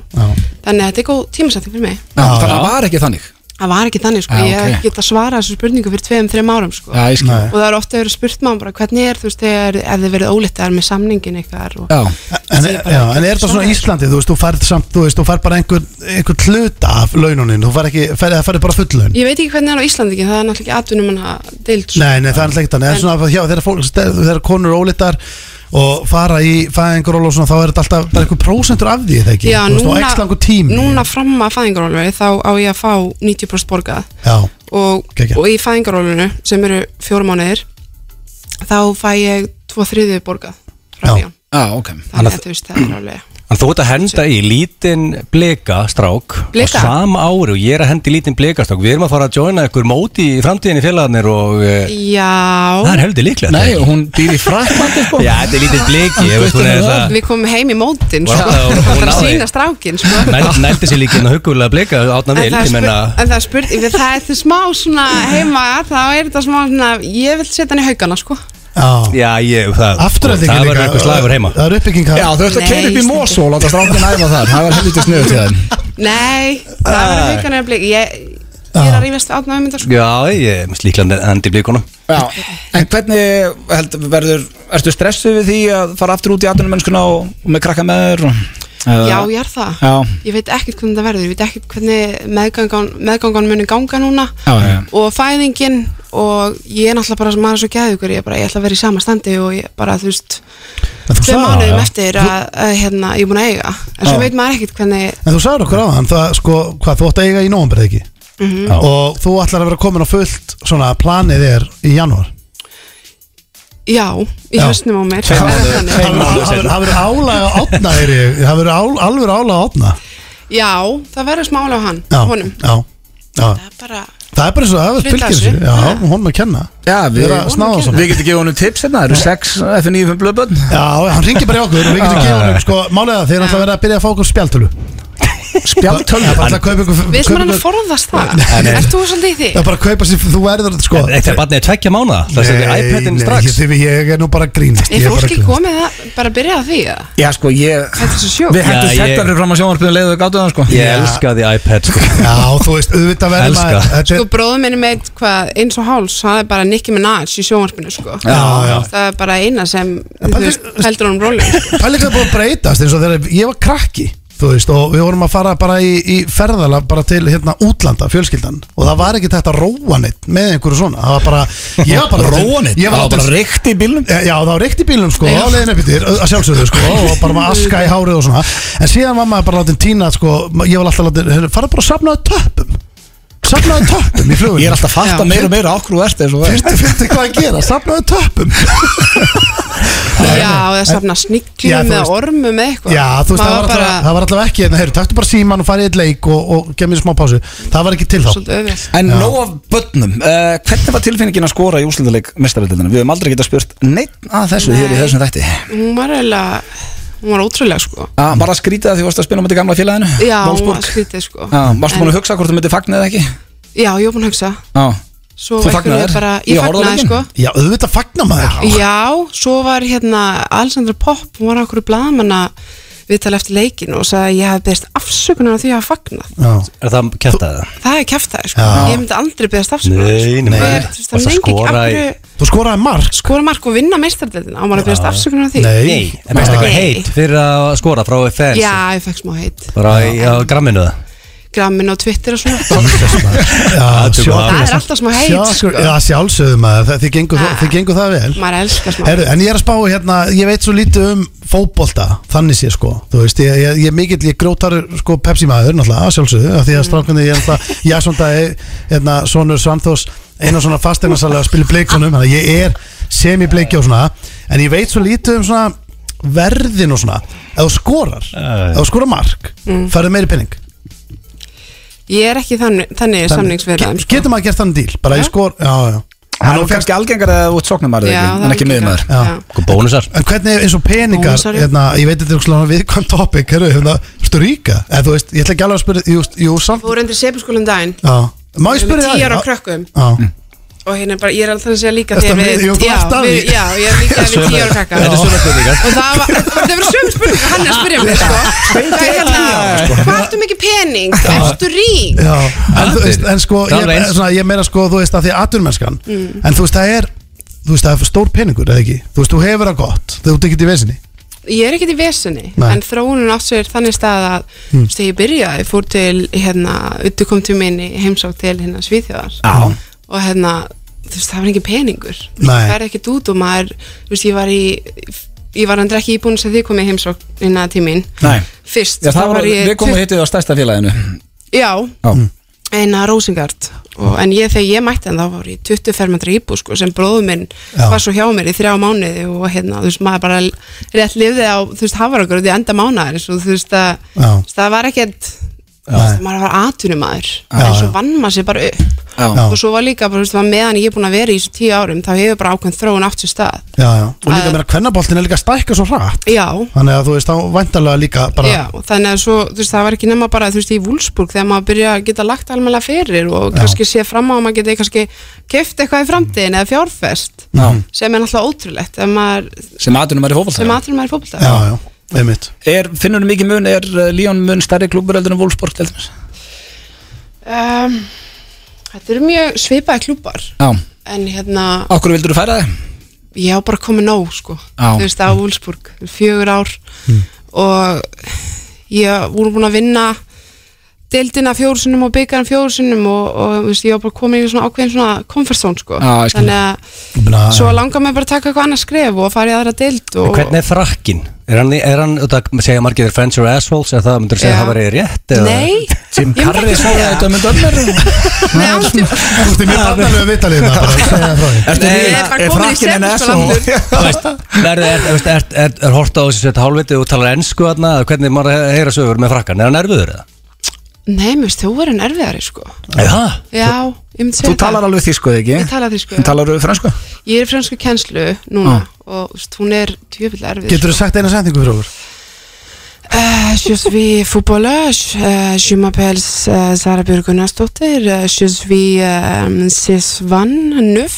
S8: Þannig að þetta er góð tímasetning fyrir mig.
S1: þannig að var ekki þannig
S8: Það var ekki þannig sko,
S7: Ah,
S1: Já,
S8: ég hef
S1: ok.
S8: ekki getað svarað þessu spurningu fyrir tveim, þreim árum sko
S1: Já, ég skil
S7: Nei.
S8: og það er ofta verið spurt maður bara hvernig er þú veist þegar ef þið verið ólittar með samningin ykkar og
S1: Já.
S7: En,
S8: Ég bara
S7: já,
S8: ekki
S7: en er þetta svona
S8: svaraði.
S7: Íslandi, þú veist, þú færð samt, þú veist, þú færð bara einhver, einhver hluta af laununin, þú færð ekki, færð, það færð bara full laun
S8: ég veit ekki hvernig það er á Íslandi ekki, það er náttúrulega ekki atvinnum hann að deild sko.
S7: Nei, nei, það er alltaf ekki þannig, það er
S8: En-
S7: svona að hjá þeirra fólk, þeirra konur ólittar og fara í fæðingaról og svona, þá er þetta alltaf bara einhver prósentur af því, er það ekki?
S8: Já,
S7: Þú veist, og ekstra langur tími.
S8: núna fram að fæðingarólfi þá á ég að fá 90% borgað
S7: Já,
S8: og,
S7: Geggjað.
S8: og í fæðingarólfinu sem eru fjórum mánuðir þá fæ ég tvo þriðið borgað
S7: Já.
S8: frá Jón
S1: Já, Ah, ok
S8: þannig að þú veist það er alveg
S2: En þú ert að henda í lítinn blekastrák
S8: Blika?
S2: á sama ári og ég er að henda í lítinn blekastrák Við erum að fara að joina ykkur móti í framtíðinni félagarnir og eh,
S8: Já
S2: það er heldur líklega
S1: Nei, hún býr í Fraklandi sko
S2: Já, þetta er lítið bleki ég veist, hún er þess að
S8: Við komum heim í mótin
S2: Og
S8: sko.
S2: alltaf- og- og
S8: Það er að
S2: náði.
S8: sína strákin sko. en,
S2: Nælt- Nældi sér líka inn á hugulega bleka átna vil,
S8: það er
S2: ég
S8: spurt,
S2: menna
S8: en það er spurt við Það er þetta smá svona heima Þá er þetta smá svona Ég vil setja hann í haugana sko.
S3: Já
S2: Já, ég, það
S3: Afturöldingin
S2: Það verður eitthvað slagur heima
S3: Það er uppbygging
S1: Já, þú ert að
S8: Nei,
S1: keira upp í
S8: stundum.
S1: Mosó og láta strákin æfa þar Það var helviti sniður til þeim
S8: Nei, það verður haugana eða blík Ég, ég er að rífast átna um þetta sko.
S2: Já, ég er líklega endi blikunum
S1: Já, en hvernig held, verður, ertu stressuð við því að fara aftur út í atvinnumennskuna og, og með krakka með þér? og-
S8: Já,
S1: eða-
S8: ég er það
S1: Já.
S8: Ég veit ekkert hvernig það verður Ég veit ekkert hvernig meðgangan, meðgangan muni ganga núna
S1: Já, já, já.
S8: og fæðingin og ég er náttúrulega bara maður er svo geðugur ég, er bara, ég ætla að vera í sama standi og ég bara þú veist þau mánuðum eftir að, að hérna, ég er búin að eiga en svo
S1: Já.
S8: veit maður ekkert hvernig
S3: En þú sagður okkur á hann, það sko, hvað þú ætti að eiga í nóvember eða ekki
S8: Mhm.
S2: Já.
S3: Og þú ætlar að vera komin á fullt svona planið er í janúar
S8: já, í
S3: Já.
S8: höstnum á mér
S2: Tveim
S8: Það er
S2: mánuðum-
S8: þannig.
S2: tveim mánuðum. mánuðum
S3: Það
S2: seinna.
S3: verður álag að opna þeir Það verður ál- alveg álag að opna
S8: já, það verður smála á hann
S3: Já,
S8: honum
S3: Já, já
S8: það er bara,
S3: Það er bara eins og það er
S8: Hluta
S3: fylgjur
S8: þessu.
S3: þessu Já,
S8: Já.
S3: honum að kenna
S1: Já, við,
S3: Vera að snáða svona.
S1: við getum gefið honum tips hérna, það eru 6 F95 blöðbönn
S3: Já, hann ringir bara í okkur og við getum gefið honum sko, Málið er það, þeir ætla að vera að byrja að fá okkur spjaltölu Spjaltölu? Það er bara alltaf að kaupa ykkur
S8: við
S3: kaupa
S8: sem hann
S3: ykkur-
S8: að forðast það ert þú svolítið í því?
S3: Það er bara að kaupa sér, þú verður sko
S2: Þetta er barnið tveggja mánuða Það setur
S3: Nei,
S2: iPadin
S3: nei,
S2: strax
S3: ég, ég, ég er nú bara að grínast
S8: er
S3: ég
S8: fólk
S3: bara að
S8: ekki
S3: grínast.
S8: komið að bara að byrja að því eða?
S1: Já, sko, ég
S8: þetta er svo sjó
S1: Við hættum
S2: Já, ég-
S1: þetta fyrir fram á sjónvarpinu leiðu og gátu það, sko
S2: Ég elskaði iPad sko
S3: Já, þú veist, auðvitað verður
S2: Elska.
S3: maður þetta
S8: Sko
S3: er-
S8: bróðum minni með hvað eins og háls hann er bara Nicki Minaj í sjónvarpinu sko.
S3: Já, já.
S8: það er bara eina sem þú
S3: bara-
S8: veist, heldur honum róli sko.
S3: Pæli hvað er búið að breytast eins og þegar ég var krakki þú veist og við vorum að fara bara í, í ferðala bara til hérna útlanda fjölskyldan og það var ekki þetta róanitt með einhverju svona það var bara, ég var bara
S1: Róanitt?
S3: Ég var
S1: Það var bara
S3: reykt í bílnum já það var reykt í bílnum sko á
S8: Já.
S3: leiðinu upp í þér að sjálfsögðu sko og bara maður aska í hárið og svona en síðan var maður bara látið tína sko ég var alltaf látið heyrðu, fara bara að safnaðu töppum safnaðu töppum í flugunum
S1: Ég er alltaf að fatta
S8: Já.
S1: meira og meira okkur og erst eins og það
S3: Fyrstu, fyrstu hvað að gera, safnaðu töppum
S8: já, eða safna
S3: Já, þú
S8: snigljum eða
S3: veist-
S8: ormum eða eitthvað
S3: Já, þú veist, það
S8: Maður
S3: var, bara... það var allavega ekki hérna, heyrðu, taktu bara síman og farið í eitt leik og, og gef mér smá pásu, það var ekki til þá
S8: svolítið öðvöld
S1: En
S3: Já.
S1: nóg af bönnum, uh, hvernig var tilfinningin að skora í úslinduleik mestarveldildina? Við höfum aldrei getað spurt neitt að þessu hér í
S8: Nei.
S1: þessum þætti Ah,
S8: hún var eiginlega, hún var ótrúlega sko
S1: Að Bara að skrýta því varst að spila á myndi gamla félaginu
S8: já, hún var
S1: Wolfsburg.
S8: skrítið sko
S1: Já, Varstu búin
S8: En-
S1: að hugsa hvort þú myndi fagna eða ekki?
S8: já, ég var búin að hugsa
S1: Já,
S8: svo
S1: Þú
S8: einhvern
S1: fagnaðir?
S8: veginn bara,
S1: Í
S8: ég fagnaði
S1: orðaleikinn?
S8: sko
S3: Já, auðvitað fagnar maður
S8: Já, svo var hérna Alessandra Popp, hún var okkur blaðamanna viðtal eftir leikin og sagði að ég hafði beðist afsökunar á því að hafa fagnað
S3: Já,
S2: Er það kjartaði það?
S8: það er kæftæði sko,
S3: Já.
S8: ég myndi aldrei beðast afsökunar
S2: Nei, nei.
S8: Hver- þú
S2: Varstu
S8: veist, það
S2: að
S8: mengi ekki
S2: skora
S8: af
S2: í-
S8: hverju
S3: þú skoraði mark
S8: skora mark og vinna meistardeldina á maður að beðast afsökunar á því
S2: Nei, er best eitthvað
S8: Nei.
S2: heit fyrir að skora frá fans
S8: já, ég fekk smá heit
S2: Bara í, á gramminu það
S8: grammin og Twitter og svona
S3: Já,
S2: tökum
S3: sjokkur-
S2: það.
S8: það er alltaf smá heit
S3: sjokkur-
S8: sko.
S3: Já, sjálfsögðu maður, það- þið gengur,
S8: Ah.
S3: það- þið gengur það vel
S8: maður elskar smá
S3: Heru, en ég er að spá hérna, ég veit svo lítið um fótbolta, þannig sé sko þú veist, ég, ég, ég er mikill, ég grótar sko Pepsi maður náttúrulega, að sjálfsögðu, af því að strákunni ég er náttúrulega, ég er svona hérna, sonur Svanþós, einu svona fasteinarsalega að spila í bleikunum, þannig að ég er semi-bleiki og svona, en ég veit svo lítið um svona verðin og svona ef þú skorar,
S2: Já, já.
S3: ef þú skorar mark
S8: Mm.
S3: færðu meiri penning
S8: ég er ekki þannig, þannig samningsverðan sko.
S3: getur maður gert þannig díl, bara
S8: Já.
S3: ég skor já, já.
S1: það er nú kannski algengar eða út sóknumar
S8: Já, það
S1: en
S8: er
S1: ekki
S8: líka-
S1: miðumar
S3: Já.
S8: Já.
S2: Hvað Sko, bónusar?
S3: En hvernig eins og peningar,
S8: Bónusar, já.
S3: hérna, ég veit þetta er svona viðkvæm topic, hérna, hérna, Sturíka, eða þú veist, ég ætla ekki alveg að spyrja, jú, jú, samt,
S8: fór undir sepulskólum daginn
S3: já, má ég
S8: Við erum
S3: spyrja
S8: tíu
S3: það?
S8: ára á krökkum
S3: Já,
S8: og hérna bara, ég er alltaf að segja líka
S3: Ertu að
S8: þegar við,
S3: við- jú, þú
S8: já,
S3: ert að
S8: við,
S3: því.
S8: já, ég er líka við tíu ára krakka
S2: Þetta er svona spurningar
S8: og það var, það var sömu spurning hann er að spyrja mig sko það er hérna, hvað ertu mikið pening ertu rík
S3: já, en þú veist, en sko,
S2: Það er
S3: ég,
S2: alveg eins.
S3: svona, ég meira sko, þú veist, að því að aturnmennskan, en þú veist, það er, þú veist, það er stór peningur, eða ekki, þú veist, þú hefur það gott, þú ert ekki í vesinni,
S8: ég er ekkert í vesunni
S3: Nei.
S8: en þróunin átt sér þannig stað að þú veist, þegar ég byrjaði, ég fór til hérna, uddu kom til minni heimsók til hérna Svíþjóðar
S3: Já.
S8: og hérna, þú veist, það var ekki peningur
S3: Nei.
S8: það er ekkert út og maður þú veist, ég var í ég var andra ekki íbúin sem þið komið í heimsókn hérna til mín
S1: Nei.
S8: fyrst,
S1: Já, það
S8: þá
S1: var,
S8: ég
S1: við komum og hittum á stærsta félaginu
S8: Já,
S1: Já.
S8: eina Rósingard og, en ég þegar ég mætti hann þá var ég 20 fermandra íbú sko, sem bróður minn
S3: Já.
S8: var svo hjá mér í þrjá mánuði og hérna, þú veist, maður bara rétt lifði á, þú veist, hafarakur út í enda mánuðar og þú veist, að,
S3: Já.
S8: þú veist, það var ekkert þú veist, maður var atunumæður en svo vann maður sér bara upp
S3: Já.
S8: og svo var líka, bara, þú veist, var meðan ég er búin að vera í þessu tíu árum, þá hefur bara ákveðin þróun átt sér stað
S3: já, já. og líka
S8: Að-
S3: meira kvennaboltin er líka að stækka svo hratt
S8: já,
S3: þannig að þú veist þá væntalega líka bara
S8: Já, og þannig að svo, þú veist, það var ekki nema bara, þú veist, í Wolfsburg þegar maður byrja að geta lagt almennilega fyrir og kannski sé fram á að maður geti kannski keft eitthvað í framtíðin eða fjárfest
S1: Já.
S8: sem er náttúrulega ótrúlegt ef maður,
S1: sem aðunum er í
S8: sem
S1: fótbolta
S8: aðtrið maður í fótbolta
S3: já, já, einmitt
S1: Er, finnur mikið mun, er uh, Líón mun stærri klubur heldur en Wolfsburg til þess?
S8: um, Þetta eru mjög svipaði klúpar
S1: Já,
S8: en hérna,
S1: okkur vildur þú færa þig?
S8: ég á bara komið nóg sko,
S1: Já. Hmm.
S8: þú veist, á Wolfsburg fjögur ár og ég voru búin að vinna deildina fjórsunum og byggjarn fjórsunum og, og þú veist, ég var bara komin í svona ákveðin svona komfortzón sko.
S1: Já, ég skil.
S8: þannig að
S3: Buna,
S8: svo langar mér bara að taka eitthvað annað skref og fara í aðra deild og
S2: Hvernig er frakkin? Er hann, er hann það segja margir er friends or assholes er það, myndur þú segja
S8: Já.
S2: að það verið rétt? eða-
S8: Nei, Jim
S1: Harry sagði þetta um dömmer
S3: Þú veist, ég mér barnalegu vitalið það bara, segja það frá því
S1: Ertu
S2: Nei,
S1: líka-
S8: ég er bara
S1: er
S8: komin í sko,
S1: frakkinn en
S8: sérfræðiskóla
S1: SO?
S8: aftur.
S2: Þú veist, nærðu, er, er, er, er, er hort á þessu sett hálfviti og talar ennsku þarna, eða hvernig maður he- heyra sögur með frakkan, er hann erfiður eða?
S8: Nei, mér veist, þú verður erfiðari sko
S2: Já,
S8: Já, ég myndi segja
S1: Þú talar alveg þýsku, eða ekki?
S8: Ég tala þýsku,
S1: En
S8: já.
S1: talar þú fransku?
S8: Ég er í fransku kennslu núna og þú veist, hún er tjöfill erfið
S3: Getur þú sagt eina sendingu fyrir okkur?
S8: Euh, je suis footballeuse, euh, je m'appelle euh, Sara Björgunarsdóttir, euh, je suis euh, 6 vann 9.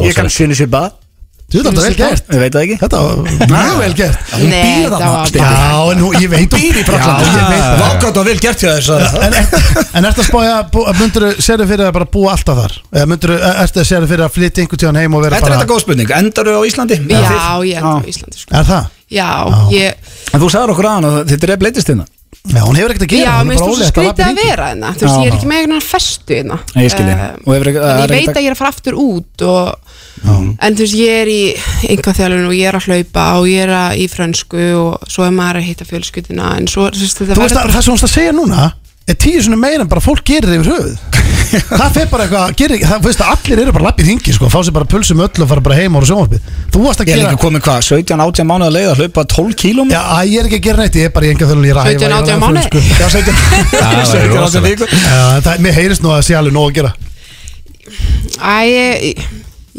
S1: Ég kann sjönu sér bað
S3: Þú veist, þetta er vel gert
S1: Ég veit það ekki
S3: Þetta var mjög vel gert
S8: Hún Nei, býr það þarna, var Steini.
S3: Já, en hún, ég veit Býr í
S1: Fraklandi.
S3: Já, ég veit það
S1: Vákátt og vel gert hjá þess að
S3: En, en ertu að spája, myndur þú, serðu fyrir að bara búa alltaf þar? Eða myndur þú, ertu að serðu fyrir að flytja einhvern tíðan heim og vera
S1: Þetta er
S3: bara
S1: þetta góð spurning, endar þú á Íslandi?
S8: Já,
S1: Eða Ah. þið?
S8: ég er á Íslandi sko.
S3: Er það?
S8: Já, ég,
S1: En þú sagðar okkur aðan að þetta er bleittist hérna
S3: Já, hún hefur ekkert að gera,
S8: já,
S3: hún
S8: mér
S3: er bara
S8: finnst þú svo
S3: ólega
S8: skrítið að vera hérna, þú veist, ég er ekki með einhvern veginn festu hérna.
S1: Ah. Nei, ég skil þig.
S8: Eh,
S1: Og hefur ekki- það
S8: en ég
S1: er
S8: veit
S1: ekkert-
S8: að ég er að fara aftur út og, en þú veist, ég er í einhvað þjálfun og ég er að hlaupa og ég er að í frönsku og svo er maður að hitta fjölskyldina en svo, þú veist, þetta
S3: Þú veist
S8: verður
S3: að það sem hún er að segja núna er tíu sinni meira en bara fólk gerir yfir höfuð Það fer bara eitthvað, gerir, það, þú veist að allir eru bara lappið hingi sko, fá sér bara pulsum öll og fara bara heim ára sjónvarpið Þú varst að
S1: Ég er
S3: gera
S1: líka komið hvað, 17-18 mánuð að leiða að hlaupa 12 kílum
S3: Já, æ, ég er ekki að gera neitt, ég er bara í enga þölu, ég er að æfa, ég er
S8: 17,
S3: að
S8: 18
S3: æfa
S8: mánuði.
S3: frönsku. Já, 17
S2: það var
S1: 17-18
S2: rosalegt.
S1: vikur
S3: Já, það, mér heyrist nú að það sé alveg nóg að gera
S8: Æ, ég-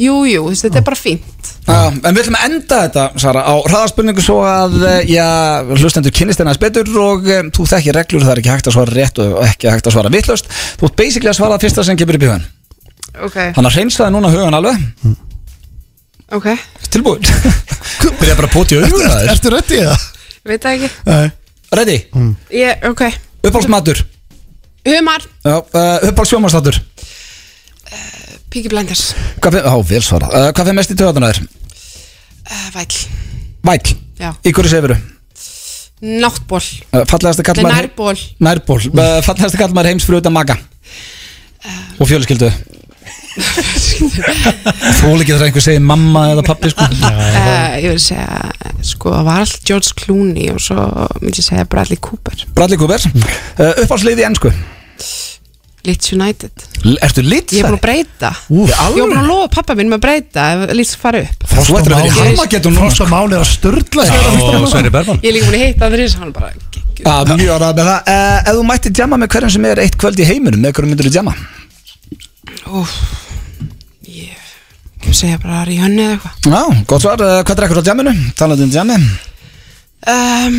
S8: jú, jú, þú
S1: Ah.
S8: veist, þetta er bara fínt
S1: Já, en við ætlum að enda þetta, Sara, á hraðarspurningu svo að, eh, já, hlustendur kynnist hennar betur og um, þú þekkir reglur, það er ekki hægt að svara rétt og ekki hægt að svara vittlust. Þú ert basically að svara það fyrsta sem kemur upp í hugan.
S8: okay.
S1: Hann að reynsaði núna hugan alveg,
S8: Ok,
S1: tilbúin. Byrja bara að poti augun að
S3: Ertu,
S1: þér.
S3: ertu röddið það?
S8: veit það ekki
S3: Nei.
S1: Ready?
S8: ég, Ok,
S1: Uppáhaldsmatur.
S8: humar,
S1: Já, uh, uppáhaldsfjómanstatur.
S8: Piki Blinders
S1: Hvað fyrir, á, vel svarað. Uh, hvað fyrir mest í töðanar þér?
S8: uh, Væll,
S1: Væll.
S8: já,
S1: Í hverju sefuru?
S8: náttból
S1: Uh, fallegasta
S8: Nei,
S1: kallmaður heim-
S8: nærból,
S1: Nærból. Uh, fallegasta kallmaður heims fyrir utan maga. Og fjöluskyldu. Þól ekki þegar einhver segir mamma eða pappi sko
S8: uh, ég vil segja sko, það var allt George Clooney og svo myndi ég segja Bradley Cooper
S1: Bradley Cooper uh, Uppáðsliði í ennsku
S8: Leeds United,
S1: L- Ertu lit
S8: ég er búin að breyta
S1: Úf,
S8: ég er búin að lofa pappa minn með að breyta ef Leeds fara upp
S1: Þú ættir að vera í sko.
S3: Mál-
S1: harmagetum núna
S3: Frost og Mál er að störla
S2: og Sverri Bergman
S8: ég er líka búin að hitta Andrés hann bara geggjuð.
S1: Já, mjög ræð með það uh, Ef þú mætti djama með hverjum sem er eitt kvöld í heiminum með hverjum myndir þú djama
S8: Úff, ég ég vil segja bara Rihanna eða eitthvað
S1: Já, gott svar, uh, hvað drekkur á djaminu? Talandi um djami
S8: um,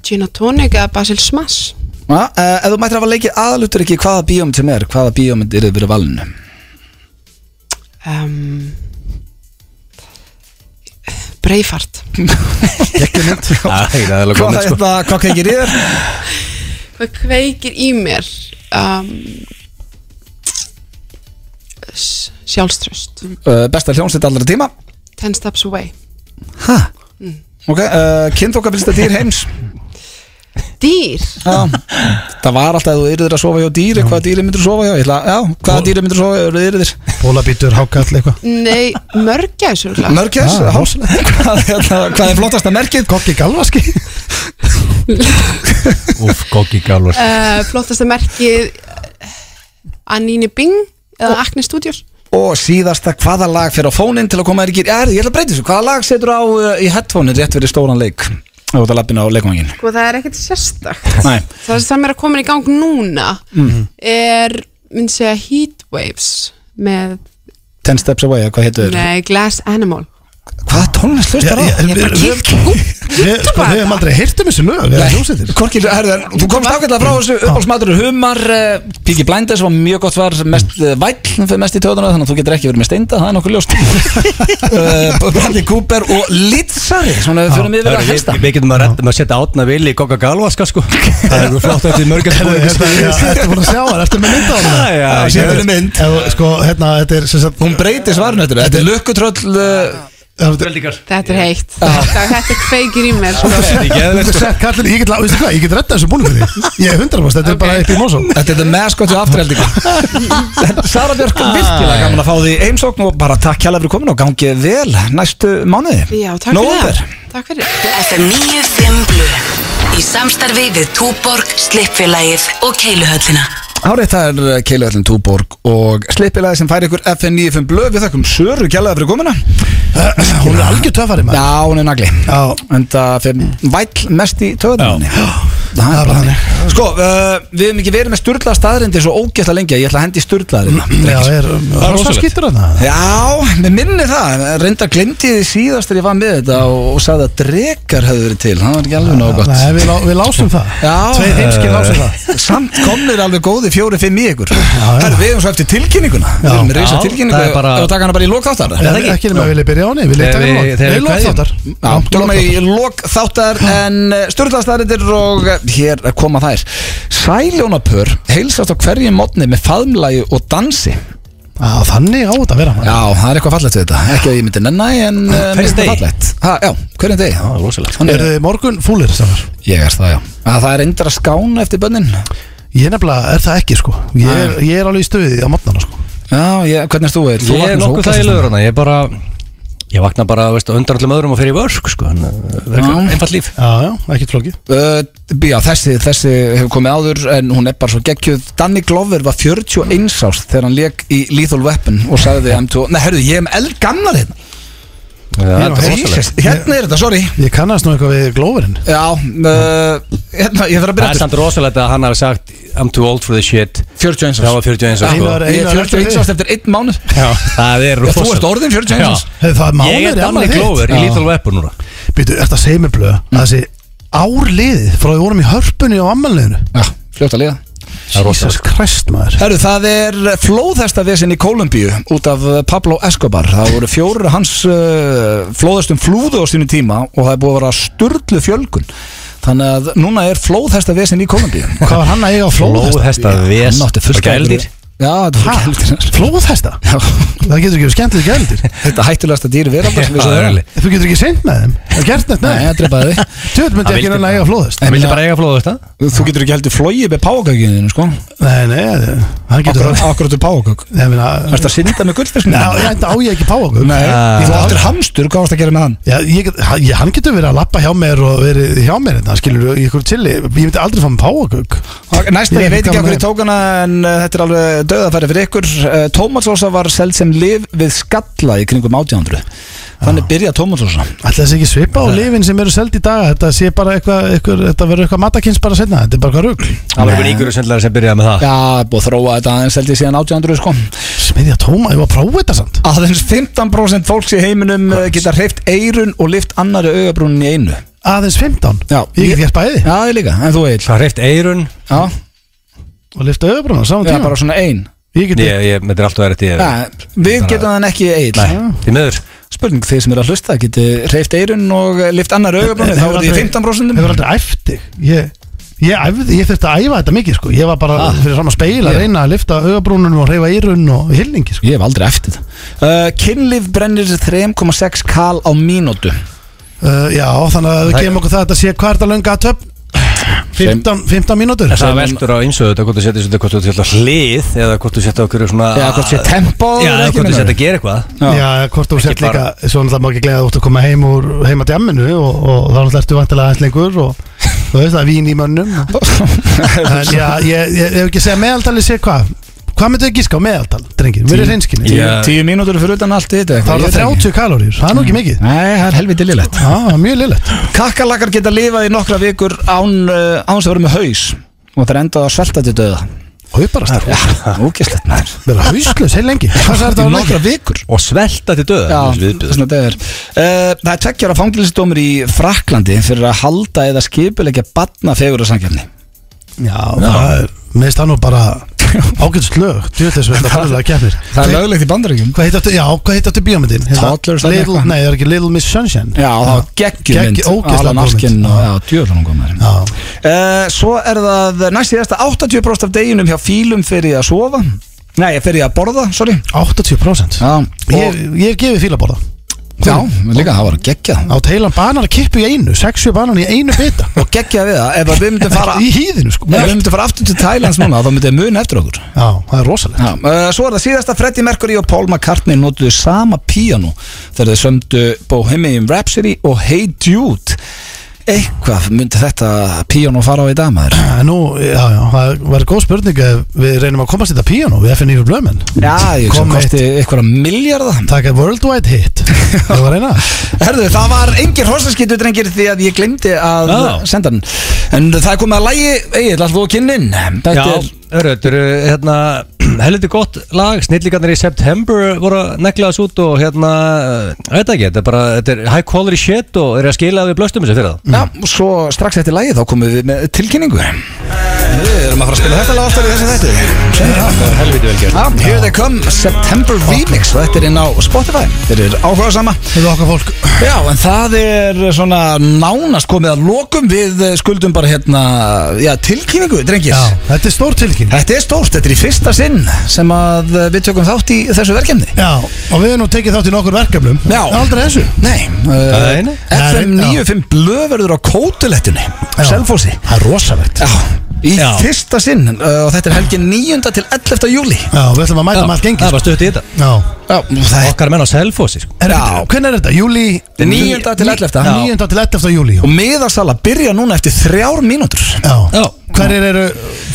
S8: Gin og Ehm, Tonic eða Basil Smash
S1: Já, uh, Ef þú mættir hafa leikið aðalutur ekki hvaða bíómynd sem er hvaða bíómynd eru verið valinu
S8: um, Breifart
S1: Ekki mynd
S2: Það er alveg
S1: Hvað
S2: komið sko
S1: hérna, hvað kveikir í þér?
S8: Hvað kveikir í mér? Um, s- sjálfströst
S1: Uh, besta hljómsveit allra tíma
S8: Ten Steps Away
S1: Ok, uh, kynþókafylsta dýr heims
S8: Dýr
S1: Já, það var alltaf að þú yrðir að sofa hjá dýri Hvaða dýri myndir þú sofa hjá? Ég Ætla, já, hvaða dýri myndir þú sofa hjá? Eru yrðir?
S3: Bólabítur, hákall, eitthvað
S8: Nei, mörgæs örugglega.
S1: Mörgjæs,
S3: Já,
S1: háls hvað, hérna, hvað er flottasta merkið?
S3: Kokki galvaski
S2: Úf, Goggi Gálvar
S8: uh, flottasta merkið Anini Bing eða Acne Studios
S1: Og síðasta, hvaða lag fyrir á fóninn til að koma þér í gýr? Já, heyrðu, ég ætla að breyta þessu. Hvaða lag setur á uh, í headphone rétt fyrir stóran leik? Það var að lappina á leikvangin.
S8: og Sko, það er ekkert sérstakt
S1: Nei. Mhm.
S8: það sem er að koma í gang núna er, minn segja Heatwaves með,
S1: Ten Steps Away, eða hvað heitur þér?
S8: nei, Glass Animal
S1: Hvaða tónlist hlustar á?
S7: Ég-
S8: ég er bara
S7: Við-
S8: kikk
S7: Við sko, við höfum aldrei heyrt um þessi lög Við erum hljómsveitir
S1: Korki, herðar, þú komst ágætlega frá þessu uppáhaldsmatur humar, uh, Piki Blinders var mjög gott var, mest uh, væll fyrir mest í töðuna þannig að þú getur ekki verið með steinda, það er nokkuð ljóst uh, Bradley Cooper og Litzari, svona við fyrir miður að
S2: Hörru, Við
S1: helsta
S2: við getum að redda með að setja átna vil í Gogga Galvaska sko Það er eitthvað flott eftir
S7: Hérna, já,
S2: mörgast
S7: Ertu búin að sjá það, ertu með mynda á það
S2: Já,
S1: Það sé fyrir mynd.
S7: Ef- Sko, hérna, þetta er sem sagt
S1: Hún breytir svarinu þetta, þetta er lukkutröll uh,
S7: Þetta
S8: þetta er heitt,
S1: Ah.
S8: þetta, þetta kveikir í mér sko.
S2: Þetta er geðveikt, sko.
S7: er kallin, ég get, la- veistu hvað, ég get reddað þessu búinu fyrir því. Ég er 100% þetta er bara
S8: Ok.
S7: upp í mósum
S1: Þetta er the mascot og afturheldingu Sara Björk,
S8: Ah.
S1: virkilega gaman að fá því heimsókn og bara takk hjá fyrir komin og gangið vel næstu mánuði
S8: já, takk
S1: Nóvember.
S8: fyrir það takk fyrir
S5: FM 95 Blu Í samstarfi við Túborg, Slippfélagið og Keiluhöllina
S1: Árið það er Keiluhöllin Túborg og sleipilæði sem fær ykkur FN95 blöð Við þakkum Söru kjærlega fyrir komuna
S7: Hún er algjör töfari maður
S1: Já, hún er nagli
S7: Já.
S1: En það fyrir væll mest í töðunni Það er bara þannig Sko, uh, við hefum ekki verið með sturla staðrindi svo ógæsla lengi að Ég ætla að hendi sturlaðurinn
S7: Já, er
S2: er
S7: rosa
S2: rosalegt.
S7: skittur hann það
S1: Já, með minni það, reynda glemti því síðast þegar ég var með þetta og, og sagði að drekar hefðu verið til, það var ekki alveg nóg gott
S7: Nei, við, lá, við lásum það
S1: Já.
S7: Tveir heimskir lásum það
S1: Samt komnir alveg góði fjóri, fimm í ykkur Herru, við hefum svo eftir tilkynninguna Við
S7: Já.
S1: erum með reysa
S2: Já,
S1: tilkynningu
S2: það er bara-
S1: Ef við taka hana bara í lók þáttar
S7: Er það ekki nema að vilja byrja á henni, við
S2: Þegar
S7: leita
S2: við-
S7: við
S2: þegar
S7: Við
S2: við
S7: lók
S2: kveðjum.
S7: þáttar
S1: Já, tölum við í lók þáttar En styrlaðstæðarindir og eh, hér koma þær Sæljónapör heilsast á hverjum mótni með faðmlægi og dansi
S7: Já, þannig á þetta að vera maður.
S1: Já, það er eitthvað fallegt við þetta Ekki að ég myndi nenni en eh, mér finnst
S2: Ah, degi? Ah,
S1: það fallegt ha, Já, hverjum degi Já, rosalegt
S7: Eru þið morgun fúlir samar?
S1: Ég er það, já að Það er endur að skána eftir bönnin
S7: Ég nefnilega er það ekki sko Ég er, ég er alveg í stöði á mótnana sko
S1: Já, ég, hvernig erst þú? Egill? Þú
S2: Ég er
S1: vaknar svo
S2: nokkuð það í
S1: ógeðslega
S2: lögur hana Ég bara Ég vakna bara veist, á undan öllum öðrum og fer í vörsk sko, en, uh, það er
S1: Já.
S2: einfalt líf
S7: Já, já, ekki flókið
S1: Uh, já, þessi, þessi hefur komið áður en hún er bara svo geggjöð Danny Glover var 41 árs þegar hann leik í Lethal Weapon og sagði M2 Nei, herruðu, ég er eld gammal hérna
S2: Já,
S7: þetta er
S1: Jesus, Hérna er þetta, sorry
S7: Ég kannast nú eitthvað við glófurinn
S1: Já, uh, hérna, ég þarf að
S2: Það
S1: byrja
S2: er
S1: aftur.
S2: samt rosalegt að hann hafi sagt I'm too old for this shit
S1: 41
S2: Það var
S1: árs
S2: 41 árs sko.
S7: Einar-
S1: Ég er
S7: Einar eftir
S1: 41
S7: þig.
S1: árs eftir einn mánuð
S2: Já, Það er
S1: Já, þú
S2: rosalegt.
S1: ert orðinn 41 árs.
S2: Já.
S7: Hefur það mánuður
S2: Ég er Danny Glover í Lethal Weapon núna
S7: Býtu, er það segir mér blöð að þessi árliðið frá því vorum í hörpunni á ammalleginu
S1: Já, fljótt að liða
S2: Það er
S7: Jesus
S2: rosalegt
S7: Christ maður
S1: Herru, það er flóðhesta vesinn í Kólumbíu út af eh, Pablo Escobar Það voru fjórir af hans uh, flóðhestum flúðu á sínu tíma og það er búið að vera sturlu fjölgun Þannig að núna er flóðhesta vesinn í Kólumbíu
S7: Hvað var hann að eiga á flóðhesta?
S2: Flóðhesta ves
S1: Hann átti fullt
S2: og gældir
S1: Já, þetta
S7: Ha?
S1: var gældir
S7: Flóðhesta? Það getur ekki verið skemmtilegt gældir
S1: Þetta hættulegasta dýr veraldar sem við svo
S2: Já,
S1: erum
S2: eðli.
S1: Nei,
S7: Þú getur ekki seint með þeim Það er gert neitt með
S1: það drepaði þig
S7: þeim Tjóð myndi
S2: Hann
S7: ekki
S2: vildi
S7: reyna að eiga á flóðhesta
S2: Hann vildi bara eiga flóðhesta
S1: Þú getur ekki heldur flóið með págagjöðinu, sko
S7: Nei, nei, hann getur það
S1: Akkurat er págag
S7: Ég meina,
S1: Það er að synda með gullfiskinu
S7: Já, ég enda á ég ekki páfagur
S1: Nei,
S2: Ah.
S1: þú áttir hamstur, hvað varst að gera með hann?
S7: Já, ég, get- ha- ég, hann getur verið að lappa hjá mér og verið hjá mér þetta, skilur í ykkur tilli Ég myndi aldrei fá með páfagögg
S1: Ok, Næsta,
S7: Ég
S1: ég veit
S7: veit
S1: ekki
S7: hvað
S1: af hverju
S7: hún
S1: ég tók hana en uh, þetta er alveg döðafæri fyrir ykkur uh, Tómatsósa var seld sem liv við skalla í kringum 1800 Þannig byrja tómatsósa
S7: Ætla þessi ekki svipa á lifin sem eru seld í dag Þetta sé bara eitthvað, eitthvað þetta verður eitthvað matakins bara setna Þetta er bara eitthvað rugl
S2: Það var einhver ígur sem sem byrjaði með það
S1: Já, búið að þróa þetta aðeins held ég síðan 1800 sko
S7: Smiðja tóma, ég var að prófa þetta samt
S1: Aðeins 15% fólks í heiminum uh, geta hreift eirun og lift annari augabrúnin í einu
S7: Aðeins 15,
S1: Já,
S7: ég get gert bæði
S1: Já, ég líka, en þú Egil
S2: Það hreift eirun
S1: Já,
S7: Og lifta öðubruna á saman
S1: já
S7: tíma
S1: bara svona ein
S7: Ég get
S2: Ég, ég, þetta er alltaf erið
S1: Já,
S2: tíð
S1: við getum þann ekki Egil
S2: Nei, því miður
S1: Spurning þið sem eru að hlusta, geti hreift eirun og uh, lift annari augabrúnin Þá
S7: Hefur
S1: er því
S7: aldrei-
S1: 15%
S7: Hefur aldrei æft þig Ég, ég, æfði- ég þurfti að æfa þetta mikið sko Ég var bara fyrir saman speil að reyna að lifta öðubrúnunum og reyfa írun og hilningi sko
S1: Ég hef aldrei eftir það uh, Kynlif brennir 3,6 kal á mínútu
S7: Uh, já, þannig að við
S2: Það-
S7: kemum okkur það að þetta sé hvað er þetta lönga að töp 15, 15 mínútur
S2: En það veldur á einsöðu þetta hvort þú setjast þetta hvort þú setjast hlið eða hvort þú setjast okkur svona
S1: Eða hvort sé tempo
S2: Já,
S1: eða ekki,
S2: eða hvort þú
S1: meinar
S2: setjast að gera eitthvað
S1: Já.
S7: Já, hvort þú sett líka Svona það má ekki glega út að koma heim úr heima djamminu og, og þá náttúrulega ertu vantilega aðeins lengur og, þú veist það er vín í mönnum en já, ég, ég, ég hef ekki að segja meðaltalið sé hvað hvað myndu þið gíska á meðaltal, drengir, við erum reynskilni
S1: Tíu,
S2: Já.
S1: tíu mínútur fyrir utan allt þetta
S7: það
S1: eitthvað,
S7: er
S1: ég veit ekki.
S7: 30 kalórir, það er nú ekki mikið
S1: Nei, það er helviti lillett
S7: Já, það er mjög lillett
S1: Kakalakar geta lifað í nokkra vikur án, uh, án sem verður með haus og það er endað að svelta til döða
S7: Hauparast,
S1: Úkjæslegt maður
S7: verða hauslaus, heil lengi Hvað sagði
S1: Í
S7: þetta á lengi?
S1: nokkra vikur
S2: Og svelta til döð
S1: Já, svona þetta er uh, Það er tveggjara fangilsdómur í Fraklandi fyrir að halda eða skipulegja batna fegur að sangjarni
S7: Já, það er, meðist það nú bara ágætt slög, djúðlega sem þetta farlega keppir
S1: Það er löglegt í bandaríkjum
S7: Hvað heitt áttu, já, hvað heitt áttu bíómyndin? Hérna,
S1: Toddlers eða
S7: Little,
S1: eitthvað?
S7: nei, það er ekki Little Miss Sunshine
S1: Já, það var
S7: Gegg-
S1: geggjumynd
S7: ógeðslega
S1: Alan
S7: góð mynd.
S1: Arkin og
S7: Já.
S1: já, djöflan hún kom með
S7: Já.
S1: Uh, svo er það næst í þesta 80% af deginum hjá fílum fyrir að sofa Nei, fyrir að borða, sorry
S7: 80%
S1: Já,
S7: Ég,
S1: og,
S7: ég hef gefið fílaborða
S1: já líka, það var geggjað
S7: Á teilan banar að kippu í einu 60 banan í einu bita
S1: og geggja við það ef að við myndum fara
S7: Í hýðinu sko
S1: ef við myndum fara aftur til Thailands núna þá myndum við mun eftir okkur
S7: Já, það er rosalegt
S1: Já, uh, svo er það síðasta Freddie Mercury og Paul McCartney notuðu sama píanu þegar þau sömdu Bohemian Rhapsody og Hey Jude eitthvað myndi þetta píanu fara á í damaður
S7: En Nú, já, já, það var góð spurning ef Við reynum að komast í þetta píano Við FNF Blömmen
S1: Já, ég sem
S7: Kom eitt.
S1: kosti eitthvað miljardar
S7: Takk að worldwide hit Það var reyna
S1: Herðu, það var engin hrossaskýtu drengir því að ég glemdi að
S2: Já.
S1: senda hann En það er komið að lægi, Egil, alltaf þú að kynna inn
S2: Já,
S1: Þetta er
S2: hörru, þetta eru hérna helviti gott lag, snillingarnir í september voru að negla þessu út og hérna eh, veit ekki, þetta er bara þetta er high quality shit og er að skila við blöstum þessu fyrir það
S1: Mm. Já, og svo strax eftir lagið þá komum við með tilkynningu Við erum að fara að spila þetta lag oftar í þessi þætti
S2: Helviti vel gert
S1: Já, Here They Come September Remix og þetta er inn á Spotify Þetta er áhuga sama
S7: Hefur okkar fólk
S1: Já, en það er svona nánast komið að lokum Við eh, skuldum bara hérna, já, tilkynningu, drengir
S7: Já, þetta er stór tilkynning
S1: Þetta er stórt, þetta er í fyrsta sinn sem að eh, við tökum þátt í þessu verkefni
S7: Já, og við erum nú tekið þátt í nokkur verkefnum
S1: Já.
S7: Aldrei þessu
S1: Nei,
S2: Nei,
S1: uh,
S2: nei.
S1: FM
S7: Nei, já.
S1: 95 blöð verður á kótulettunni
S7: Já.
S1: Selfósi
S7: Það er rosalegt
S1: Já, í
S2: Já.
S1: fyrsta sinn uh, og þetta er helgin 9. til 11. júli
S7: Já, við ætlum að mæta um allt
S2: það er
S7: gengið sko.
S2: bara stutt í þetta
S7: Já
S1: Já, það er
S2: okkar menn á selfossi sko.
S7: Er-
S1: Já.
S7: Hvenær er þetta? Júli
S1: Þetta er 9. til 11..
S7: 9. til 11. júli
S1: og miðarsala byrja núna eftir þrjár mínútur
S7: Já,
S2: Já.
S7: hverjir eru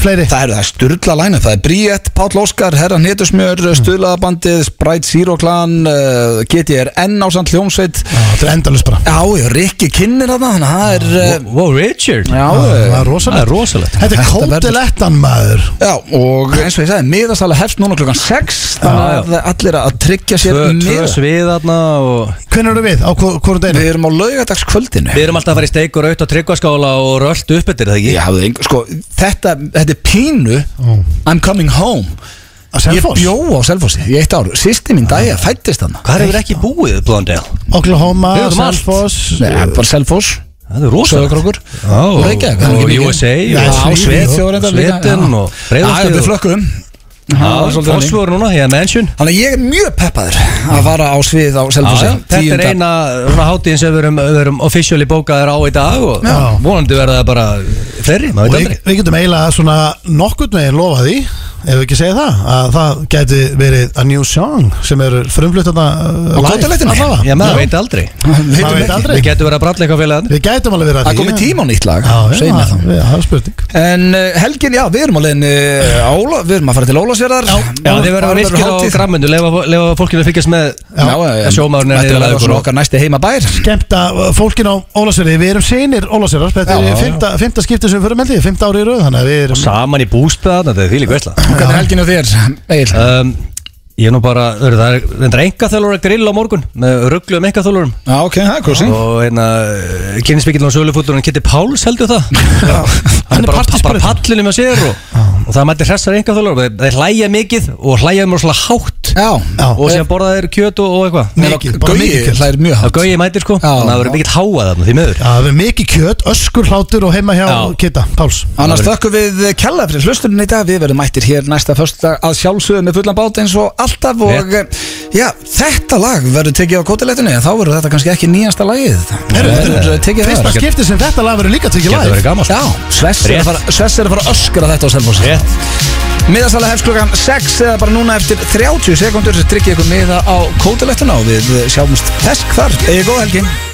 S7: fleiri?
S1: Það eru það sturla læna, það er Bríett, Páll Óskar, Herra Netusmjör,
S2: Mm.
S1: Sturlaðabandið, Sprite Zero Clan, uh, GTRN ásand hljómsveit
S7: Já, þetta er endalus bara
S1: Já, já, Rikki kynir þarna, þannig að það er uh,
S2: wow, Richard
S1: Já,
S7: Það er
S2: það
S7: rosalegt
S2: er rosalegt
S7: Þetta er
S1: Þetta verður-
S7: kótilettan maður
S1: Já, og eins og ég sagði, miðasala hefst núna klukkan 6
S2: Já, já.
S1: Þannig að allir að tryggja sér
S2: tvö, tvö
S1: miða
S2: sviðarna og
S7: Hvernig eru við? Á hvernig
S1: Við
S7: deginu?
S1: erum á laugardagskvöldinu
S2: við erum alltaf að fara í steik og raut og tryggvaskála og rölt upp eftir er það
S1: Ég
S2: ekki
S1: hafði einhver, sko, þetta, þetta er pínu I'm coming home
S7: Á
S1: Ég
S7: Selfoss?
S1: bjó á Selfossi í eitt ár Sýsti mín dæja fættist hann
S2: hvað hefur ekki búið Blondale
S7: Oklahoma,
S2: Við erum allt.
S7: Ah, Selfoss
S1: Nei, hann var Selfoss
S2: það er rosalegt
S1: Söðakrókur
S2: Ó,
S1: Og Reykjavík, hann er
S2: og
S1: ekki mikið.
S2: USA
S1: Já,
S2: og-
S1: Svíþjóð reyndar líka,
S2: Sveden
S1: já.
S2: og
S1: Já,
S2: Breiðholtið
S1: við
S2: og-
S1: flökkum Já, svolítið þannig.
S2: Fossvóru núna, ég er mansion
S1: Þannig að ég er mjög peppaður að fara á svið á Selfossi
S2: Já, Þetta er
S1: 10..
S2: eina svona hátíðin sem við erum, við erum officially bókaðir á í dag og
S7: Já.
S2: vonandi verða það bara fleiri,
S7: Og
S2: maður veit
S7: við,
S2: aldrei
S7: við getum eiginlega svona nokkurn veginn lofa því Ef við ekki segja það Að það geti verið a new song Sem eru frumflutt þarna uh,
S1: Á
S7: live.
S1: kótilettinni?
S7: Allavega.
S2: Já, maður veit aldrei
S1: Vitum við
S7: maður veit
S1: ekki.
S7: aldrei.
S2: Við getum verið að bralla eitthvað félagðan
S7: Við gætum alveg verið
S1: Það
S7: að
S1: er
S7: því
S1: komið tíma á nýtt lag
S7: Já, já,
S1: segir mér það.
S7: það já, það er spurning
S1: En uh, helgin, já, við erum á leiðinni uh, Ála, við erum að fara til Ólasverðar
S2: Já, þið verður að virkir á grammundu Lefa, lefa fólkinu að fylgjast með
S1: Já,
S2: að sjómaðurinn er
S1: Þetta verður
S2: niðurlega ykkur
S1: svona
S2: og
S1: okkar næsti heimabær
S7: Skemmt að uh, fólkin á Ólasverði Við erum seinir Ólasverðar Þetta
S1: Já, já.
S7: er fimmta, fimmta skiptið sem við förum heldig Fimmta ári í röð Þannig að við erum
S2: saman í bústað Þetta er því líka veistla
S1: Hvernig er helgin á þér, Egil?
S2: um, Ég er nú bara, eru það er Það er enga þjálfur að grilla á morgun með ruggluðum enga þjálfurum
S1: Já, ok, það er kursi
S2: og hérna kynningsbyggilin og sölufúturinn Kitty Páls heldur það hann
S7: Hann
S2: er
S7: er
S2: bara, bara
S7: partísprautur.
S2: pallinu með sér og, og það mætti hressar einhver þólar þeir, þeir hlæja mikið og hlæja mjög svona hátt
S1: Já,
S7: Já.
S2: og síðan borða þeir kjöt og, og eitthvað
S7: Mikið, bara
S1: Gauji, það
S7: mikið kjöt
S1: er mjög
S2: það
S1: hátt
S2: gauði mætir sko
S1: Já.
S2: þannig að það verður mikill háað þarna því miður
S7: Já, við erum mikið kjöt Öskur hlátur og heima hjá
S2: Já.
S7: Kitta Páls
S1: Annars þökkum við kjalla fyrir hlustunum í dag Við verðum mættir hér næsta föstudag að sjálfsögum með fullan bát eins og alltaf og
S2: Rétt.
S1: eh, já, þetta lag verður tekið á kótilegtunni þá verður þetta kannski ekki nýjasta lagið
S7: Herru,
S1: Verður
S7: þetta er
S1: tekið
S7: fyrsta
S1: það
S7: skiptið sem þetta lag verður líka tekið
S2: geta verið
S7: live
S2: gaman
S1: Já,
S2: sko.
S1: Svess er,
S2: Rétt.
S1: að fara- Svess er að fara að öskra þetta á Selfossi
S2: rétt
S1: Miðasala hefst klokkan 6 eða bara núna eftir 30 sekundur tryggja ykkur miða á kótilegtuna og við sjáumst fesk þar Egið góð helgi